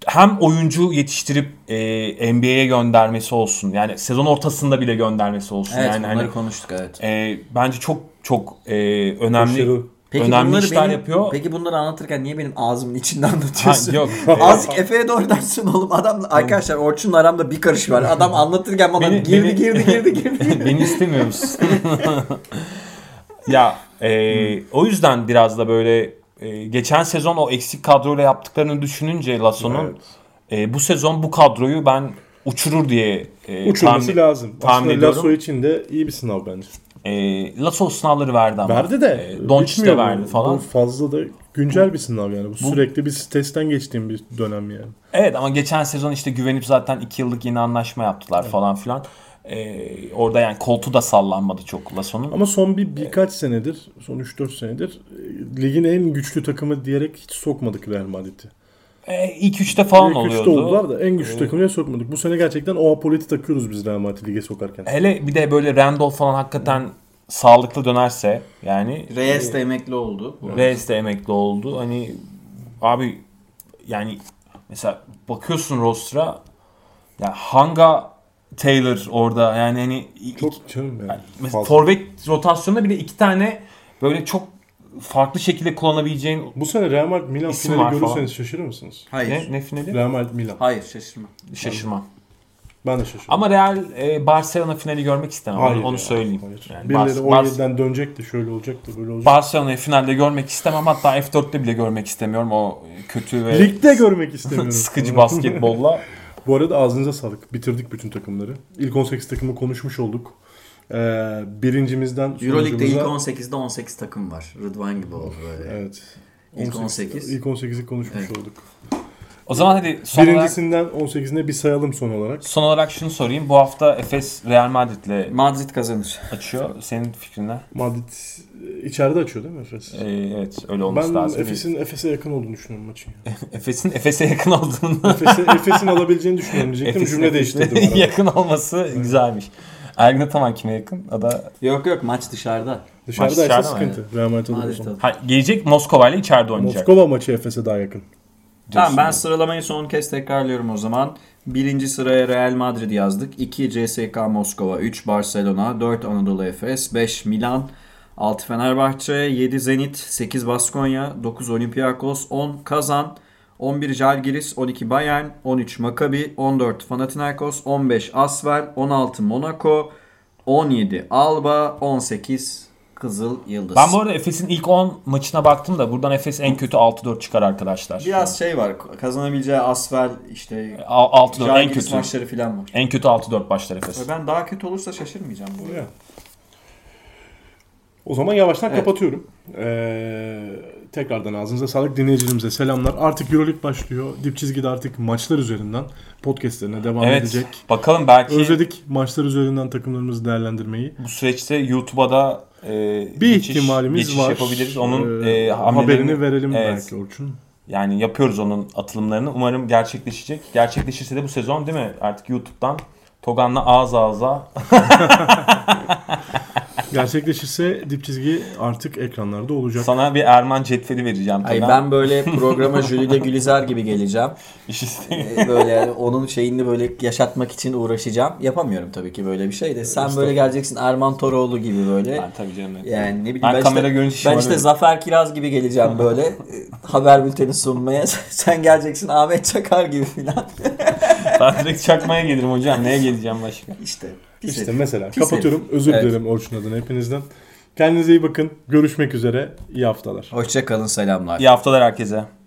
[SPEAKER 3] hem oyuncu yetiştirip e, NBA'ye göndermesi olsun. Yani sezon ortasında bile göndermesi olsun.
[SPEAKER 2] Evet
[SPEAKER 3] yani
[SPEAKER 2] bunları
[SPEAKER 3] hani,
[SPEAKER 2] konuştuk evet.
[SPEAKER 3] e, bence çok çok e, önemli
[SPEAKER 1] Başarılı.
[SPEAKER 3] önemli
[SPEAKER 2] bunları
[SPEAKER 3] işler
[SPEAKER 2] benim-
[SPEAKER 3] yapıyor.
[SPEAKER 2] Peki bunları anlatırken niye benim ağzımın içinde
[SPEAKER 3] ha,
[SPEAKER 2] anlatıyorsun?
[SPEAKER 3] yok. E,
[SPEAKER 2] Azıcık Efe'ye doğru dersin oğlum. Adam arkadaşlar Orçun'la aramda bir karış var. Adam anlatırken bana
[SPEAKER 3] Beni-
[SPEAKER 2] girdi,
[SPEAKER 3] beni-
[SPEAKER 2] girdi girdi girdi
[SPEAKER 3] Beni istemiyor musun? ya e, o yüzden biraz da böyle e, geçen sezon o eksik kadroyla yaptıklarını düşününce Lasso'nun e, bu sezon bu kadroyu ben uçurur diye e,
[SPEAKER 1] Uçurması
[SPEAKER 3] tahmin-
[SPEAKER 1] lazım.
[SPEAKER 3] tahmin
[SPEAKER 1] Aslında
[SPEAKER 3] ediyorum.
[SPEAKER 1] Lasso için de iyi bir sınav bence.
[SPEAKER 3] E, Lasso sınavları verdi ama.
[SPEAKER 1] Verdi de.
[SPEAKER 3] E, Doncic de
[SPEAKER 1] bitmiyor bu.
[SPEAKER 3] verdi falan.
[SPEAKER 1] Bu fazla da güncel bir sınav yani. Bu, sürekli bir testten geçtiğim bir dönem yani.
[SPEAKER 3] Evet ama geçen sezon işte güvenip zaten 2 yıllık yeni anlaşma yaptılar falan filan. E, orada yani koltuğu da sallanmadı çok Lasso'nun.
[SPEAKER 1] Ama son bir birkaç senedir, son 3-4 senedir e, ligin en güçlü takımı diyerek hiç sokmadık Real Madrid'i.
[SPEAKER 3] E, ilk üçte falan
[SPEAKER 1] İlk üçte
[SPEAKER 3] oluyordu.
[SPEAKER 1] Ee,
[SPEAKER 3] Ee,
[SPEAKER 1] oldular da en güçlü takımı diye sokmadık. Bu sene gerçekten o apoliti takıyoruz biz Real Madrid'i lige sokarken.
[SPEAKER 3] Hele bir de böyle Randolph falan hakikaten sağlıklı dönerse yani
[SPEAKER 2] Reyes de emekli oldu.
[SPEAKER 3] Reyes de emekli oldu. Hani abi yani mesela bakıyorsun roster'a ya Hanga Taylor orada yani hani i-
[SPEAKER 1] Çok canım yani.
[SPEAKER 3] mesela
[SPEAKER 1] Fazla.
[SPEAKER 3] forvet rotasyonunda bile iki tane böyle çok farklı şekilde kullanabileceğin
[SPEAKER 1] Bu sene Real Madrid Milan
[SPEAKER 3] İsim
[SPEAKER 1] finali
[SPEAKER 3] var
[SPEAKER 1] görürseniz
[SPEAKER 3] falan.
[SPEAKER 1] şaşırır mısınız?
[SPEAKER 2] Hayır.
[SPEAKER 3] ne, ne finali?
[SPEAKER 1] Real Madrid Milan.
[SPEAKER 2] Hayır şaşırma.
[SPEAKER 3] Şaşırma.
[SPEAKER 1] Ben de şaşırdım.
[SPEAKER 3] Ama Real e, Barcelona finali görmek istemem. Onu-
[SPEAKER 1] Hayır
[SPEAKER 3] onu
[SPEAKER 1] ya,
[SPEAKER 3] söyleyeyim.
[SPEAKER 1] hayır.
[SPEAKER 3] Yani
[SPEAKER 1] Birileri
[SPEAKER 3] Bar- Bar-
[SPEAKER 1] 17'den dönecekti, şöyle olacaktı, böyle olacaktı.
[SPEAKER 3] Barcelona'yı finalde görmek istemem. Hatta F4'te bile görmek istemiyorum. O kötü ve
[SPEAKER 1] Ligde görmek istemiyorum.
[SPEAKER 3] sıkıcı basketbolla.
[SPEAKER 1] Bu arada ağzınıza sağlık. Bitirdik bütün takımları. İlk 18 takımı konuşmuş olduk. Ee, birincimizden
[SPEAKER 2] Euroleague'de ilk
[SPEAKER 1] sonucumuza-
[SPEAKER 2] 18'de 18 takım var. Rıdvan gibi oldu böyle.
[SPEAKER 1] Evet.
[SPEAKER 2] İlk 18.
[SPEAKER 1] İlk 18'i konuşmuş olduk.
[SPEAKER 3] O zaman hadi son olarak,
[SPEAKER 1] Birincisinden 18'ine bir sayalım son olarak.
[SPEAKER 3] son olarak şunu sorayım. Bu hafta Efes Real Madrid'le
[SPEAKER 2] Madrid kazanır.
[SPEAKER 3] açıyor. Senin fikrin ne?
[SPEAKER 1] Madrid e, içeride açıyor değil mi Efes?
[SPEAKER 3] Ee, evet öyle
[SPEAKER 1] ben
[SPEAKER 3] olması lazım.
[SPEAKER 1] Efes'in Efes'e yakın olduğunu düşünüyorum maçın. ya.
[SPEAKER 3] Efes'in Efes'e yakın olduğunu
[SPEAKER 1] Efes'e- Efes'in alabileceğini düşünüyorum diyecektim.
[SPEAKER 3] Efes'in
[SPEAKER 1] Cümle
[SPEAKER 3] Efes'e
[SPEAKER 1] değiştirdim. arada.
[SPEAKER 3] yakın olması güzelmiş. Ergin Ataman kime yakın? O da
[SPEAKER 2] Yok yok maç dışarıda.
[SPEAKER 1] Dışarıda
[SPEAKER 3] dışarıda
[SPEAKER 1] ise
[SPEAKER 3] mı?
[SPEAKER 1] sıkıntı. Real Madrid olur o
[SPEAKER 2] Madrid
[SPEAKER 1] zaman.
[SPEAKER 2] alır.
[SPEAKER 3] ha, gelecek Moskova ile içeride oynayacak.
[SPEAKER 1] Moskova maçı Efes'e daha yakın.
[SPEAKER 2] Tamam ben
[SPEAKER 3] diyorsun.
[SPEAKER 2] sıralamayı son kez tekrarlıyorum o zaman. Birinci sıraya Real Madrid yazdık. 2 CSK Moskova, 3 Barcelona, 4 Anadolu Efes, 5 Milan, 6 Fenerbahçe, 7 Zenit, 8 Baskonya, 9 Olympiakos, 10 Kazan, 11 Žalgiris, 12 Bayern, 13 Maccabi, 14 Panathinaikos, 15 Asvel, 16 Monaco, 17 Alba, 18 Kızıl Yıldız.
[SPEAKER 3] Ben bu arada Efes'in ilk 10 maçına baktım da buradan Efes en kötü 6-4 çıkar arkadaşlar.
[SPEAKER 2] Biraz şey var kazanabileceği Asvel işte
[SPEAKER 3] A- 6-4 en
[SPEAKER 2] Žalgiris
[SPEAKER 3] kötü.
[SPEAKER 2] maçları falan var.
[SPEAKER 3] En kötü 6-4 başlar Efes.
[SPEAKER 2] Ve Ben daha kötü olursa şaşırmayacağım bu arada.
[SPEAKER 1] Ya. O zaman yavaştan
[SPEAKER 2] Evet.
[SPEAKER 1] kapatıyorum. Ee, tekrardan ağzınıza sağlık. Dinleyicilerimize selamlar. Artık Euroleague başlıyor. Dip çizgide artık maçlar üzerinden podcastlerine devam
[SPEAKER 3] Evet. Şey-
[SPEAKER 1] edecek.
[SPEAKER 3] Bakalım belki
[SPEAKER 1] Özledik maçlar üzerinden takımlarımızı değerlendirmeyi.
[SPEAKER 3] bu süreçte YouTube'a da e,
[SPEAKER 1] Bir
[SPEAKER 3] geçiş-
[SPEAKER 1] ihtimalimiz
[SPEAKER 3] geçiş
[SPEAKER 1] var.
[SPEAKER 3] yapabiliriz. Onun
[SPEAKER 1] Ee,
[SPEAKER 3] e, hamlelerini-
[SPEAKER 1] haberini verelim
[SPEAKER 3] Evet.
[SPEAKER 1] belki Orçun.
[SPEAKER 3] Yani yapıyoruz onun atılımlarını. Umarım gerçekleşecek. Gerçekleşirse de bu sezon değil mi? Artık YouTube'dan Togan'la ağız ağza
[SPEAKER 1] Gerçekleşirse dip çizgi artık ekranlarda olacak.
[SPEAKER 3] sana bir Erman cetveli vereceğim.
[SPEAKER 2] Ay
[SPEAKER 3] Togan.
[SPEAKER 2] ben böyle programa Jülide Gülizar gibi geleceğim.
[SPEAKER 3] İş iste-
[SPEAKER 2] Ee, Böyle onun şeyini böyle yaşatmak için uğraşacağım. Yapamıyorum tabii ki böyle bir şey de. Sen böyle geleceksin Erman Toroğlu gibi böyle.
[SPEAKER 3] Ben tabii canım. evet.
[SPEAKER 2] Yani ne bileyim
[SPEAKER 3] Ben
[SPEAKER 2] ben,
[SPEAKER 3] kamera
[SPEAKER 2] işte,
[SPEAKER 3] görüntüsü
[SPEAKER 2] ben
[SPEAKER 3] var
[SPEAKER 2] işte
[SPEAKER 3] öyle.
[SPEAKER 2] Zafer Kiraz gibi geleceğim böyle. Ee, Haber bülteni sunmaya. Sen geleceksin Ahmet Çakar gibi filan.
[SPEAKER 3] Ben direkt çakmaya gelirim hocam. Neye geleceğim başka?
[SPEAKER 2] İşte. şey. pis
[SPEAKER 1] İşte
[SPEAKER 2] herif.
[SPEAKER 1] mesela
[SPEAKER 2] Pis
[SPEAKER 1] kapatıyorum.
[SPEAKER 2] herif.
[SPEAKER 1] Özür
[SPEAKER 2] Evet.
[SPEAKER 1] dilerim Orçun adına hepinizden. Kendinize iyi bakın. Görüşmek üzere. İyi haftalar.
[SPEAKER 2] Hoşça kalın selamlar.
[SPEAKER 3] İyi haftalar herkese.